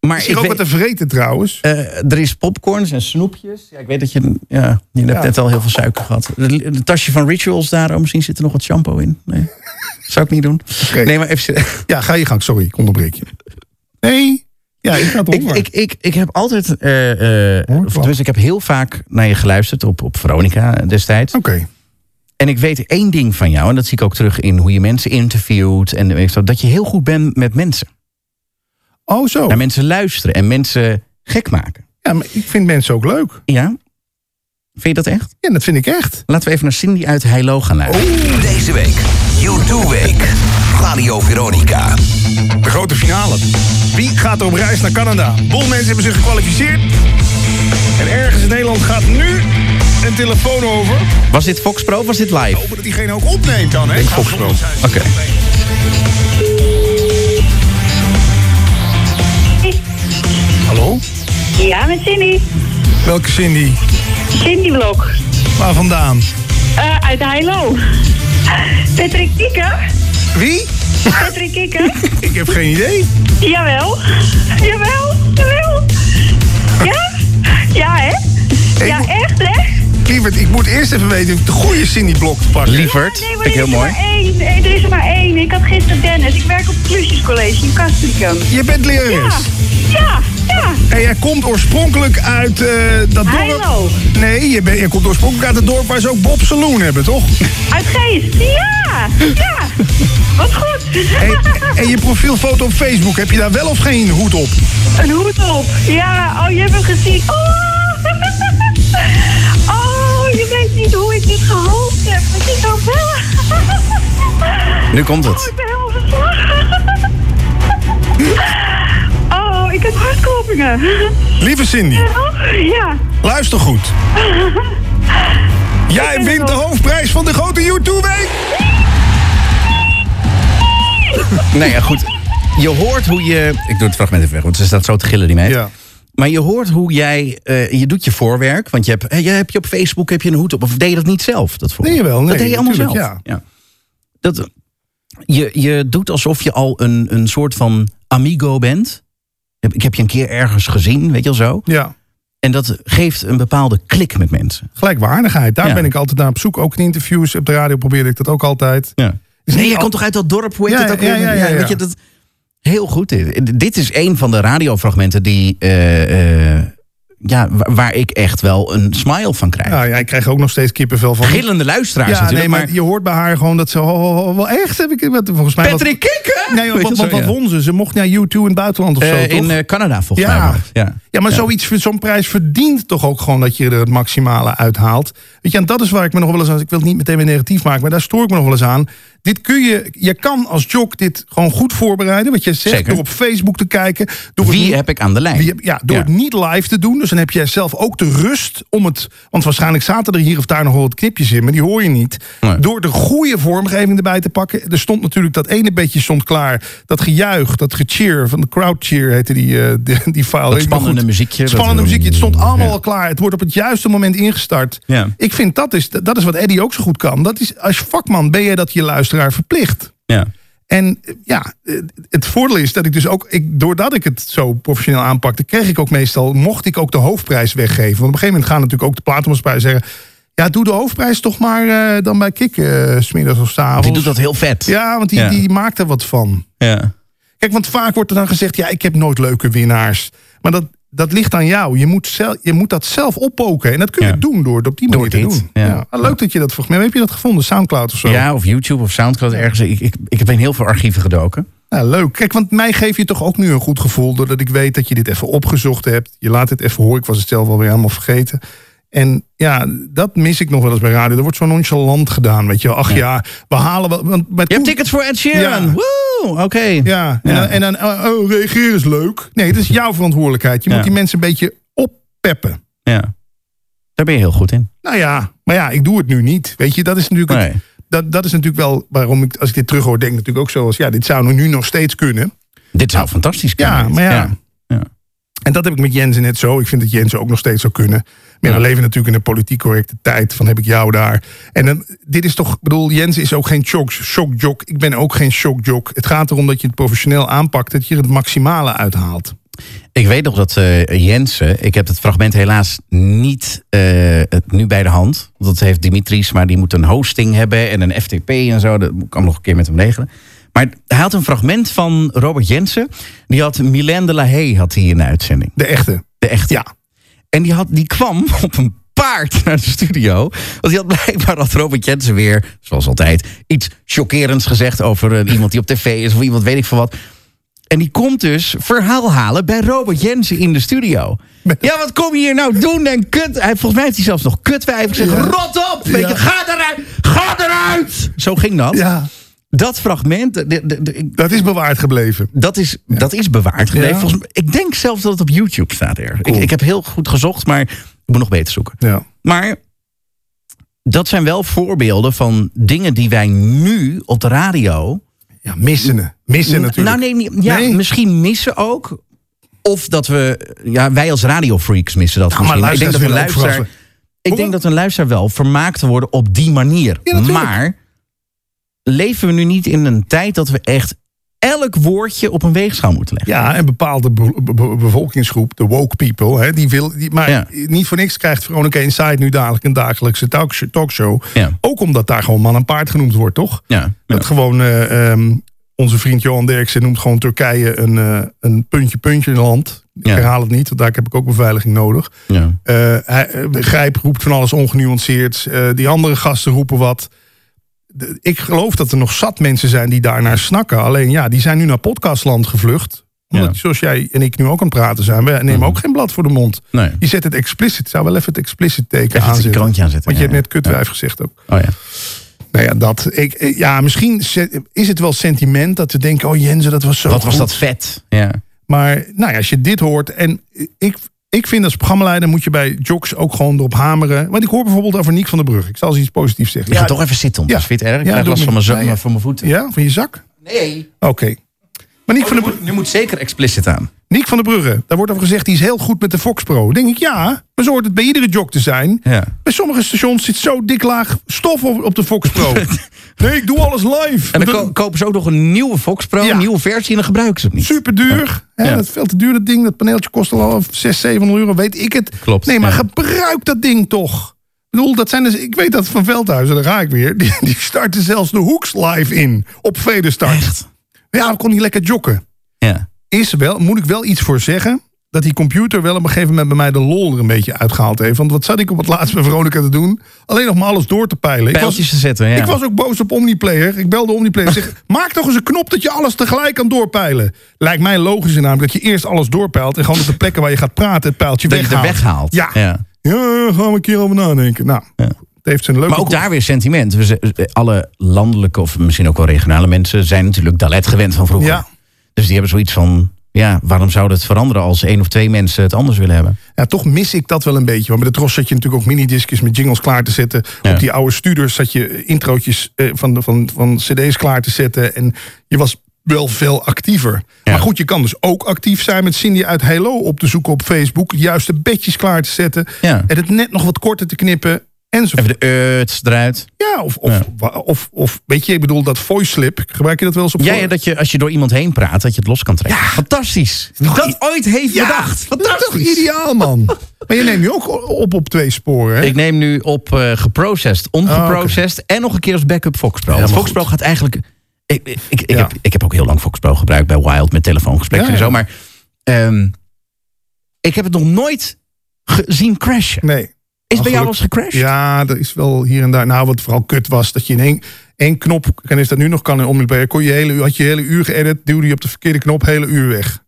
S1: Maar
S2: Is hier
S1: ik
S2: ook
S1: weet-
S2: wat te vreten trouwens?
S1: eh, er is popcorns en snoepjes. Ja, ik weet dat je, ja, je hebt net al heel veel suiker gehad. Het het tasje van Rituals daarom, misschien zit er nog wat shampoo in. Nee, zou ik niet doen.
S2: Oké.
S1: Nee, maar even,
S2: Ja, ga je gang. Sorry, ik onderbreek je. Nee. Ja, ik ga het
S1: Ik,
S2: opmaken.
S1: ik, ik, ik heb altijd, eh, eh,
S2: Hoor ik
S1: of
S2: wat?
S1: tenminste, ik heb heel vaak naar je geluisterd op, op Veronica destijds.
S2: Oké.
S1: En ik weet één ding van jou, en dat zie ik ook terug in hoe je mensen interviewt. En weet ik wat, dat je heel goed bent met mensen.
S2: Oh, zo.
S1: Naar mensen luisteren en mensen gek maken.
S2: Ja, maar ik vind mensen ook leuk.
S1: Ja? Vind je dat echt?
S2: Ja, dat vind ik echt.
S1: Laten we even naar Cindy uit Heilo gaan luisteren.
S4: Deze week, U2 Week, Radio Veronica.
S2: De grote finale. Wie gaat er op reis naar Canada? Een boel mensen hebben zich gekwalificeerd. En ergens in Nederland gaat nu een telefoon over.
S1: Was dit Fox Pro of was dit live?
S2: Hopen dat diegene ook opneemt dan, hè?
S1: Foxpro. Oké.
S2: Hallo?
S5: Ja, met Cindy.
S2: Welke Cindy?
S5: Cindy Blok.
S2: Waar vandaan?
S5: Eh, uit Heilo. Patrick Kikker.
S2: Wie?
S5: Patrick Kikker.
S2: Ik heb geen idee.
S5: jawel. Jawel. Jawel. Ja? Ja, hè? Ja, echt, hè?
S2: Lieverd, ik moet eerst even weten of ik de goede Cindy-blok te pakken heb.
S1: Lievert,
S5: Nee,
S1: vind
S5: maar
S1: ik
S5: er
S1: heel
S5: is er
S1: mooi.
S5: maar één. Nee, er is er maar één. Ik had gisteren Dennis. Ik werk op het klusjescollege in Castricum.
S2: Je bent lerares.
S5: Ja. Ja, ja.
S2: En jij komt oorspronkelijk uit eh, dat dorp...
S5: Heilo.
S2: Nee, je, bent- je komt oorspronkelijk uit het dorp waar ze ook Bob Saloon hebben, toch?
S5: Uit Geest. Ja. Ja. Wat goed.
S2: En, en je profielfoto op Facebook, heb je daar wel of geen hoed op?
S5: Een hoed op. Ja, oh, je hebt hem gezien. Oh. oh, je weet niet hoe ik dit gehoopt heb. Het is zo wel.
S1: Nu komt
S5: Oh,
S1: het.
S5: ik ben helemaal verslagen. Oh, ik heb hartkloppingen.
S2: Lieve Cindy,
S5: Oh, ja.
S2: luister goed. Jij
S5: ben er
S2: wint de
S5: nog.
S2: hoofdprijs van de grote YouTube-week.
S1: Nee, Nou ja, goed. Je hoort hoe je. Ik doe het fragment even weg, want ze staat zo te gillen, die meid.
S2: Ja.
S1: Maar je hoort hoe jij. eh, je doet je voorwerk. Want je hebt, eh, je hebt je op Facebook heb je een hoed op. Of deed je dat niet zelf? Dat voor?
S2: Nee, jawel, nee,
S1: dat deed je allemaal zelf.
S2: natuurlijk,
S1: Ja. Dat, je, je doet alsof je al een, een soort van amigo bent. Ik heb- Ik heb je een keer ergens gezien, weet je wel zo.
S2: Ja,
S1: En dat geeft een bepaalde klik met mensen.
S2: gelijkwaardigheid. Daar
S1: Ja.
S2: ben ik altijd naar op zoek. Ook in interviews, op de radio probeerde ik dat ook altijd.
S1: Ja.
S2: Is
S1: Nee,
S2: niet
S1: jij
S2: al-
S1: komt toch uit dat dorp? Hoe heet
S2: Ja,
S1: dat ook
S2: ja,
S1: weer?
S2: ja, ja,
S1: Weet
S2: ja.
S1: je, dat, heel goed. Dit Dit is een van de radiofragmenten die, eh, eh, ja, wa- waar ik echt wel een smile van krijg.
S2: Nou ja, ik krijg ook nog steeds kippenvel van.
S1: Gillende luisteraars
S2: Ja,
S1: natuurlijk.
S2: nee, maar,
S1: maar
S2: je hoort bij haar gewoon dat ze... Oh, oh, oh, wel echt heb ik... Wat, volgens mij wat-
S1: Patrick Kikker!
S2: Nee,
S1: Weet
S2: wat,
S1: je
S2: wat,
S1: zo,
S2: wat,
S1: ja.
S2: won ze? Ze mocht naar U2 in het buitenland of zo,
S1: Eh,
S2: toch?
S1: in eh, Canada volgens mij.
S2: ja.
S1: maar.
S2: ja. maar zoiets, zo'n prijs verdient toch ook gewoon dat je er het maximale uithaalt. Weet je, en dat is waar ik me nog wel eens aan... Ik wil het niet meteen weer negatief maken, maar daar stoor ik me nog wel eens aan. Dit kun je... Je kan als jock dit gewoon goed voorbereiden. Wat je zegt,
S1: Zeker.
S2: door op Facebook te kijken. Door het
S1: Wie
S2: niet-
S1: heb ik aan de lijn?
S2: wie heb- ja, door
S1: Ja.
S2: het niet live te doen. Dus dan heb jij zelf ook de rust om het. Want waarschijnlijk zaten er hier of daar nog wel wat knipjes in, maar die hoor je niet.
S1: Nee.
S2: Door de goede vormgeving erbij te pakken. Er stond natuurlijk dat ene bedje stond klaar. Dat gejuich, dat gecheer van de crowd cheer heette die, eh die, die file. Weet ik maar
S1: spannende
S2: goed.
S1: muziekje, dat-
S2: Spannende muziekje. Het stond allemaal
S1: Ja.
S2: al klaar. Het wordt op het juiste moment ingestart.
S1: Ja.
S2: Ik vind dat is, dat is wat Eddie ook zo goed kan. Dat is, als vakman ben je dat je luisteraar verplicht.
S1: Ja.
S2: En eh, ja, eh, het voordeel is dat ik dus ook, ik, doordat ik het zo professioneel aanpakte, kreeg ik ook meestal, mocht ik ook de hoofdprijs weggeven. Want op een gegeven moment gaan natuurlijk ook de platenmaatschappij zeggen, ja, doe de hoofdprijs toch maar eh, dan bij Kik, eh, 's middags of s'avonds.
S1: Die doet dat heel vet.
S2: Ja, want die,
S1: Ja.
S2: die maakt er wat van.
S1: Ja.
S2: Kijk, want vaak wordt er dan gezegd, ja, ik heb nooit leuke winnaars. Maar dat, dat ligt aan jou. Je moet, zelf, je moet dat zelf oppoken. En dat kun je
S1: Ja.
S2: doen door het op die manier
S1: dit,
S2: te doen.
S1: ja.
S2: Ah, Leuk dat je dat volgens mij, heb je dat gevonden? Soundcloud of zo?
S1: Ja, of YouTube of Soundcloud ergens. Ik, ik, ik heb in heel veel archieven gedoken.
S2: Ja, Nou, leuk. Kijk, want mij geef je toch ook nu een goed gevoel... doordat ik weet dat je dit even opgezocht hebt. Je laat het even horen. Ik was het zelf alweer helemaal vergeten. En ja, dat mis ik nog wel eens bij radio. Er wordt zo nonchalant gedaan, weet je wel. Ach ja, we halen wel... Want bij
S1: Je hebt
S2: Koen-
S1: tickets voor Ed Sheeran.
S2: Ja.
S1: Woe, oké.
S2: Ja, en, Dan, en dan, oh, oh, reageren is leuk. Nee, dat is jouw verantwoordelijkheid. Je
S1: Ja.
S2: moet die mensen een beetje oppeppen.
S1: Ja. Daar ben je heel goed in.
S2: Nou ja, maar ja, ik doe het nu niet. Weet je, dat is natuurlijk, het-
S1: Nee.
S2: dat, dat is natuurlijk wel waarom ik, als ik dit terughoor, denk ik natuurlijk ook zo als, ja, dit zou nu nog steeds kunnen.
S1: Dit zou fantastisch kunnen.
S2: Ja, maar ja.
S1: ja.
S2: En dat heb ik met Jensen net zo. Ik vind dat Jensen ook nog steeds zou kunnen. Maar ja, we leven natuurlijk in een politiek correcte tijd. Van heb ik jou daar. En dan, dit is toch, ik bedoel, Jensen is ook geen shock, shockjock. Ik ben ook geen shockjock. Het gaat erom dat je het professioneel aanpakt. Dat je er het maximale uithaalt.
S1: Ik weet nog dat eh, Jensen, ik heb het fragment helaas niet eh, het nu bij de hand. Dat heeft Dimitris, maar die moet een hosting hebben en een FTP en zo. Dat kan nog een keer met hem regelen. Maar hij had een fragment van Robert Jensen. Die had Mylène de la Haye had hij in de uitzending.
S2: De echte.
S1: De echte.
S2: Ja.
S1: En die, had, die kwam op een paard naar de studio. Want die had blijkbaar dat Robert Jensen weer, zoals altijd, iets chockerends gezegd over eh, iemand die op tv is of iemand weet ik veel wat. En die komt dus verhaal halen bij Robert Jensen in de studio. Ja, wat kom je hier nou doen? En kut. Hij, volgens mij heeft hij zelfs nog kutwijf gezegd. Rot op! Weet je,
S2: Ja.
S1: ga eruit! Ga eruit! Zo ging dat.
S2: Ja.
S1: Dat fragment, de- de- de- ik-
S2: Dat is bewaard gebleven.
S1: dat is, dat is bewaard gebleven.
S2: Ja.
S1: Volgens mij- ik denk zelfs dat het op YouTube staat er. Ik, ik heb heel goed gezocht, maar ik moet nog beter zoeken.
S2: Ja.
S1: Maar dat zijn wel voorbeelden van dingen die wij nu op de radio.
S2: Ja, missen. Missen natuurlijk.
S1: Nou, nee, niet- ja,
S2: Nee.
S1: misschien missen ook. Of dat we, ja, wij als radiofreaks missen dat.
S2: Nou, maar
S1: misschien. ik denk
S2: luisteraars
S1: dat een
S2: willen ook
S1: luisteraar. Ik denk dat een luisteraar wel vermaakt te worden op die manier.
S2: Ja, natuurlijk.
S1: maar leven we nu niet in een tijd dat we echt elk woordje op een weegschaal moeten leggen?
S2: Ja, en bepaalde be- be- be- bevolkingsgroep, de woke people, hè, die wil, die, maar
S1: Ja.
S2: niet voor niks krijgt Veronica Insight nu dadelijk een dagelijkse talkshow. talkshow.
S1: Ja.
S2: Ook omdat daar gewoon man en paard genoemd wordt, toch?
S1: Ja,
S2: Dat gewoon eh, ehm, onze vriend Johan Derksen noemt gewoon Turkije een, eh, een puntje-puntje land. Ik
S1: Ja.
S2: herhaal het niet, want daar heb ik ook beveiliging nodig.
S1: ja.
S2: Eh, hij, eh, Grijp roept van alles ongenuanceerd. Eh, die andere gasten roepen wat. De- ik geloof dat er nog zat mensen zijn die daarnaar snakken. Alleen ja, die zijn nu naar podcastland gevlucht. Omdat,
S1: Ja. Mhm.
S2: zoals jij en ik nu ook aan het praten zijn, we nemen ook geen blad voor de mond.
S1: Nee.
S2: Je zet het explicit. Ik zou wel even het explicit teken
S1: Even het
S2: aanzetten.
S1: krantje aanzetten,
S2: Want je
S1: ja,
S2: hebt net kutwijf gezegd ook.
S1: Oh ja.
S2: Nou ja, dat. Ik, eh, ja, misschien se- is het wel sentiment dat we denken: oh Jensen, dat was zo.
S1: Wat was
S2: goed.
S1: dat vet? Ja.
S2: Maar nou ja, als je dit hoort. En ik, ik vind als programmaleider moet je bij jocks ook gewoon erop hameren. Want ik hoor bijvoorbeeld over Niek van der Brug. Ik zal eens iets positiefs zeggen.
S1: Ik ga toch even zitten, want
S2: Ja.
S1: dat vind je het erg? Ik
S2: Ja,
S1: krijg
S2: doe
S1: last van
S2: maar.
S1: mijn, zo-
S2: Ja, ja.
S1: van mijn voeten.
S2: Ja, van je zak?
S1: Nee.
S2: Oké. Maar Niek, van der Brugge,
S1: Nu moet zeker explicit aan.
S2: Niek van der Brugge, daar wordt over gezegd, die is heel goed met de Fox Pro. Dan denk ik, ja, maar zo hoort het bij iedere jock te zijn.
S1: Ja.
S2: Bij sommige stations zit zo dik laag stof op, op de Fox Pro. nee, ik doe alles live.
S1: En dan
S2: Dat-
S1: ko- kopen ze ook nog een nieuwe Fox Pro,
S2: Ja.
S1: een nieuwe versie, en dan gebruiken ze het niet.
S2: Super duur. Hè,
S1: Ja.
S2: Dat is veel te duur, dat ding. Dat paneeltje kost al 6, 700 euro, weet ik het.
S1: Klopt,
S2: Nee, maar
S1: ja.
S2: gebruik dat ding toch. Ik bedoel, dat zijn dus, ik weet dat van Veldhuizen, daar ga ik weer. Die, die starten zelfs de hoeks live in op Vederstart.
S1: Echt?
S2: Ja, dan kon hij lekker joggen.
S1: Ja.
S2: Is wel, moet ik wel iets voor zeggen, dat die computer wel op een gegeven moment bij mij de lol er een beetje uitgehaald heeft. Want wat zat ik op het laatst met Veronica te doen? Alleen nog maar alles door te peilen. Ik was,
S1: Pijltjes te zetten, ja.
S2: ik was ook boos op Omniplayer. Ik belde Omniplayer. Ik Zeg, maak toch eens een knop dat je alles tegelijk kan doorpeilen. Lijkt mij logisch namelijk dat je eerst alles doorpeilt... en gewoon op de plekken waar je gaat praten het pijltje
S1: dat je er
S2: weghaalt.
S1: weghaalt.
S2: Ja. ja.
S1: ja.
S2: gaan we een keer over nadenken. Nou, het heeft zijn leuke...
S1: Maar ook daar weer sentiment. We z- Alle landelijke of misschien ook wel regionale mensen zijn natuurlijk Dalet gewend van vroeger.
S2: Ja.
S1: Dus die hebben zoiets van, ja, waarom zou dat veranderen als één of twee mensen het anders willen hebben?
S2: Ja, toch mis ik dat wel een beetje. Want met de Tros zat je natuurlijk ook minidiscjes met jingles klaar te zetten.
S1: Ja.
S2: Op die oude studers zat je introotjes eh, van, de- van, van cd's klaar te zetten. En je was wel veel actiever.
S1: Ja.
S2: Maar goed, je kan dus ook actief zijn met Cindy uit Hello op te zoeken op Facebook. Juist de bedjes klaar te zetten.
S1: Ja.
S2: En het net nog wat korter te knippen. Enzovoort.
S1: Even de uts eruit.
S2: Ja, of, of, wa- Of, of weet je, ik bedoel dat voice slip. Gebruik je dat wel eens op
S1: Ja,
S2: voor-
S1: ja, dat je als je door iemand heen praat, dat je het los kan trekken. Fantastisch. Dat ooit heeft
S2: Ja,
S1: bedacht.
S2: dat is toch
S1: Fantastisch.
S2: ideaal, man. maar je neemt nu ook op op twee sporen. Hè?
S1: Ik neem nu op eh, geprocessed, ongeprocessed en nog een keer als backup Foxpro. Want
S2: maar
S1: Foxpro gaat eigenlijk... Ik, ik, ik,
S2: Ja.
S1: heb, ik heb ook heel lang Foxpro gebruikt bij Wild met telefoongesprekken
S2: Ja, ja.
S1: en zo. Maar ehm, ik heb het nog nooit gezien crashen.
S2: Nee.
S1: Is bij jou
S2: gelukkig.
S1: wel eens gecrashed?
S2: Ja, er is wel hier en daar. Nou, wat vooral kut was, dat je in één, één knop, en is dat nu nog kan in Omniplayer, kon je hele, uur- had je hele uur geëdit, duwde je op de verkeerde knop, hele uur weg.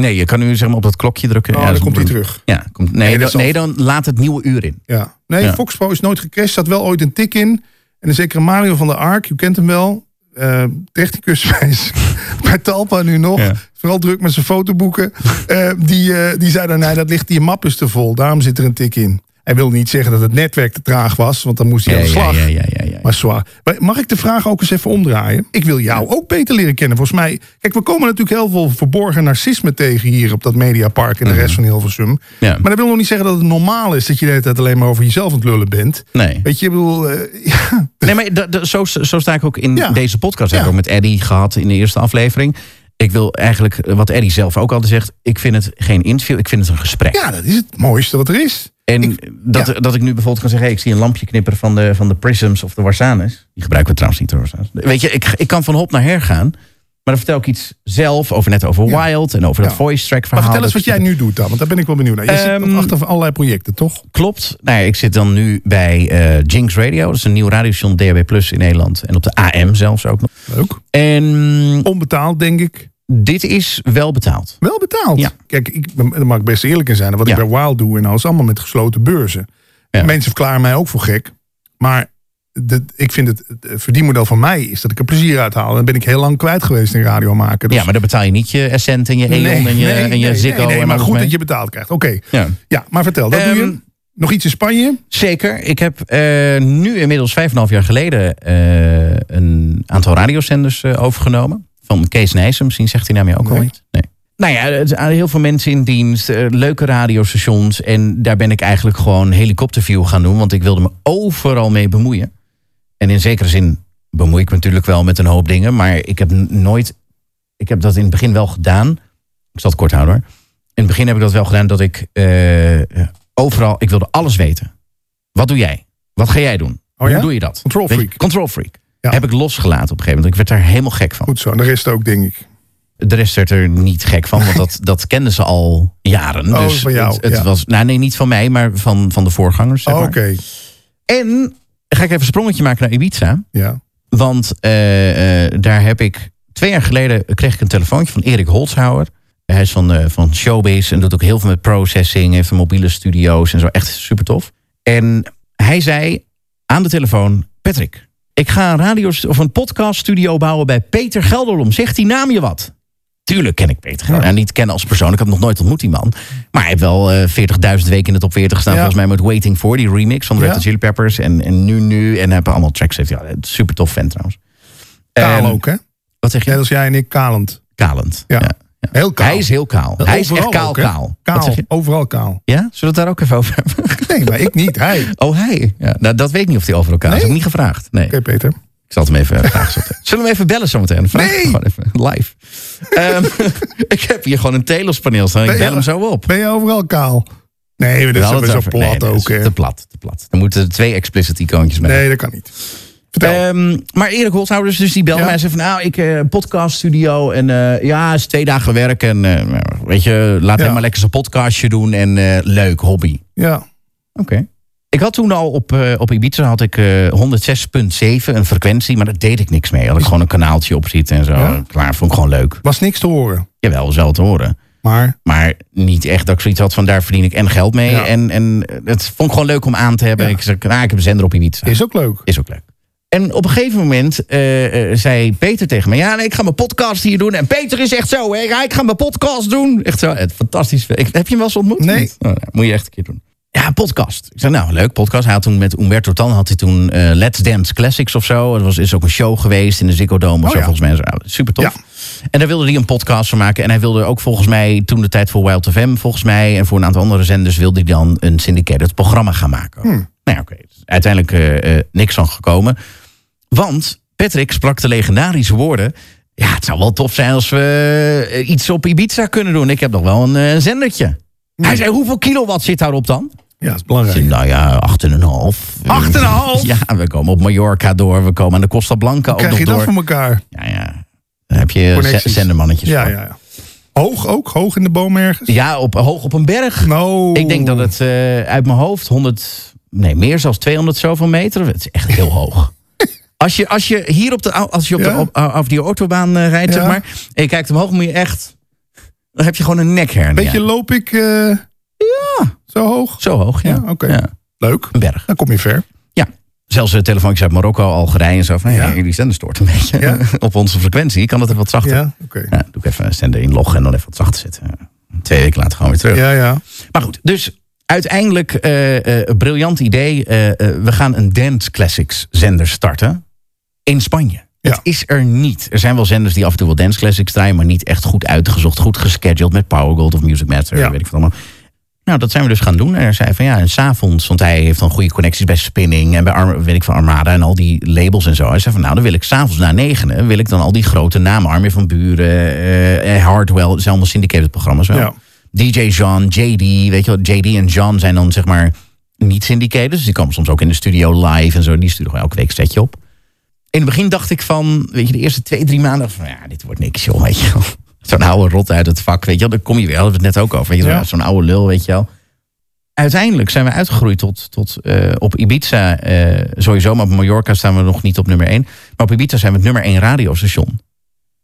S1: Nee, je kan nu zeg maar op dat klokje drukken.
S2: Oh,
S1: dat
S2: dan
S1: is
S2: komt
S1: een-
S2: hij terug.
S1: Ja, komt, nee,
S2: Nee, dat
S1: dan,
S2: is al-
S1: nee, dan laat het nieuwe uur in.
S2: Ja. Nee,
S1: Ja.
S2: Foxpro is nooit gecrashed. Zat wel ooit een tik in. En een zekere Mario van der Ark, u kent hem wel. eh technicus bij, bij Talpa nu nog.
S1: Ja.
S2: Vooral druk met zijn fotoboeken. Eh, die, eh, die zei dan, nee, dat ligt, die map is te vol. Daarom zit er een tik in. Hij wil niet zeggen dat het netwerk te traag was, want dan moest hij aan de slag.
S1: ja, ja, ja, ja.
S2: Maar zwaar. Maar Mag ik de vraag ook eens even omdraaien? Ik wil jou ook beter leren kennen. Volgens mij. Kijk, we komen natuurlijk heel veel verborgen narcisme tegen hier op dat Mediapark en de rest van Hilversum.
S1: Mhm. Ja.
S2: Maar dat wil nog niet zeggen dat het normaal is dat je de hele tijd alleen maar over jezelf aan het lullen bent.
S1: Nee.
S2: Weet je, ik bedoel. eh, ja.
S1: Nee, maar da- da- zo, zo sta ik ook in
S2: Ja.
S1: deze podcast. Heb ik
S2: Ja.
S1: ook met Eddie gehad in de eerste aflevering. Ik wil eigenlijk, eh, wat Eddie zelf ook altijd zegt... ik vind het geen interview, ik vind het een gesprek.
S2: ja, dat is het mooiste wat er is.
S1: en
S2: ik-
S1: dat, dat ik nu bijvoorbeeld kan zeggen... Hey, ik zie een lampje knipperen van de, van de Prisms of de Warsanes. Die gebruiken we trouwens niet, de Warsanes. Weet je, ik, ik kan van hop naar her gaan... maar dan vertel ik iets zelf over net over
S2: Ja.
S1: Wild... en over dat
S2: Ja.
S1: voice track
S2: Maar
S1: verhaal.
S2: vertel eens
S1: Dat-
S2: wat jij nu doet dan, want daar ben ik wel benieuwd naar. Je zit nog
S1: Ehm,
S2: achter allerlei projecten, toch?
S1: Klopt. Nou ja, ik zit dan nu bij eh Jinx Radio. Dat is een nieuw radiostation DHB Plus in Nederland. En op de AM zelfs ook nog.
S2: Leuk.
S1: En
S2: Onbetaald, denk ik.
S1: dit is wel betaald.
S2: Wel betaald.
S1: Ja.
S2: Kijk, ik, daar mag ik best eerlijk in zijn. Wat
S1: Ja.
S2: ik bij Wild doe en alles allemaal met gesloten beurzen.
S1: Ja.
S2: Mensen verklaren mij ook voor gek. Maar de, ik vind het, het verdienmodel van mij is dat ik er plezier uit haal. En dan ben ik heel lang kwijt geweest in radio maken. Dus
S1: Ja, maar dan betaal je niet je Essent en je Eon en je, en je
S2: nee,
S1: Ziggo.
S2: nee,
S1: en
S2: nee, maar
S1: alles
S2: goed
S1: mee.
S2: dat je betaald krijgt. Oké,
S1: Ja.
S2: ja, maar vertel, dat doe
S1: Ehm,
S2: je. Nog iets in Spanje?
S1: Zeker. Ik heb eh, nu inmiddels vijf en een half jaar geleden... eh, een aantal radiozenders eh, overgenomen. Van Kees Nijs. Misschien zegt hij nou mij ook al
S2: Nee.
S1: iets. Nee. Nou ja, er zijn heel veel mensen in dienst. eh, leuke radiostations. En daar ben ik eigenlijk gewoon helikopterview gaan doen. Want ik wilde me overal mee bemoeien. En in zekere zin bemoei ik me natuurlijk wel met een hoop dingen. Maar ik heb n- nooit... Ik heb dat in het begin wel gedaan. Ik zal het kort houden hoor. In het begin heb ik dat wel gedaan dat ik eh, overal... Ik wilde alles weten. Wat doe jij? Wat ga jij doen?
S2: Oh ja?
S1: Hoe doe je dat?
S2: Control
S1: Weet je,
S2: freak.
S1: Control freak.
S2: Ja.
S1: Heb ik losgelaten op een gegeven moment. Ik werd daar helemaal gek van.
S2: Goed zo, en de rest ook, denk ik.
S1: De rest werd er niet gek van, want dat, dat kenden ze al jaren.
S2: Oh,
S1: dus
S2: van jou,
S1: het, het
S2: ja.
S1: was, nou nee, niet van mij, maar van, van de voorgangers. zeg
S2: Oh, Oké,
S1: maar. En ga ik even een sprongetje maken naar Ibiza.
S2: ja.
S1: Want eh, eh, daar heb ik twee jaar geleden kreeg ik een telefoontje van Erik Holshouwer. Hij is van, eh, van Showbiz en doet ook heel veel met processing. Heeft mobiele studio's en zo. Echt super tof. En hij zei aan de telefoon: Patrick, ik ga een radio of een podcaststudio bouwen bij Peter Gelderlom. Zegt die naam je wat? Tuurlijk ken ik Peter Gelderlom. Nou, niet kennen als persoon. Ik heb hem nog nooit ontmoet die man. Maar hij heeft wel eh, 40.000 weken in de top 40 gestaan.
S2: Ja.
S1: Volgens mij met Waiting For, die remix van de Red
S2: Ja.
S1: Hot Chili Peppers. En, en Nu Nu. En hebben allemaal tracks. Heeft, ja, super tof fan trouwens.
S2: Kaal
S1: Ehm,
S2: ook, hè?
S1: Wat zeg je?
S2: Net als jij en ik, kalend.
S1: Kalend.
S2: Ja. Heel kaal.
S1: Hij is heel kaal. Hij is echt
S2: Overal
S1: kaal,
S2: ook, hè?
S1: kaal. Wat
S2: Kaal,
S1: zeg je?
S2: overal kaal.
S1: Ja? Zullen we het daar ook even over hebben?
S2: Nee, maar ik niet, hij. Oké,
S1: Oh, hij. Ja, nou, dat weet ik niet of hij overal kaal is.
S2: Nee?
S1: Heb ik niet gevraagd. Nee.
S2: Peter.
S1: Ik zal het hem even eh, vragen. Zullen we hem even bellen zometeen? Vraag
S2: Nee!
S1: hem Gewoon even live. Ehm, ik heb hier gewoon een telospaneel staan. Ik
S2: Ben je-
S1: bel hem zo op.
S2: Ben je overal kaal? Nee, maar dat
S1: Wel
S2: is
S1: het
S2: zo
S1: over-
S2: plat
S1: nee, dat is
S2: ook. hè?
S1: Te plat, te plat. Er moeten twee explicit icoontjes mee.
S2: Nee, dat kan niet. Vertel.
S1: Ehm, maar Erik Holthouders, dus die belde
S2: Ja.
S1: mij en zei van... nou, ik eh podcaststudio en eh, ja, het is twee dagen werk. En eh, nou, weet je, laat
S2: Ja.
S1: hem maar lekker zijn podcastje doen. En eh, leuk, hobby.
S2: ja.
S1: Oké. Ik had toen al op, eh, op Ibiza had ik, eh, 106.7, een frequentie. Maar daar deed ik niks mee. Had ik gewoon een kanaaltje op zitten en zo.
S2: Ja?
S1: Klaar, vond ik gewoon leuk.
S2: Was niks te horen.
S1: Jawel, was wel te horen.
S2: Maar
S1: Maar niet echt dat ik zoiets had van daar verdien ik en geld mee.
S2: Ja.
S1: En, en het vond ik gewoon leuk om aan te hebben.
S2: Ja.
S1: Ik zei, nou, ik heb een zender op Ibiza.
S2: is ook leuk.
S1: Is ook leuk. En op een gegeven moment eh, eh, zei Peter tegen me... ja, nee, ik ga mijn podcast hier doen. En Peter is echt zo, hè, ja, ik ga mijn podcast doen. Echt zo, het fantastisch. Ik, heb je hem wel eens ontmoet?
S2: Nee.
S1: Niet? Oh, nou, moet je echt een keer doen. Ja, podcast. Ik zei, nou, leuk podcast. Hij had toen met Umberto Tan had hij toen eh, Let's Dance Classics of zo. Er was, is ook een show geweest in de Ziggo Dome of
S2: Oh,
S1: zo,
S2: ja.
S1: volgens mij. Nou, super tof.
S2: Ja.
S1: En daar wilde hij een podcast van maken. En hij wilde ook volgens mij, toen de tijd voor Wild FM volgens mij... en voor een aantal andere zenders wilde hij dan een syndicated programma gaan maken.
S2: Hmm.
S1: Nou ja, oké. Dus Uiteindelijk eh, eh, niks van gekomen. Want Patrick sprak de legendarische woorden... Ja, het zou wel tof zijn als we eh, iets op Ibiza kunnen doen. Ik heb nog wel een eh, zendertje.
S2: Hmm.
S1: Hij zei, hoeveel kilowatt zit daarop dan?
S2: Ja, is
S1: Ik zei,
S2: belangrijk.
S1: nou ja, acht en een half.
S2: Acht en een half?
S1: Ja, we komen op Mallorca door. We komen aan de Costa Blanca ook
S2: Krijg
S1: nog
S2: je
S1: door.
S2: dat voor elkaar?
S1: Ja, ja. Dan heb je
S2: Connecties.
S1: z- zendermannetjes
S2: Ja,
S1: voor.
S2: ja, ja. Hoog ook? Hoog in de boom ergens?
S1: Ja, op, hoog op een berg.
S2: Nou.
S1: Ik denk dat het eh, uit mijn hoofd 100, nee, meer zelfs 200 zoveel meter. Het is echt heel hoog. Als je, als je hier op de, au- als je op, de,
S2: Ja.
S1: op, af die autobaan eh, rijdt,
S2: Ja.
S1: zeg maar, en je kijkt omhoog, moet je echt Dan heb je gewoon een nekhernia.
S2: Beetje loop ik eh, zo hoog.
S1: Zo hoog, ja.
S2: Ja, oké.
S1: Ja.
S2: Leuk.
S1: Een berg.
S2: Dan kom je ver.
S1: Ja. Zelfs de telefoontjes uit Marokko, Algerije en zo. Van, ja. jullie zender stoort een beetje
S2: Ja.
S1: op onze frequentie. Kan dat even wat zachter?
S2: Ja, oké.
S1: Ja, doe ik even een zender inloggen en dan even wat zachter zetten. Twee weken later gewoon weer terug.
S2: Ja, ja.
S1: Maar goed, dus uiteindelijk eh, eh, een briljant idee. Eh, eh, we gaan een Dance Classics zender starten in Spanje.
S2: Ja.
S1: Het is er niet. Er zijn wel zenders die af en toe wel Dance Classics draaien... maar niet echt goed uitgezocht, goed gescheduled met Power Gold of Music Master.
S2: Ja.
S1: Weet ik wat allemaal. Nou, dat zijn we dus gaan doen. En hij zei van ja, en s'avonds, want hij heeft dan goede connecties bij Spinning... en bij Arm, weet ik, van Armada en al die labels en zo. Hij zei van nou, dan wil ik s'avonds na negenen... wil ik dan al die grote namen, Armin van Buren, eh Hardwell... dat zijn allemaal syndicated programma's wel.
S2: Ja.
S1: DJ Jean, JD, weet je wel, JD en Jean zijn dan zeg maar niet syndicated. Dus die komen soms ook in de studio live en zo. Die sturen gewoon elke week een setje op. In het begin dacht ik van, weet je, de eerste twee, drie maanden van, ja, dit wordt niks, joh, weet je wel. Zo'n oude rot uit het vak, weet je wel, daar kom je weer, hadden we het net ook over, weet je wel,
S2: Ja.
S1: zo'n oude lul, weet je wel. Uiteindelijk zijn we uitgegroeid tot, tot eh, op Ibiza eh, sowieso, maar op Mallorca staan we nog niet op nummer één. Maar op Ibiza zijn we het nummer één radiostation.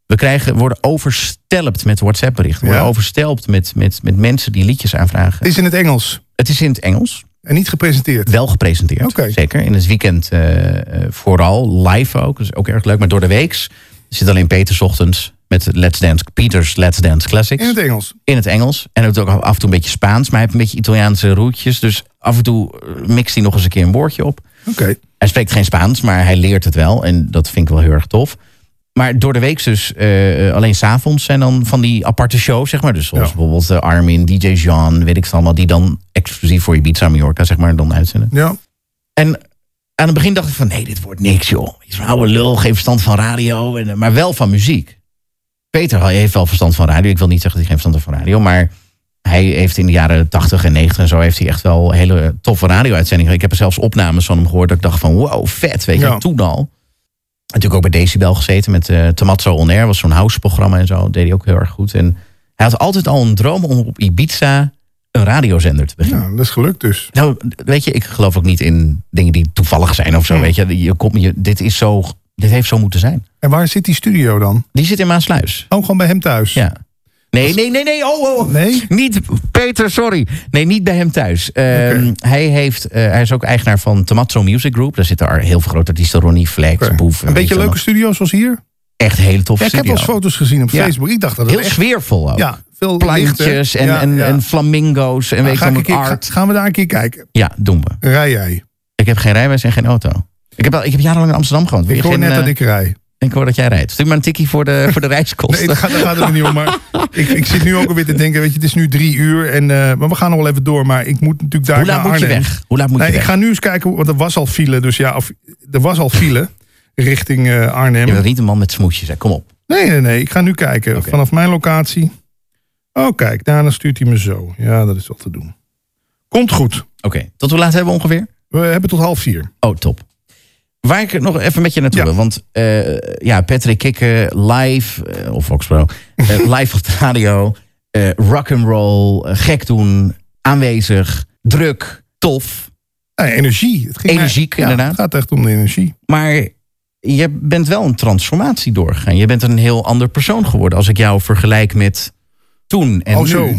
S1: We krijgen, worden overstelpt met WhatsApp-berichten, we worden
S2: Ja.
S1: overstelpt met, met, met mensen die liedjes aanvragen.
S2: Het is in het Engels.
S1: Het is in het Engels,
S2: En niet gepresenteerd.
S1: wel gepresenteerd.
S2: Oké.
S1: Zeker. In het weekend eh, eh, vooral. Live ook. Dat is ook erg leuk. Maar door de weeks zit alleen Peters ochtends met Let's Dance, Peters Let's Dance Classics.
S2: In het Engels.
S1: In het Engels. En hij doet ook af en toe een beetje Spaans. Maar hij heeft een beetje Italiaanse roetjes. Dus af en toe eh, mixt hij nog eens een keer een woordje op.
S2: Oké.
S1: Hij spreekt geen Spaans, maar hij leert het wel. En dat vind ik wel heel erg tof. Maar door de week dus, eh, eh, alleen s'avonds zijn dan van die aparte shows, zeg maar. Dus zoals
S2: Ja.
S1: bijvoorbeeld eh, Armin, DJ Jean, weet ik het allemaal. Die dan exclusief voor Ibiza Mallorca, zeg maar, dan uitzenden.
S2: Ja.
S1: En aan het begin dacht ik van, nee, dit wordt niks, joh. Je is een oude lul, geen verstand van radio, en, eh, maar wel van muziek. Peter heeft wel verstand van radio. Ik wil niet zeggen dat hij geen verstand heeft van radio, maar hij heeft in de jaren 80 en 90 en zo heeft hij echt wel hele toffe radio-uitzendingen. Ik heb er zelfs opnames van hem gehoord dat ik dacht van, wow, vet, weet je,
S2: Ja.
S1: toen al. Natuurlijk ook bij Decibel gezeten met eh Tomazzo On Air, was zo'n houseprogramma en zo, dat deed hij ook heel erg goed. En hij had altijd al een droom om op Ibiza een radiozender te beginnen.
S2: ja, dat is gelukt dus.
S1: Nou, weet je, ik geloof ook niet in dingen die toevallig zijn of zo. Weet je, je, komt, je dit, is zo, dit heeft zo moeten zijn.
S2: En waar zit die studio dan?
S1: Die zit in Maasluis.
S2: Oh, gewoon bij hem thuis.
S1: Ja. Nee, nee, nee, nee. Oh, oh.
S2: Nee?
S1: Niet, Peter, sorry. Nee, niet bij hem thuis. Ehm, hij, heeft, eh, hij is ook eigenaar van Tomazzo Music Group. Daar zitten er heel veel grote artiesten. Ronnie Flex,
S2: Oké.
S1: Boef.
S2: Een beetje leuke
S1: leuk.
S2: studio's zoals hier.
S1: Echt hele toffe
S2: Ja, ik heb wel eens
S1: studio.
S2: foto's gezien op
S1: Ja.
S2: Facebook. Ik dacht dat het
S1: Heel
S2: echt...
S1: sfeervol ook.
S2: Ja, veel
S1: Plantjes
S2: lichter.
S1: en,
S2: Ja,
S1: en,
S2: ja. Nou,
S1: en flamingo's en weet
S2: Ga
S1: je
S2: ik
S1: wel,
S2: een
S1: met
S2: keer-
S1: art.
S2: ga- gaan we daar een keer kijken.
S1: Ja, doen we.
S2: Rij jij.
S1: Ik heb geen rijbewijs en geen auto. Ik heb, al- ik heb jarenlang in Amsterdam gewoond. Wil
S2: Ik
S1: je
S2: hoor
S1: geen,
S2: net
S1: eh,
S2: dat ik rij.
S1: Ik hoor dat jij rijdt. Stuur maar een tikkie voor de, voor de
S2: Nee,
S1: reiskosten.
S2: dat gaat, dat gaat er niet om. Maar ik, ik zit nu ook alweer te denken, weet je, het is nu drie uur. En, eh, maar we gaan nog wel even door. Maar ik moet natuurlijk daar
S1: Hoe laat
S2: naar
S1: moet je
S2: Arnhem.
S1: weg? Hoe laat moet je
S2: Nee, ik
S1: weg?
S2: ga nu eens kijken, hoe- want er was al file. Dus ja, of, er was al file richting eh, Arnhem.
S1: Je bent niet een man met smoesjes. Hè. Kom op.
S2: Nee, nee, nee. Ik ga nu kijken.
S1: Oké.
S2: Vanaf mijn locatie. Oh, kijk. Daarna stuurt hij me zo. Ja, dat is wel te doen. Komt goed.
S1: Oké, tot hoe laat hebben we ongeveer?
S2: We hebben tot half vier.
S1: Oh, top. Waar ik nog even met je naartoe
S2: Ja.
S1: wil. Want eh, ja, Patrick Kikken live, eh, of Foxbro, eh, live op de radio. eh rock'n'roll, eh, gek doen, aanwezig, druk, tof.
S2: Nee, Ah, energie. Het ging mij-
S1: Energiek,
S2: Ja,
S1: inderdaad.
S2: Het gaat echt om de energie.
S1: Maar je bent wel een transformatie doorgegaan. Je bent een heel ander persoon geworden. Als ik jou vergelijk met toen en
S2: oh,
S1: nu.
S2: zo.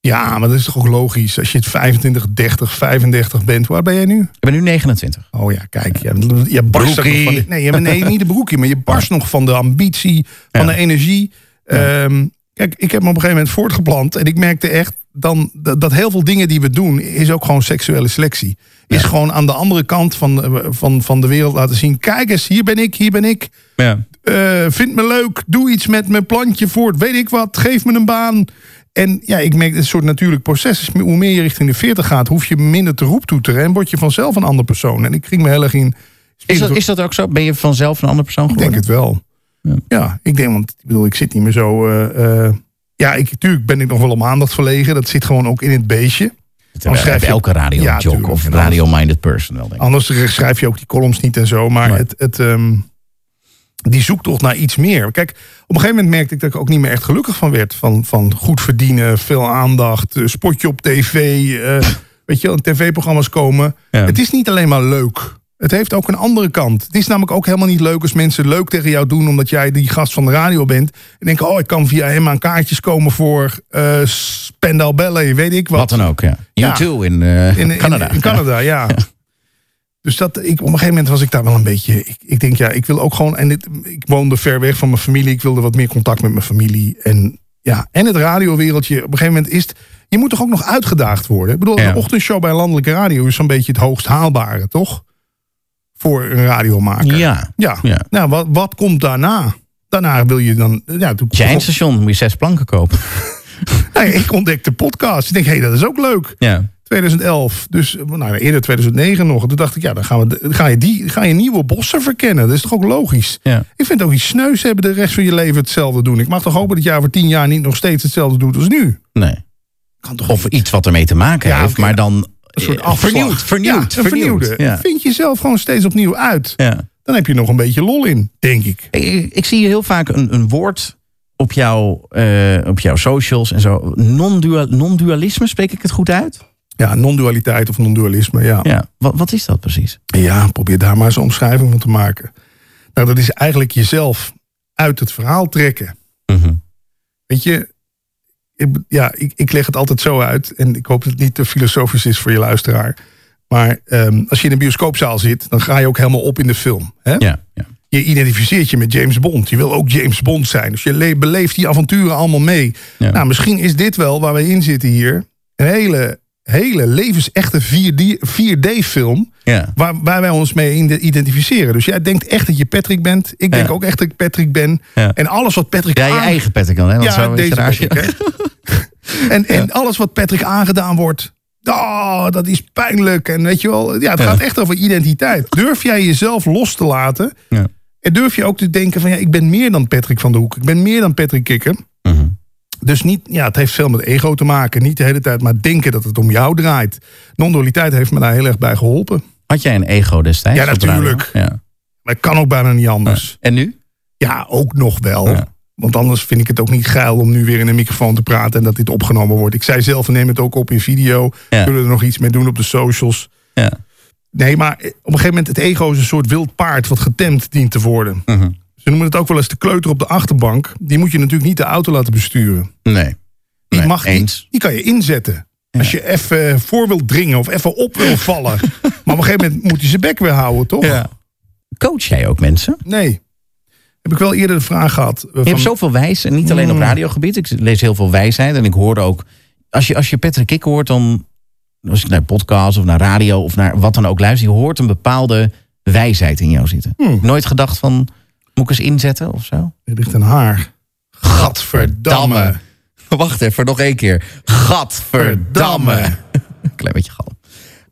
S2: Ja, maar dat is toch ook logisch. Als je het 25, 30, 35 bent. Waar ben jij nu?
S1: Ik ben nu 29.
S2: Oh ja, kijk. Je, je barst ook nog
S1: Broekie.
S2: van de- nee, je- nee, niet de broekje. Maar je barst nog van de ambitie, van
S1: Ja.
S2: de energie. Ehm, kijk, ik heb me op een gegeven moment voortgeplant. En ik merkte echt dan, dat, dat heel veel dingen die we doen... is ook gewoon seksuele selectie. Is gewoon aan de andere kant van, de- van, van de wereld laten zien... kijk eens, hier ben ik, hier ben ik.
S1: Ja.
S2: Eh, vind me leuk, doe iets met mijn plantje voort, weet ik wat, geef me een baan. En ja, ik merk, het is een soort natuurlijk proces. is. Hoe meer je richting de 40 gaat, hoef je minder te roeptoeteren... en word je vanzelf een ander persoon. En ik ging me heel erg in...
S1: Is dat, is dat ook zo? Ben je vanzelf een ander persoon
S2: Ik denk
S1: geworden?
S2: het wel.
S1: Ja.
S2: Ja, ik denk, want ik bedoel, ik zit niet meer zo... eh, eh, ja, ik, tuurlijk ben ik nog wel om aandacht verlegen. Dat zit gewoon ook in het beestje.
S1: Dan
S2: Dan schrijf
S1: schrijft
S2: je-
S1: elke radio
S2: Ja,
S1: jock
S2: tuurlijk.
S1: of radio-minded person wel, denk ik.
S2: Anders schrijf je ook die columns niet en zo. Maar
S1: Nee.
S2: het, het, ehm, die zoektocht naar iets meer. Kijk, op een gegeven moment merkte ik dat ik ook niet meer echt gelukkig van werd. Van, van goed verdienen, veel aandacht, eh, spotje op tv. eh, weet je wel, tv-programma's komen.
S1: Ja.
S2: Het is niet alleen maar leuk. Het heeft ook een andere kant. Het is namelijk ook helemaal niet leuk als mensen leuk tegen jou doen... omdat jij die gast van de radio bent. En denken, oh, ik kan via hem aan kaartjes komen voor eh Spendal Ballet, weet ik wat.
S1: Wat dan ook, ja.
S2: Ja.
S1: U2 in, eh,
S2: In, in-
S1: Canada.
S2: In Canada, ja. Dus dat, ik, op een gegeven moment was ik daar wel een beetje. Ik, ik denk, ja, ik wil ook gewoon. En dit, ik woonde ver weg van mijn familie. Ik wilde wat meer contact met mijn familie. En, ja, en het radiowereldje. Op een gegeven moment is het. Je moet toch ook nog uitgedaagd worden? Ik bedoel,
S1: Ja.
S2: een ochtendshow bij landelijke radio is zo'n beetje het hoogst haalbare, toch? Voor een radiomaker.
S1: Ja.
S2: Ja.
S1: Ja.
S2: Nou, wat, wat komt daarna? Daarna wil je dan. Ja, toen,
S1: Als je eindstation moet je zes planken kopen.
S2: Nee, ik ontdekte podcast. Ik denk, hé, hey, dat is ook leuk.
S1: ja.
S2: 2011, dus eh, nou, eerder 2009 nog. Toen dacht ik, ja, dan gaan we, ga, je die, ga je nieuwe bossen verkennen. Dat is toch ook logisch?
S1: Ja.
S2: Ik vind ook iets sneus hebben de rest van je leven hetzelfde doen. Ik mag toch hopen dat jij over tien jaar niet nog steeds hetzelfde doet als nu?
S1: Nee.
S2: Kan toch
S1: Of iets wat ermee te maken
S2: Ja,
S1: heeft,
S2: oké.
S1: maar dan
S2: een soort
S1: eh,
S2: afslag.
S1: vernieuwd. Vernieuwd.
S2: Ja, een
S1: vernieuwd.
S2: vernieuwde.
S1: Ja.
S2: Vind jezelf gewoon steeds opnieuw uit.
S1: Ja.
S2: Dan heb je nog een beetje lol in, denk ik.
S1: Ik- Ik, ik zie heel vaak een, een woord op, jouw eh, op jouw socials en zo. Non-dua- Non-dualisme, spreek ik het goed uit?
S2: Ja, non-dualiteit of non-dualisme, ja.
S1: Ja. Wat, wat is dat precies?
S2: Ja, probeer daar maar eens een omschrijving van te maken. Nou, dat is eigenlijk jezelf uit het verhaal trekken.
S1: Mhm.
S2: Weet je, ik, ja, ik, ik leg het altijd zo uit. En ik hoop dat het niet te filosofisch is voor je luisteraar. Maar ehm, als je in een bioscoopzaal zit, dan ga je ook helemaal op in de film. Hè?
S1: Ja. ja.
S2: Je identificeert je met James Bond. Je wil ook James Bond zijn. Dus je le- beleeft die avonturen allemaal mee.
S1: Ja.
S2: Nou, misschien is dit wel waar we in zitten hier. Een hele, hele levensechte 4D 4D-film
S1: ja.
S2: waar, waar wij ons mee in- identificeren. Dus jij denkt echt dat je Patrick bent. Ik denk
S1: Ja.
S2: ook echt dat ik Patrick ben.
S1: Ja.
S2: En alles wat Patrick
S1: Ja, je
S2: aan-
S1: eigen pet kan, hè? Want
S2: Ja,
S1: zo is
S2: deze
S1: het raar.
S2: Patrick, hè? en, en alles wat Patrick aangedaan wordt. Oh, dat is pijnlijk. En weet je wel, ja, het
S1: Ja.
S2: gaat echt over identiteit. Durf jij jezelf los te laten?
S1: Ja.
S2: En durf je ook te denken van ja, ik ben meer dan Patrick van de Hoek. Ik ben meer dan Patrick Kikker.
S1: Mhm.
S2: Dus niet, ja, het heeft veel met ego te maken. Niet de hele tijd maar denken dat het om jou draait. Non-dualiteit heeft me daar heel erg bij geholpen.
S1: Had jij een ego destijds?
S2: Ja,
S1: op de radio?
S2: natuurlijk.
S1: Ja.
S2: Maar het kan ook bijna niet anders.
S1: En nu?
S2: Ja, ook nog wel.
S1: Ja.
S2: Want anders vind ik het ook niet geil om nu weer in een microfoon te praten en dat dit opgenomen wordt. Ik zei zelf, neem het ook op in video.
S1: Ja.
S2: Zullen er nog iets mee doen op de socials?
S1: Ja.
S2: Nee, maar op een gegeven moment, het ego is een soort wild paard wat getemd dient te worden.
S1: Mhm.
S2: Ze noemen het ook wel eens de kleuter op de achterbank. Die moet je natuurlijk niet de auto laten besturen.
S1: Nee.
S2: Die
S1: Nee,
S2: mag niet.
S1: eens.
S2: Die kan je inzetten. Als je even eh, voor wilt dringen of even op wil vallen. maar op een gegeven moment moet hij zijn bek weer houden, toch?
S1: Ja. Oh. Coach jij ook mensen?
S2: Nee. Heb ik wel eerder de vraag gehad. eh,
S1: Je
S2: van- Mm.
S1: hebt zoveel wijs, en niet alleen op radiogebied. Ik lees heel veel wijsheid en ik hoorde ook... Als je, als je Patrick Kik hoort, dan... Als ik naar podcasts of naar radio of naar wat dan ook luister... je hoort een bepaalde wijsheid in jou zitten.
S2: Hmm.
S1: Nooit gedacht van, moet ik eens inzetten of zo?
S2: Er ligt een haar. Gadverdamme.
S1: Wacht even, nog één keer. Gadverdamme. Klein beetje galm.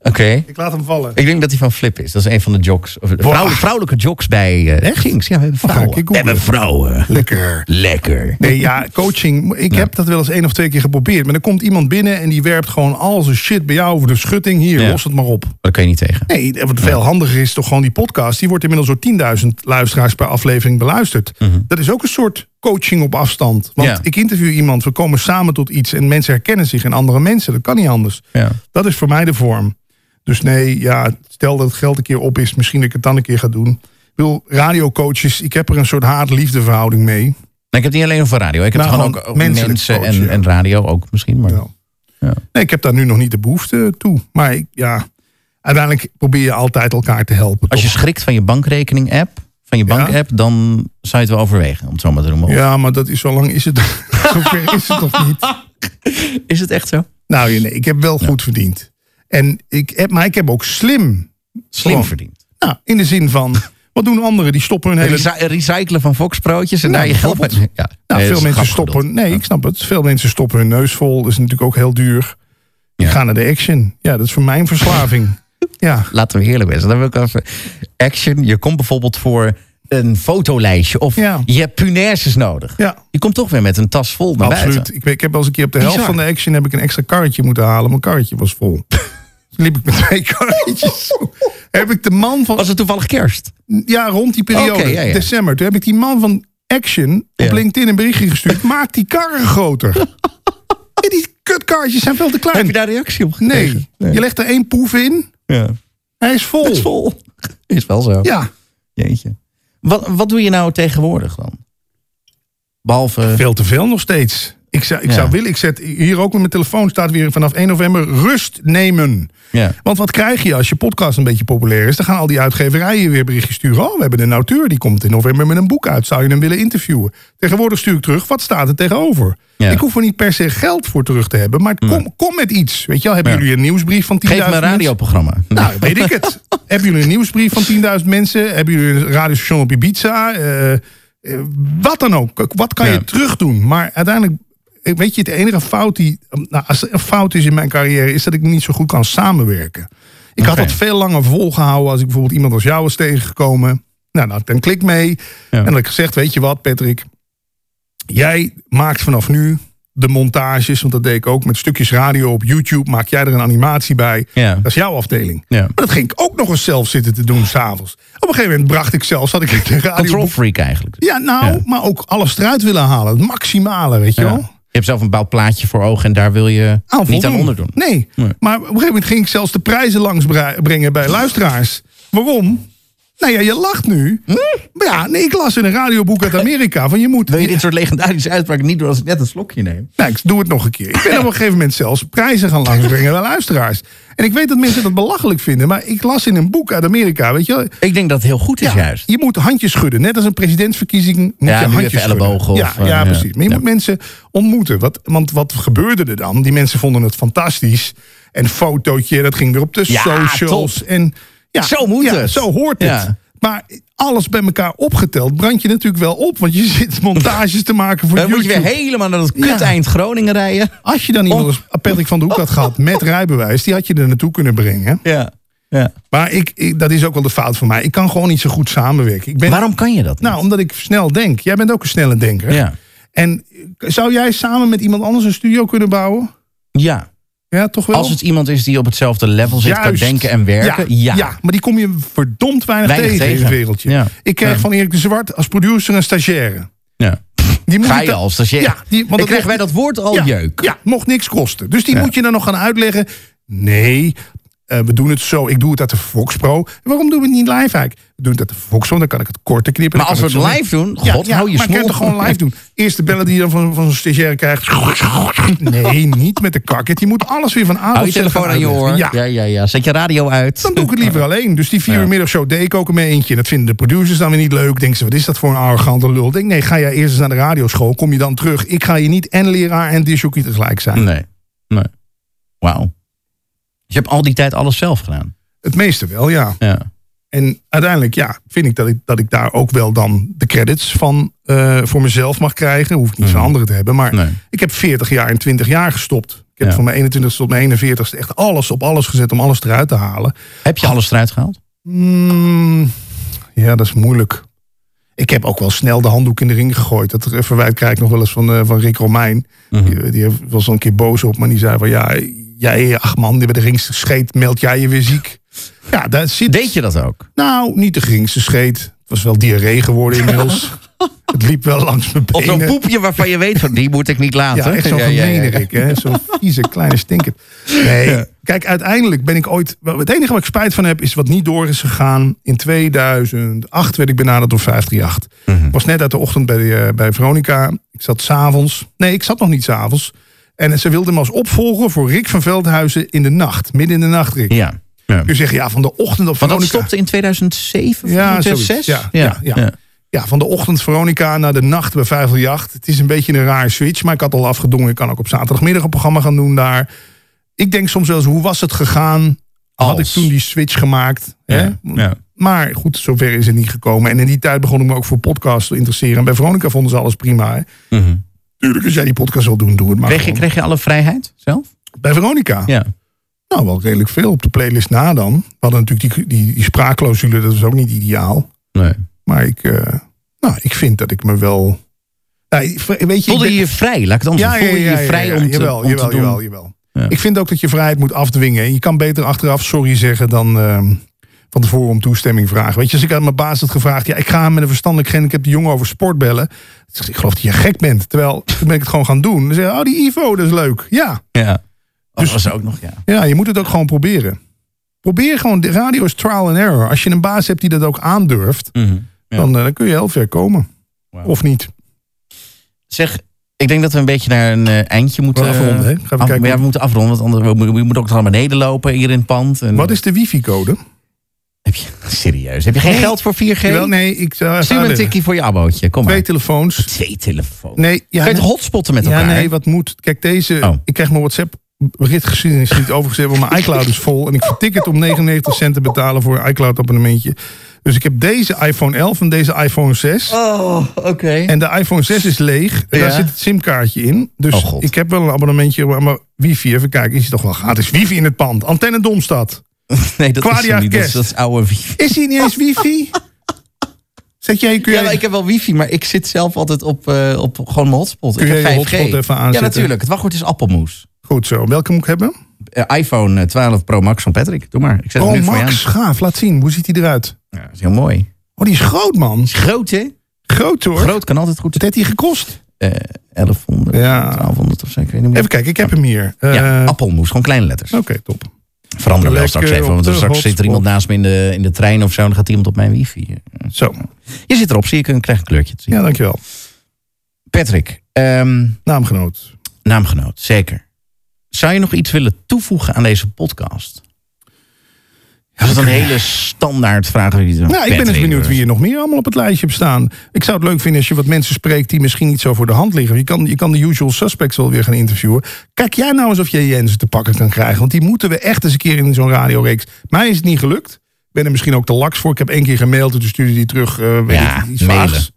S1: Oké.
S2: Ik laat hem vallen.
S1: Ik denk dat hij van Flip is. Dat is een van de jocks. Of, vrouw- vrouwelijke jocks bij eh Gings. Ja, we hebben
S2: Oh, ga ik
S1: vrouwen.
S2: googlen.
S1: We hebben vrouwen.
S2: Lekker.
S1: Lekker.
S2: Nee, ja, coaching. Ik heb dat wel eens één of twee keer geprobeerd. Maar dan komt iemand binnen en die werpt gewoon al zijn shit bij jou over de schutting. Hier,
S1: Ja.
S2: los het maar op.
S1: Dat kun je niet tegen.
S2: Nee, wat veel handiger is toch gewoon die podcast. Die wordt inmiddels door 10.000 luisteraars per aflevering beluisterd. Dat is ook een soort coaching op afstand. Want
S1: Ja.
S2: ik interview iemand, we komen samen tot iets... en mensen herkennen zich in andere mensen. Dat kan niet anders.
S1: Ja.
S2: Dat is voor mij de vorm. Dus nee, ja, stel dat het geld een keer op is, misschien dat ik het dan een keer ga doen. Ik wil radiocoaches, ik heb er een soort haat-liefde verhouding mee.
S1: Nee, ik heb het niet alleen over radio. Ik heb
S2: Nou,
S1: het gewoon
S2: gewoon
S1: ook
S2: menselijk
S1: mensen,
S2: coach,
S1: en,
S2: ja.
S1: en radio ook misschien. Maar,
S2: Ja. Nee, ik heb daar nu nog niet de behoefte toe. Maar ik- ja, uiteindelijk probeer je altijd elkaar te helpen.
S1: Als je
S2: toch?
S1: schrikt van je bankrekening-app, van je bank-app, dan zou je het wel overwegen, om het zo maar te noemen. Of-
S2: Ja, maar dat is zo lang is het. Zover is het toch niet?
S1: Is het echt zo?
S2: Nou, nee, ik heb wel goed verdiend. En ik heb, maar ik heb ook slim.
S1: Slim
S2: Gewoon.
S1: verdiend.
S2: Nou, in de zin van, wat doen anderen? Die stoppen hun hele
S1: Recy- recyclen van foxbroodjes en
S2: Nou,
S1: daar je geld uit. Ja.
S2: Nou,
S1: Nee, dat
S2: veel
S1: is
S2: mensen
S1: grappig
S2: stoppen.
S1: bedoeld.
S2: Nee, ik snap het. Veel mensen stoppen hun neus vol. Dat is natuurlijk ook heel duur. Die
S1: Ja.
S2: gaan naar de action. Ja, dat is voor mijn verslaving. ja.
S1: Laten we eerlijk zijn. Dan wil ik even action. Je komt bijvoorbeeld voor een fotolijstje of
S2: Ja.
S1: je hebt punaises nodig.
S2: Ja.
S1: Je komt toch weer met een tas vol naar
S2: Absoluut.
S1: buiten.
S2: Ik, weet- ik heb wel eens een keer op de helft
S1: Bizar.
S2: van de action heb ik een extra karretje moeten halen. Mijn karretje was vol. Dus liep ik met twee karretjes. heb ik de man van.
S1: Was het toevallig kerst?
S2: Ja, rond die periode,
S1: Oké, ja, ja.
S2: december. Toen heb ik die man van Action op
S1: Ja.
S2: LinkedIn een berichtje gestuurd. Maak die karren groter. En die kutkarretjes zijn veel te klein.
S1: Heb je daar reactie op gekregen?
S2: nee. je legt er één poef in.
S1: Ja.
S2: Hè? Hij is vol.
S1: is vol. Is wel zo.
S2: Ja,
S1: Jeetje. Wat, wat doe je nou tegenwoordig dan? Behalve...
S2: veel te veel nog steeds. Ik zou, ik
S1: Ja.
S2: zou willen, ik zet hier ook op mijn telefoon staat weer vanaf 1 november rust nemen.
S1: Ja.
S2: Want wat krijg je als je podcast een beetje populair is? Dan gaan al die uitgeverijen weer berichtjes sturen. Oh, we hebben een auteur die komt in november met een boek uit. Zou je hem willen interviewen? Tegenwoordig stuur ik terug. Wat staat er tegenover?
S1: Ja.
S2: Ik hoef er niet per se geld voor terug te hebben. Maar kom, kom met iets. Weet je wel, hebben
S1: Ja.
S2: jullie een nieuwsbrief van 10.000
S1: Geef me een
S2: mensen?
S1: radioprogramma.
S2: Nou, weet ik het. Hebben jullie een nieuwsbrief van 10.000 mensen? Hebben jullie een radiostation op Ibiza? Eh, eh, wat dan ook. K- Wat kan
S1: Ja.
S2: je terug doen? Maar uiteindelijk, eh, weet je, de enige fout die nou, als er een fout is in mijn carrière, is dat ik niet zo goed kan samenwerken. Ik had
S1: Oké.
S2: dat veel langer volgehouden als ik bijvoorbeeld iemand als jou was tegengekomen. Nou, dan had ik een klik mee. En dan had ik gezegd, weet je wat, Patrick? Jij maakt vanaf nu de montages, want dat deed ik ook met stukjes radio op YouTube. Maak jij er een animatie bij?
S1: Ja.
S2: Dat is jouw afdeling.
S1: Ja.
S2: Maar dat ging ik ook nog eens zelf zitten te doen s'avonds. Op een gegeven moment bracht ik zelfs, had ik een
S1: Control
S2: radio.
S1: freak eigenlijk.
S2: Ja, nou,
S1: Ja.
S2: maar ook alles eruit willen halen. Het maximale, weet je
S1: Ja.
S2: wel.
S1: Je hebt zelf een bepaald plaatje voor ogen en daar wil je
S2: Aan
S1: niet aan
S2: Ah, voldoen.
S1: onderdoen.
S2: Nee.
S1: Nee.
S2: maar op een gegeven moment ging ik zelfs de prijzen langs bra- brengen bij luisteraars. Waarom? Nou ja, je lacht nu.
S1: Hm?
S2: Maar ja, nee, ik las in een radioboek uit Amerika van je moet...
S1: Wil je dit soort legendarische uitspraken niet doen als ik net een slokje neem?
S2: Nou, ik doe het nog een keer. Ik ben op een gegeven moment zelfs prijzen gaan langsbrengen bij luisteraars. En ik weet dat mensen dat belachelijk vinden, maar ik las in een boek uit Amerika, weet je wel,
S1: Ik denk dat het heel goed is
S2: Ja,
S1: juist.
S2: Je moet handjes schudden. Net als een presidentsverkiezing moet
S1: Ja,
S2: je
S1: nu
S2: handjes
S1: even ellebogen
S2: schudden.
S1: of,
S2: ja,
S1: eh,
S2: ja,
S1: ja.
S2: precies. Maar je
S1: Ja.
S2: moet mensen ontmoeten. Wat, want wat gebeurde er dan? Die mensen vonden het fantastisch. En fotootje, dat ging weer op de
S1: Ja,
S2: socials.
S1: top.
S2: En, ja,
S1: Zo moet
S2: ja,
S1: het.
S2: Zo hoort het.
S1: Ja.
S2: Maar alles bij elkaar opgeteld brand je natuurlijk wel op. Want je zit montages te maken voor
S1: Dan moet je
S2: YouTube.
S1: weer helemaal naar dat
S2: Ja.
S1: kut eind Groningen rijden.
S2: Als je dan iemand als Patrick van de Hoek had gehad met rijbewijs... die had je er naartoe kunnen brengen.
S1: Ja. ja.
S2: Maar ik, ik, dat is ook wel de fout van mij. Ik kan gewoon niet zo goed samenwerken. Ik ben
S1: Waarom kan je dat niet?
S2: Nou, omdat ik snel denk. Jij bent ook een snelle denker.
S1: ja.
S2: En zou jij samen met iemand anders een studio kunnen bouwen?
S1: ja.
S2: Ja, toch wel?
S1: Als het iemand is die op hetzelfde level zit,
S2: Juist.
S1: kan denken en werken.
S2: Ja,
S1: Ja.
S2: ja, maar die kom je verdomd weinig,
S1: Weinig
S2: tegen, in
S1: tegen.
S2: het wereldje.
S1: Ja.
S2: Ik kreeg
S1: Ja.
S2: van Erik de Zwart als producer een stagiaire.
S1: Ja.
S2: Die moest
S1: Ga
S2: ik
S1: je
S2: dan-
S1: als stagiair?
S2: Ja, die, want
S1: Ik
S2: dat
S1: krijg
S2: mocht-
S1: bij dat woord al
S2: ja,
S1: jeuk.
S2: Ja, mocht niks kosten. Dus die moet je dan nog gaan uitleggen. Nee, eh, we doen het zo. Ik doe het uit de Foxpro. Waarom doen we het niet live eigenlijk? We doen het uit de Foxpro, dan kan ik het korter knippen.
S1: Maar
S2: dan
S1: als we
S2: kan
S1: het
S2: ik zo-
S1: live doen, god, hou je
S2: maar
S1: smoel.
S2: kan het toch gewoon live doen. Eerst de bellen die je dan van, van zo'n stagiaire krijgt. Nee, niet met de kakket. Je moet alles weer van A
S1: Hou je
S2: tot Z
S1: telefoon
S2: gaan
S1: aan je
S2: uitleggen.
S1: oor. Ja.
S2: Ja,
S1: ja, ja, Zet je radio uit.
S2: dan doe ik het liever alleen. Dus die vier uur middagshow deed ik ook in mijn eentje. En dat vinden de producers dan weer niet leuk. Denken ze, wat is dat voor een arrogante lul? Ik Denk, nee, ga jij eerst eens naar de radioschool. Kom je dan terug. Ik ga je niet en leraar en disjockey tegelijk zijn.
S1: Nee. nee. Wauw. Dus je hebt al die tijd alles zelf gedaan.
S2: Het meeste wel, ja.
S1: Ja.
S2: En uiteindelijk, ja, vind ik dat ik, dat ik daar ook wel dan de credits van eh, voor mezelf mag krijgen. Hoef ik niet van anderen te hebben. Maar
S1: Mhm. Nee.
S2: ik heb 40 jaar en 20 jaar gestopt. Ik heb
S1: Ja.
S2: van mijn 21ste tot mijn 41ste echt alles op alles gezet om alles eruit te halen.
S1: Heb je alles eruit gehaald?
S2: Mm, ja, dat is moeilijk. Ik heb ook wel snel de handdoek in de ring gegooid. Dat verwijt krijg ik nog wel eens van, eh, van Rick Romein.
S1: Mhm.
S2: Die, die heeft- was al een keer boos op me. Die zei van, ja, jij, ach man, die bij de geringste scheet meld jij je weer ziek. Ja, daar zit...
S1: Deed je dat ook?
S2: Nou, niet de geringste scheet. Het was wel diarree geworden inmiddels. het liep wel langs mijn
S1: Of
S2: benen.
S1: zo'n poepje waarvan je weet van die moet ik niet laten.
S2: Ja, echt zo'n
S1: Ja, ja, ja, ja.
S2: gemeenerik, hè? Zo'n vieze kleine stinker. Nee, kijk, uiteindelijk ben ik ooit... wel, Het enige wat ik spijt van heb, is wat niet door is gegaan. In 2008 werd ik benaderd door 538.
S1: Mhm.
S2: Ik was net uit de ochtend bij, eh, bij Veronica. Ik zat s'avonds... Nee, ik zat nog niet s'avonds. En ze wilden me als opvolger voor Rick van Veldhuizen in de nacht. Midden in de nacht, Rick.
S1: Ja. ja.
S2: U zegt, ja, van de ochtend
S1: Want
S2: op
S1: dat
S2: Veronica...
S1: stopte in 2007 of
S2: Ja,
S1: 2006?
S2: zoiets. Ja, ja, ja.
S1: ja.
S2: Ja, van de ochtend Veronica naar de nacht bij 538. Het is een beetje een raar switch, maar ik had al afgedongen. Ik kan ook op zaterdagmiddag een programma gaan doen daar. Ik denk soms wel eens, hoe was het gegaan? Had ik
S1: Als.
S2: toen die switch gemaakt? Hè?
S1: Ja, ja.
S2: Maar goed, zover is het niet gekomen. En in die tijd begon ik me ook voor podcasts te interesseren. En bij Veronica vonden ze alles prima. Hè?
S1: Mhm.
S2: Tuurlijk, als jij die podcast wil doen, doe het maar.
S1: Kreeg, je,
S2: gewoon.
S1: kreeg je alle vrijheid zelf?
S2: Bij Veronica?
S1: Ja.
S2: Nou, wel redelijk veel. Op de playlist na dan. We hadden natuurlijk die, die, die spraakclausule, dat was ook niet ideaal.
S1: Nee.
S2: Maar ik, eh, nou, ik vind dat ik me wel. Nou, ik- weet je, ik
S1: Voelde
S2: ben-
S1: je je vrij? Laat ik het anders
S2: ja,
S1: zeggen.
S2: ja,
S1: Voelde je
S2: ja,
S1: je
S2: ja,
S1: vrij
S2: ja,
S1: om te,
S2: jawel,
S1: om te
S2: jawel,
S1: doen?
S2: jawel, jawel.
S1: Ja.
S2: Ik vind ook dat je vrijheid moet afdwingen. En Je kan beter achteraf sorry zeggen dan ehm, van tevoren om toestemming vragen. Weet je, als ik aan mijn baas had gevraagd, ja, ik ga hem met een verstandelijk handicap die jongen over sport bellen. Ze zegt, Ik geloof dat je gek bent. Terwijl toen ben ik het gewoon gaan doen. Dan zeg je, oh, die Ivo, dat is leuk. Ja,
S1: Ja. Oh,
S2: Dus-
S1: dat was ook nog, ja.
S2: ja, je moet het ook gewoon proberen. Probeer gewoon, de radio is trial and error. Als je een baas hebt die dat ook aandurft,
S1: Mhm.
S2: dan, eh, dan kun je heel ver komen.
S1: Wauw.
S2: Of niet.
S1: Zeg, ik denk dat we een beetje naar een eh, eindje moeten
S2: We gaan afronden, hè? Gaan we
S1: Gaan we,
S2: kijken
S1: ja,
S2: hoe-
S1: we moeten afronden, want anders we, moeten- we moeten ook nog naar beneden lopen hier in het pand. En,
S2: Wat is de wifi-code?
S1: Heb je, serieus, heb je geen
S2: Nee.
S1: geld voor 4G?
S2: Jawel, nee, ik zou
S1: Stuur me een tikkie voor je abbootje, kom maar.
S2: Twee telefoons.
S1: Twee telefoons.
S2: Nee, ja,
S1: Kan je
S2: nee.
S1: het hotspotten met elkaar?
S2: Ja, nee,
S1: hè?
S2: wat moet. Kijk, deze.
S1: Oh.
S2: Ik krijg mijn WhatsApp. Berichtgeschiedenis niet overgezet, want mijn iCloud is vol. En ik vertik het om 99 cent te betalen voor een iCloud-abonnementje. Dus ik heb deze iPhone 11 en deze iPhone 6.
S1: Oh, oké.
S2: En de iPhone 6 is leeg. En
S1: Ja.
S2: Daar zit het simkaartje in. Dus
S1: Oh, God.
S2: ik heb wel een abonnementje. Maar maar wifi, even kijken, is het toch wel gratis? Wifi in het pand. Antenne Domstad.
S1: Nee, dat is
S2: Claudia
S1: hem niet. Dat is, dat
S2: Guest.
S1: is oude wifi.
S2: Is hier niet eens wifi? Zet jij, kun
S1: Ja,
S2: jij...
S1: maar ik heb wel wifi, maar ik zit zelf altijd op, eh, op gewoon mijn hotspot.
S2: Kun
S1: ik
S2: jij
S1: heb
S2: je
S1: 5G.
S2: hotspot even
S1: ja,
S2: aanzetten?
S1: natuurlijk. Het wachtwoord is appelmoes.
S2: Goed zo. Welke moet ik hebben?
S1: Eh, iPhone eh, 12 Pro Max van Patrick. Doe maar. Ik zet
S2: Oh,
S1: hem nu voor
S2: Max,
S1: je
S2: gaaf. Laat zien. Hoe ziet hij eruit?
S1: aan. Ja, dat is heel mooi.
S2: Oh, die is groot, man.
S1: Groot, hè?
S2: Groot, hoor.
S1: Groot kan altijd goed.
S2: Wat heeft hij gekost?
S1: Eh 1100,
S2: Ja.
S1: 1200 of zo. Ik weet niet meer.
S2: Even kijken, ik heb hem hier. Eh,
S1: ja, appelmoes. Gewoon kleine letters.
S2: Oké, top.
S1: Verander wel
S2: Lekker
S1: straks even.
S2: op
S1: Want
S2: de
S1: straks zit er
S2: hotspot.
S1: iemand naast me in de, in de trein of zo. En dan gaat iemand op mijn wifi.
S2: Zo.
S1: Je zit erop. Zie ik een krijg een kleurtje. te zien.
S2: Ja, dankjewel.
S1: Patrick. ehm,
S2: Naamgenoot.
S1: Naamgenoot, zeker. Zou je nog iets willen toevoegen aan deze podcast? dat is een hele standaard vraag. die je-
S2: Nou, ik ben eens
S1: Patrick,
S2: benieuwd wie er nog meer allemaal op het lijstje hebt staan. Ik zou het leuk vinden als je wat mensen spreekt die misschien niet zo voor de hand liggen. Je kan, je kan de usual suspects wel weer gaan interviewen. Kijk jij nou eens of je Jensen te pakken kan krijgen. Want die moeten we echt eens een keer in zo'n radioreeks. Mij is het niet gelukt. Ik ben er misschien ook te laks voor. Ik heb één keer gemaild, en toen stuurde die terug. eh, weet
S1: Ja,
S2: ik, iets vaags.
S1: mailen.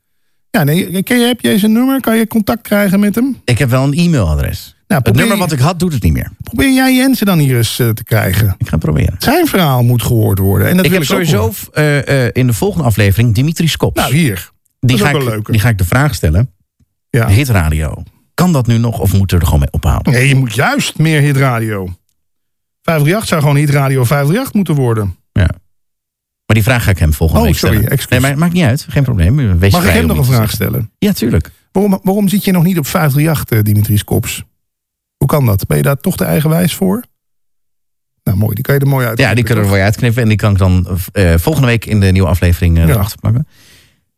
S2: Ja, nee, ken je, heb jij zijn nummer? Kan je contact krijgen met hem?
S1: Ik heb wel een e-mailadres.
S2: Nou,
S1: het
S2: probeer,
S1: nummer wat ik had doet het niet meer.
S2: probeer jij Jensen dan hier eens eh, te krijgen.
S1: Ik ga het proberen.
S2: Zijn verhaal moet gehoord worden. En dat
S1: ik
S2: wil
S1: heb
S2: ook
S1: sowieso
S2: horen.
S1: eh, eh, in de volgende aflevering Dimitri Skops.
S2: Nou, hier.
S1: die,
S2: is
S1: ga
S2: ook
S1: ik,
S2: wel leuk.
S1: die ga ik de vraag stellen.
S2: Ja.
S1: Hitradio, kan dat nu nog of moeten we er gewoon mee ophouden?
S2: Nee, je moet juist meer hitradio. 538 zou gewoon hitradio 538 moeten worden.
S1: Maar die vraag ga ik hem volgende
S2: Oh,
S1: week
S2: sorry,
S1: stellen.
S2: excuus.
S1: Nee, maar maakt niet uit. Geen probleem. Wees
S2: Mag ik
S1: vrij
S2: hem
S1: om
S2: nog een
S1: iets te
S2: vraag
S1: zeggen.
S2: stellen?
S1: Ja, tuurlijk.
S2: Waarom, waarom zit je nog niet op 538, eh, Dimitris Kops? Hoe kan dat? Ben je daar toch de eigenwijs voor? Nou, mooi. Die kan je er mooi uit.
S1: Ja, die kunnen we er voor je uitknippen. En die kan ik dan eh, volgende week in de nieuwe aflevering eh,
S2: Ja.
S1: erachter plakken.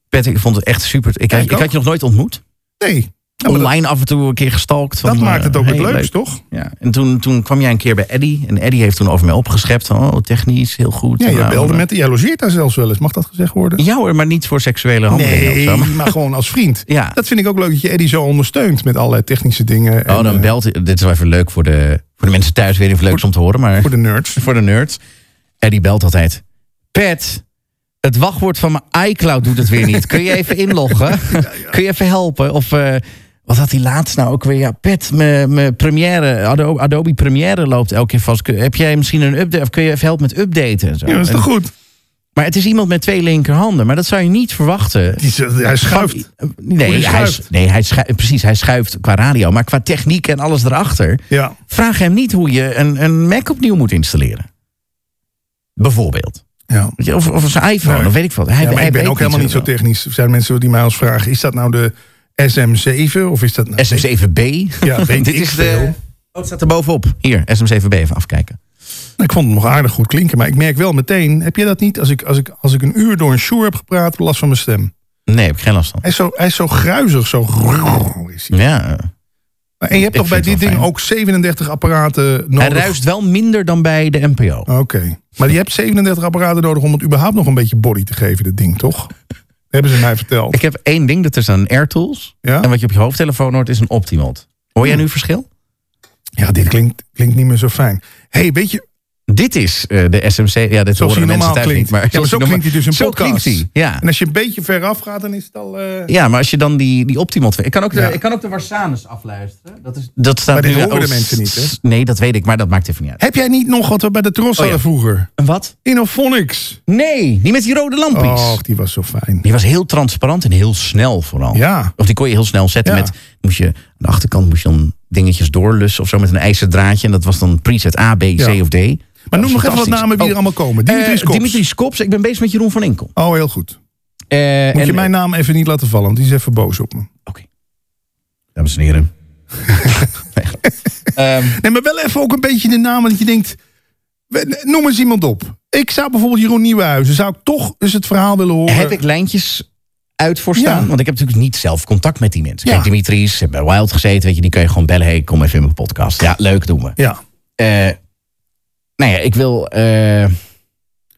S1: Patrick, ik vond het echt super. Ik, ik,
S2: ik ook.
S1: had je nog nooit ontmoet.
S2: Nee. Nou, maar dat,
S1: Online af en toe een keer gestalkt. Van,
S2: dat maakt het
S1: eh,
S2: ook het
S1: hey,
S2: leukst,
S1: leuk.
S2: toch?
S1: Ja. En toen, toen kwam jij een keer bij Eddy. En Eddy heeft toen over mij opgeschept. Van, oh, technisch, heel goed.
S2: Ja,
S1: En
S2: jij
S1: nou,
S2: belde
S1: eh,
S2: met... Jij logeert daar zelfs wel eens. Mag dat gezegd worden?
S1: Ja hoor, maar niet voor seksuele handelingen
S2: Nee,
S1: of zo.
S2: maar gewoon als vriend.
S1: Ja.
S2: Dat vind ik ook leuk dat je Eddie zo ondersteunt met allerlei technische dingen.
S1: Oh,
S2: en,
S1: dan
S2: eh,
S1: belt hij. Dit is wel even leuk voor de, voor de mensen thuis. Weer even leuks om te horen. Maar
S2: Voor de nerds.
S1: voor de nerds. Eddie belt altijd. Pet, het wachtwoord van mijn iCloud doet het weer niet. Kun je even inloggen? Kun je even helpen? Of eh, wat had hij laatst nou ook weer? Ja, Pet, mijn mijn première, Adobe, Adobe Premiere loopt elke keer vast. Kun- Heb jij misschien een update? Of kun je even helpen met updaten? en Zo.
S2: Ja, dat is toch
S1: En-
S2: goed?
S1: maar het is iemand met twee linkerhanden. Maar dat zou je niet verwachten.
S2: Die, zegt- hij schuift.
S1: Nee,
S2: Hij
S1: hij,
S2: schuift.
S1: nee hij schuift, precies, hij schuift qua radio. Maar qua techniek en alles erachter
S2: Ja.
S1: vraag hem niet hoe je een, een Mac opnieuw moet installeren. Bijvoorbeeld.
S2: ja.
S1: Weet je, Of, of zijn iPhone,
S2: Nee.
S1: of weet ik wat. Hij,
S2: Ja, maar
S1: hij
S2: ik ben
S1: weet
S2: ook helemaal niet zo
S1: zoveel.
S2: technisch. Er zijn mensen die mij als vragen: is dat nou de SM7 of is dat nou.
S1: SM7B.
S2: Ja, weet
S1: Dit
S2: ik
S1: is
S2: veel.
S1: de. Oh, het staat er bovenop. Hier, SM7B even afkijken.
S2: Nou, ik vond het nog aardig goed klinken, maar ik merk wel meteen: heb jij dat niet? Als ik, als ik, als ik een uur door een shoer heb gepraat, last van mijn stem.
S1: Nee, heb ik geen last van.
S2: Hij is zo, hij is zo gruizig, zo. Is hij.
S1: Ja.
S2: En je hebt
S1: Ik
S2: toch
S1: vind
S2: bij dit
S1: het wel
S2: ding
S1: fijn.
S2: ook 37 apparaten
S1: Hij
S2: nodig? Ah,
S1: ruist wel minder dan bij de NPO.
S2: Oké. Maar je hebt 37 apparaten nodig om het überhaupt nog een beetje body te geven, dit ding, toch? Hebben ze mij verteld.
S1: Ik heb één ding, dat is een AirTools.
S2: Ja? Hmm.
S1: En wat je op je hoofdtelefoon hoort, is een Optimalt. Hoor jij nu verschil?
S2: Ja, dit klinkt, klinkt niet meer zo fijn. hey, weet je,
S1: Dit is eh, de SMC. Ja, dit
S2: Zoals
S1: horen de
S2: hij
S1: mensen
S2: normaal
S1: thuis niet.
S2: klinkt.
S1: Maar,
S2: Ja, maar zo klinkt hij dus in
S1: zo
S2: podcast.
S1: klinkt hij, ja.
S2: En als je een beetje veraf gaat, dan is het al... eh,
S1: Ja, maar als je dan die, die Optimalt... Ik kan ook de,
S2: Ja.
S1: ik kan ook de Warsanus afluisteren. Dat, is, dat staat
S2: Maar dit
S1: nu...
S2: horen de
S1: s-
S2: mensen niet, hè?
S1: s- Nee, dat weet ik, maar dat maakt even niet uit.
S2: Heb jij niet nog wat we bij de Tros
S1: ja.
S2: hadden vroeger?
S1: Een wat?
S2: Oh Innophonics.
S1: Nee, die met die rode lampjes.
S2: Och, die was zo fijn.
S1: Die was heel transparant en heel snel vooral.
S2: Ja.
S1: Of die kon je heel snel zetten
S2: Ja.
S1: met... Moest je, aan de achterkant moest je dan dingetjes doorlussen of zo met een ijzerdraadje. En dat was dan preset A, B, C
S2: Ja.
S1: of D. Oh.
S2: Maar noem nog even wat namen wie er allemaal komen. Dimitri Skops.
S1: Dimitri Skops. Ik ben bezig met Jeroen van Inkel.
S2: Oh, heel goed.
S1: Eh,
S2: Moet
S1: en-
S2: je mijn naam even niet laten vallen, want die is even boos op me.
S1: Oké. Dames en heren. Ehm, Nee, grap. Ehm,
S2: Nee, maar wel even ook een beetje de naam, want je denkt... We- Noem eens iemand op. Ik zou bijvoorbeeld Jeroen Nieuwenhuizen, zou ik toch eens het verhaal willen horen.
S1: Heb ik lijntjes uit voor staan?
S2: Ja.
S1: Want ik heb natuurlijk niet zelf contact met die mensen.
S2: Ja.
S1: Kijk, Dimitris, heb bij Wild gezeten, weet je, die kun je gewoon bellen. Hey, kom even in mijn podcast. Ja, leuk, doen we.
S2: Ja.
S1: Eh, nou ja, ik wil... eh,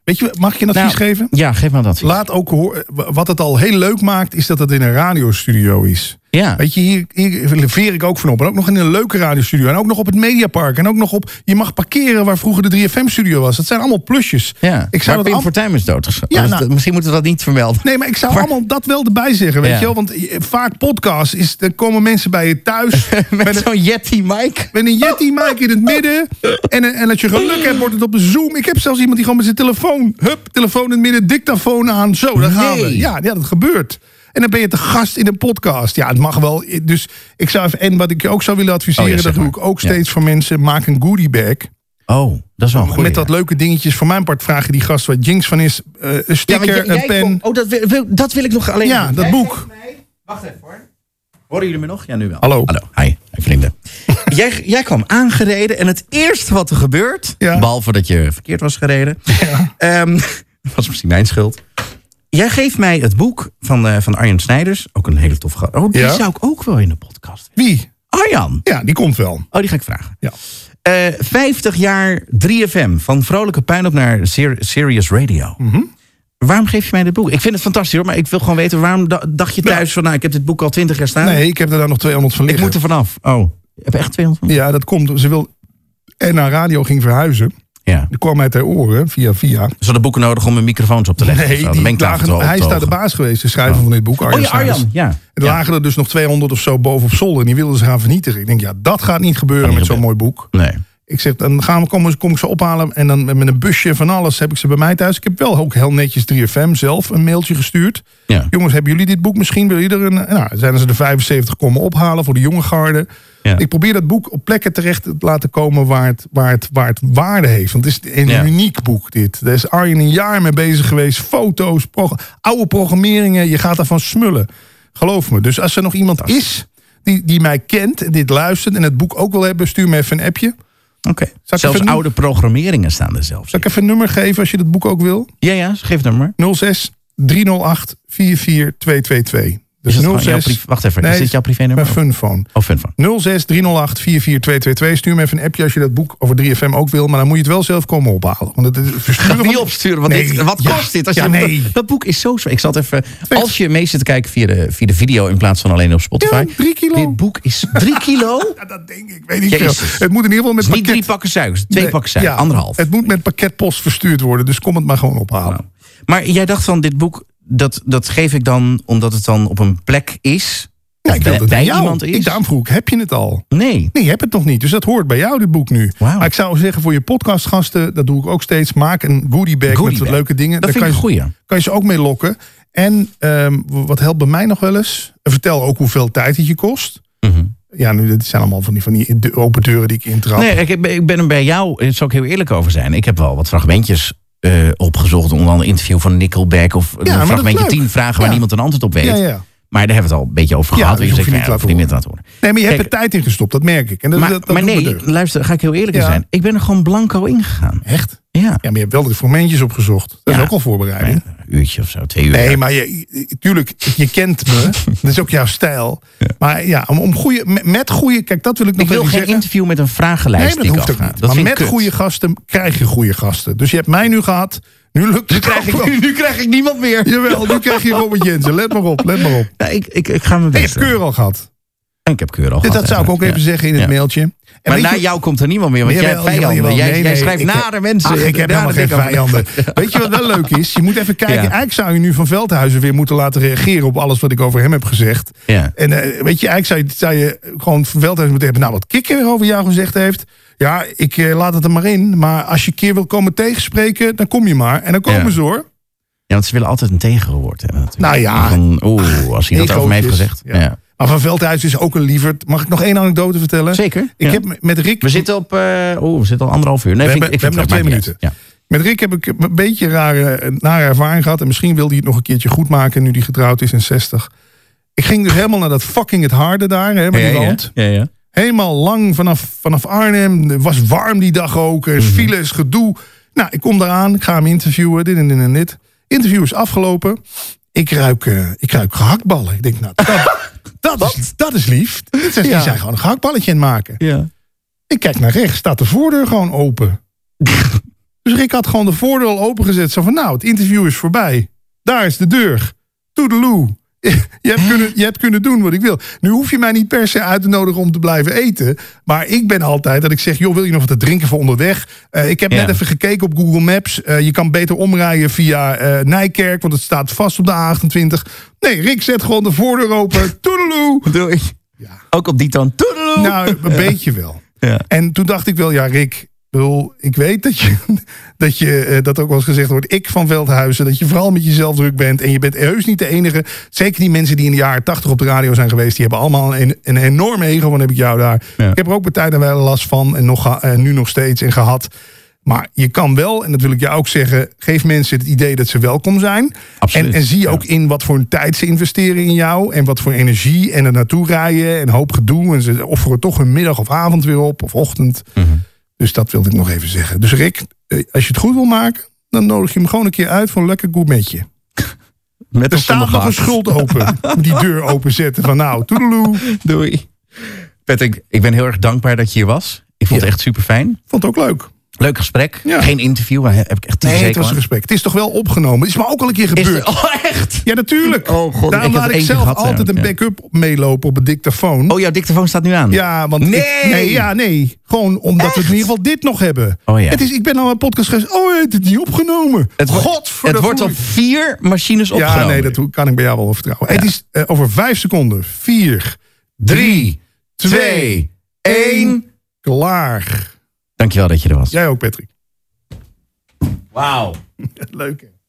S2: Weet je, mag ik je een advies
S1: nou,
S2: geven?
S1: Ja, geef me dat.
S2: Laat ook horen. Wat het al heel leuk maakt, is dat het in een radiostudio is.
S1: Ja.
S2: Weet je, hier, hier veer ik ook van op. En ook nog in een leuke radiostudio. En ook nog op het Mediapark. En ook nog op. Je mag parkeren waar vroeger de 3FM-studio was. Dat zijn allemaal plusjes.
S1: Ja,
S2: Ik
S1: maar
S2: zou dat
S1: Pim
S2: am-
S1: Fortuyn is doodgeschoten.
S2: Ja,
S1: Dus
S2: nou-
S1: dat- misschien moeten we dat niet vermelden.
S2: Nee, maar ik zou allemaal dat wel erbij zeggen. Weet
S1: Ja.
S2: je wel? Want je- vaak podcast is. Dan komen mensen bij je thuis.
S1: Met,
S2: met, een,
S1: zo'n Yeti Mike.
S2: met een Yeti mic in het midden. En, een- en als je geluk hebt, wordt het op een Zoom. Ik heb zelfs iemand die gewoon met zijn telefoon. Hup, telefoon in het midden, dictafoon aan. Zo, daar gaan
S1: Nee.
S2: we. Ja, ja, dat gebeurt. En dan ben je te gast in een podcast. Ja, het mag wel. Dus ik zou even. En wat ik je ook zou willen adviseren,
S1: Oh ja, zeg
S2: dat doe
S1: maar.
S2: ik ook
S1: Ja.
S2: steeds voor mensen. Maak een goodie bag.
S1: Oh, dat is wel een goeie.
S2: met dat leuke dingetjes. Voor mijn part vraag je die gast wat jinx van is. eh, een
S1: want
S2: sticker,
S1: jij-
S2: een
S1: jij
S2: pen.
S1: kon- oh, dat wil, wil- dat wil ik nog alleen.
S2: ja, dat boek.
S1: Wacht even hoor. Horen jullie me nog? Ja, nu wel.
S2: Hallo.
S1: Hallo. Hi, Hi, vrienden. jij, jij kwam aangereden en het eerste wat er gebeurt...
S2: Ja.
S1: behalve dat je verkeerd was gereden... ehm, was misschien mijn schuld. Jij geeft mij het boek van, eh, van Arjan Snijders. Ook een hele toffe... gast. Oh, die
S2: Ja.
S1: zou ik ook wel in de podcast willen.
S2: Wie?
S1: Arjan!
S2: Ja, die komt wel.
S1: Oh, die ga ik vragen.
S2: Ja.
S1: Eh, 50 jaar 3FM. Van vrolijke puinhoop naar ser- serious radio.
S2: Mhm.
S1: Waarom geef je mij dit boek? Ik vind het fantastisch hoor. Maar ik wil gewoon weten waarom da- dacht je thuis van... Nou, ik heb dit boek al 20 jaar staan.
S2: Nee, ik heb er daar nog 200 van
S1: ik
S2: liggen.
S1: moet er vanaf. Oh, ik heb echt 200
S2: Ja, dat komt. Ze wil. En naar radio ging verhuizen.
S1: Ja.
S2: Die kwam uit haar oren, via via.
S1: Ze hadden boeken nodig om hun microfoons op te leggen. of zo.
S2: Nee,
S1: Dan
S2: die
S1: ben ik daar
S2: lagen-
S1: wel op
S2: hij
S1: te
S2: is daar de
S1: hoog.
S2: baas geweest, de schrijver van dit boek. Arjan
S1: Oh ja,
S2: Snijders.
S1: Arjan. Ja.
S2: Er lagen er dus nog 200 of zo boven op zolder. En die wilden ze gaan vernietigen. Ik denk, ja, dat gaat niet gebeuren
S1: Kan niet
S2: met zo'n mooi boek.
S1: Nee.
S2: Ik zeg, dan gaan we, kom, kom ik ze ophalen. En dan met met een busje van alles heb ik ze bij mij thuis. Ik heb wel ook heel netjes 3FM zelf een mailtje gestuurd.
S1: Ja.
S2: Jongens, hebben jullie dit boek misschien? Willen jullie er een... Nou, zijn ze de 75 komen ophalen voor de jonge garde.
S1: Ja.
S2: Ik probeer dat boek op plekken terecht te laten komen waar het, waar het, waar het waarde heeft. Want het is een
S1: Ja.
S2: uniek boek dit. Daar is Arjen een jaar mee bezig geweest. Foto's, prog- oude programmeringen. Je gaat daarvan smullen. Geloof me. Dus als er nog iemand is die, die mij kent, en dit luistert en het boek ook wil hebben, stuur me even een appje.
S1: Oké.
S2: ik
S1: Zelfs
S2: even-
S1: oude programmeringen staan er zelfs.
S2: Zal ik even een nummer geven als je dat boek ook wil?
S1: Ja, ja. Geef het nummer.
S2: 06 308 44222. Dus
S1: Is dat gewoon jouw privé- Wacht even. Is dit jouw privénummer?
S2: Mijn funphone.
S1: Oh, fun van.
S2: 06 308 44222. Stuur me even een appje als je dat boek over 3FM ook wil. Maar dan moet je het wel zelf komen ophalen. Want het is versturen
S1: Niet
S2: van-
S1: opsturen, want
S2: Nee,
S1: dit- wat
S2: ja,
S1: kost dit? Als
S2: ja,
S1: je,
S2: nee.
S1: dat, dat boek is zo zwaar. Ik zat even, als je mee zit te kijken via de, via de video in plaats van alleen op Spotify.
S2: Ja, drie kilo.
S1: Dit boek is drie kilo? Het
S2: Ja, dat denk ik. Weet ik veel.
S1: Jezus.
S2: Het moet in ieder geval met
S1: is niet drie
S2: pakket...
S1: pakken suikers, twee
S2: Nee,
S1: pakken suikers,
S2: ja,
S1: anderhalf.
S2: Het moet met pakketpost verstuurd worden. Dus kom het maar gewoon ophalen.
S1: Nou. Maar jij dacht van, dit boek, dat, dat geef ik dan omdat het dan op een plek is.
S2: Ja, ik wil
S1: bij-
S2: dat het
S1: bij
S2: aan jou.
S1: iemand is?
S2: Ik daarom vroeg, ik, heb je het al?
S1: Nee.
S2: Nee, je hebt het nog niet. Dus dat hoort bij jou, dit boek nu.
S1: Wauw.
S2: Maar ik zou zeggen, voor je podcastgasten, dat doe ik ook steeds. Maak een goodie bag
S1: Goodie
S2: met wat
S1: bag.
S2: leuke
S1: Dat
S2: dingen. Daar
S1: vind ik een
S2: kan, je,
S1: goeie.
S2: kan je ze ook mee lokken. En ehm, wat helpt bij mij nog wel eens? Vertel ook hoeveel tijd het je kost.
S1: Mhm.
S2: Ja, nu, dit zijn allemaal van die, van die de- open deuren die ik intrap.
S1: Nee, ik, heb- ik ben er bij jou, daar zal ik heel eerlijk over zijn. Ik heb wel wat fragmentjes eh, opgezocht. Onder andere een interview van Nickelback. Of
S2: maar
S1: een
S2: dat is
S1: fragmentje
S2: leuk.
S1: tien vragen waar
S2: Ja.
S1: niemand een antwoord op weet.
S2: Ja, ja.
S1: Maar daar hebben we het al een beetje over
S2: Ja,
S1: gehad.
S2: dus
S1: je
S2: hoef
S1: zegt,
S2: je
S1: nou,
S2: niet
S1: hoef
S2: te
S1: je
S2: laten
S1: niet te laten horen.
S2: nee, maar je
S1: Kijk,
S2: hebt er tijd in gestopt, dat merk ik. En dat,
S1: Maar,
S2: dat, dat
S1: maar
S2: doet me
S1: nee,
S2: deugd.
S1: luister, daar ga ik heel eerlijk in
S2: Ja.
S1: zijn. Ik ben er gewoon blanco ingegaan.
S2: Echt?
S1: Ja.
S2: Ja, maar je hebt wel de fragmentjes opgezocht. Dat
S1: Ja.
S2: is ook al voorbereiding.
S1: Een uurtje of zo, twee uur.
S2: Nee, maar je, je- tuurlijk, je kent me. dat is ook jouw stijl. Maar ja, om, om goede, met, met goede... Kijk, dat wil ik nog
S1: ik wil
S2: even
S1: geen
S2: zeggen.
S1: interview met een
S2: Nee,
S1: vragenlijst
S2: maar dat
S1: die
S2: hoeft
S1: ik
S2: ook
S1: afga.
S2: niet.
S1: Dat
S2: maar
S1: vind ik
S2: met
S1: kut.
S2: goede gasten krijg je goede gasten. Dus je hebt mij nu gehad. Nu lukt het
S1: krijg ik-
S2: ook wel.
S1: nu- nu krijg ik niemand meer.
S2: Jawel, nu krijg je Robert Jensen. Let maar op, let maar op.
S1: Ja, ik, ik, ik ga mijn
S2: Ik
S1: best
S2: heb
S1: doen.
S2: keur al gehad.
S1: En Ik heb keur al
S2: Dit,
S1: gehad,
S2: dat zou ik ook
S1: ja.
S2: even zeggen in het
S1: Ja.
S2: mailtje. En
S1: Maar na
S2: weet je-
S1: jou komt er niemand meer, want jij hebt
S2: Jawel, jawel,
S1: vijanden.
S2: jawel.
S1: jij,
S2: Nee,
S1: jij
S2: nee,
S1: schrijft
S2: ik heb-
S1: nare mensen.
S2: Ach, ik
S1: Daar
S2: heb helemaal geen
S1: denk ik over na.
S2: vijanden. Weet je wat wel leuk is? Je moet even kijken.
S1: Ja.
S2: Eigenlijk zou je nu van Veldhuizen weer moeten laten reageren op alles wat ik over hem heb gezegd.
S1: Ja.
S2: En eh, weet je, eigenlijk zou je, zou je gewoon van Veldhuizen moeten hebben. Nou, wat Kikker weer over jou gezegd heeft. Ja, ik eh, laat het er maar in. Maar als je een keer wil komen tegenspreken, dan kom je maar. En dan komen
S1: Ja.
S2: ze hoor.
S1: Ja, want ze willen altijd een tegengehoord hebben. natuurlijk.
S2: Nou ja.
S1: Van, Oeh, als hij dat over me heeft
S2: Egootjes.
S1: gezegd. Ja.
S2: Maar van Veldhuizen is ook een lieverd. Mag ik nog één anekdote vertellen?
S1: Zeker.
S2: Ik
S1: ja.
S2: heb met Rick...
S1: We zitten op. eh, oh, we zitten al anderhalf uur. Nee,
S2: We
S1: vind ik-
S2: hebben-
S1: ik vind
S2: we
S1: het-
S2: hebben nog
S1: maakt
S2: twee
S1: niet uit.
S2: Met Rick heb ik een beetje een rare, een nare ervaring gehad. En misschien wil hij het nog een keertje goed maken nu hij getrouwd is in 60. Ik ging dus helemaal naar dat fucking het harde daar, hè, met
S1: Ja.
S2: die
S1: Ja, ja,
S2: wand.
S1: ja, ja.
S2: Helemaal lang vanaf, vanaf Arnhem. Het was warm die dag ook. Er is files, gedoe. Nou, ik kom eraan. Ik ga hem interviewen. Dit en dit en dit. Interview is afgelopen. Ik ruik, eh, ik ruik gehaktballen. Ik denk, nou, dat, dat, is, dat is lief. Dit zijn, Die
S1: Ja.
S2: zijn gewoon een gehaktballetje aan het maken.
S1: Ja.
S2: Ik kijk naar rechts, staat de voordeur gewoon open. dus Rick had gewoon de voordeur al opengezet. Zo van, nou, het interview is voorbij. Daar is de deur. Toedeloe. je, hebt kunnen, je hebt kunnen doen wat ik wil. Nu hoef je mij niet per se uit te nodigen om te blijven eten. Maar ik ben altijd dat ik zeg, joh, wil je nog wat te drinken voor onderweg? Eh, ik heb
S1: Ja.
S2: net even gekeken op Google Maps. Eh, je kan beter omrijden via eh, Nijkerk, want het staat vast op de A28. Nee, Rick zet gewoon de voordeur open. Toedeloe.
S1: Doei. Ook op die toon. Toedeloe.
S2: Nou, een beetje wel.
S1: Ja.
S2: En toen dacht ik wel, ja, Rick, ik bedoel, ik weet dat je dat, je, eh, dat ook wel eens gezegd wordt. Ik van Veldhuizen, dat je vooral met jezelf druk bent. En je bent heus niet de enige. Zeker die mensen die in de jaren tachtig op de radio zijn geweest, die hebben allemaal een, een enorme ego. Dan heb ik jou daar.
S1: Ja.
S2: Ik heb er ook bij tijd en wel last van. En nog, geha- en nu nog steeds en gehad. Maar je kan wel, en dat wil ik jou ook zeggen, geef mensen het idee dat ze welkom zijn.
S1: Absoluut,
S2: En, en zie
S1: ja.
S2: ook in wat voor een tijd ze investeren in jou. En wat voor energie en er naartoe rijden. En een hoop gedoe. En ze offeren toch hun middag of avond weer op. Of ochtend.
S1: Mhm.
S2: Dus dat wilde ik nog even zeggen. Dus Rick, eh, als je het goed wil maken. Dan nodig je hem gewoon een keer uit voor een lekker gourmetje.
S1: Met
S2: Er
S1: of zonder
S2: staat nog een
S1: gehakt.
S2: schuld open. Die deur openzetten van nou, toedeloe.
S1: Doei. Patrick, ik ben heel erg dankbaar dat je hier was. Ik vond
S2: Ja.
S1: het echt super fijn.
S2: Vond het ook leuk.
S1: Leuk gesprek.
S2: Ja.
S1: Geen interview, maar heb ik echt
S2: Nee,
S1: zeker
S2: het was een
S1: aan.
S2: gesprek. Het is toch wel opgenomen. Het is maar ook al een keer
S1: Is
S2: gebeurd.
S1: er- Oh, echt?
S2: Ja, natuurlijk.
S1: Oh, god,
S2: Daarom
S1: ik heb
S2: laat
S1: er
S2: ik
S1: eentje
S2: zelf
S1: gehad,
S2: altijd een
S1: ja.
S2: backup meelopen op een dictafoon.
S1: Oh, jouw dictafoon staat nu aan.
S2: Ja, want ik-
S1: Nee!
S2: nee, ja, nee. Gewoon omdat we het in ieder geval dit nog hebben.
S1: Oh, ja.
S2: het is, ik ben al een podcast geweest. Oh, het is niet opgenomen.
S1: Het, wo-
S2: Godverdomme.
S1: het wordt op vier machines opgenomen.
S2: Ja, nee, dat doe- kan ik bij jou wel vertrouwen. Het is eh, over vijf seconden. Vier, drie, twee,
S1: Twee, één.
S2: klaar.
S1: Dankjewel dat je er was.
S2: Jij ook, Patrick.
S1: Wauw.
S2: Leuk, hè?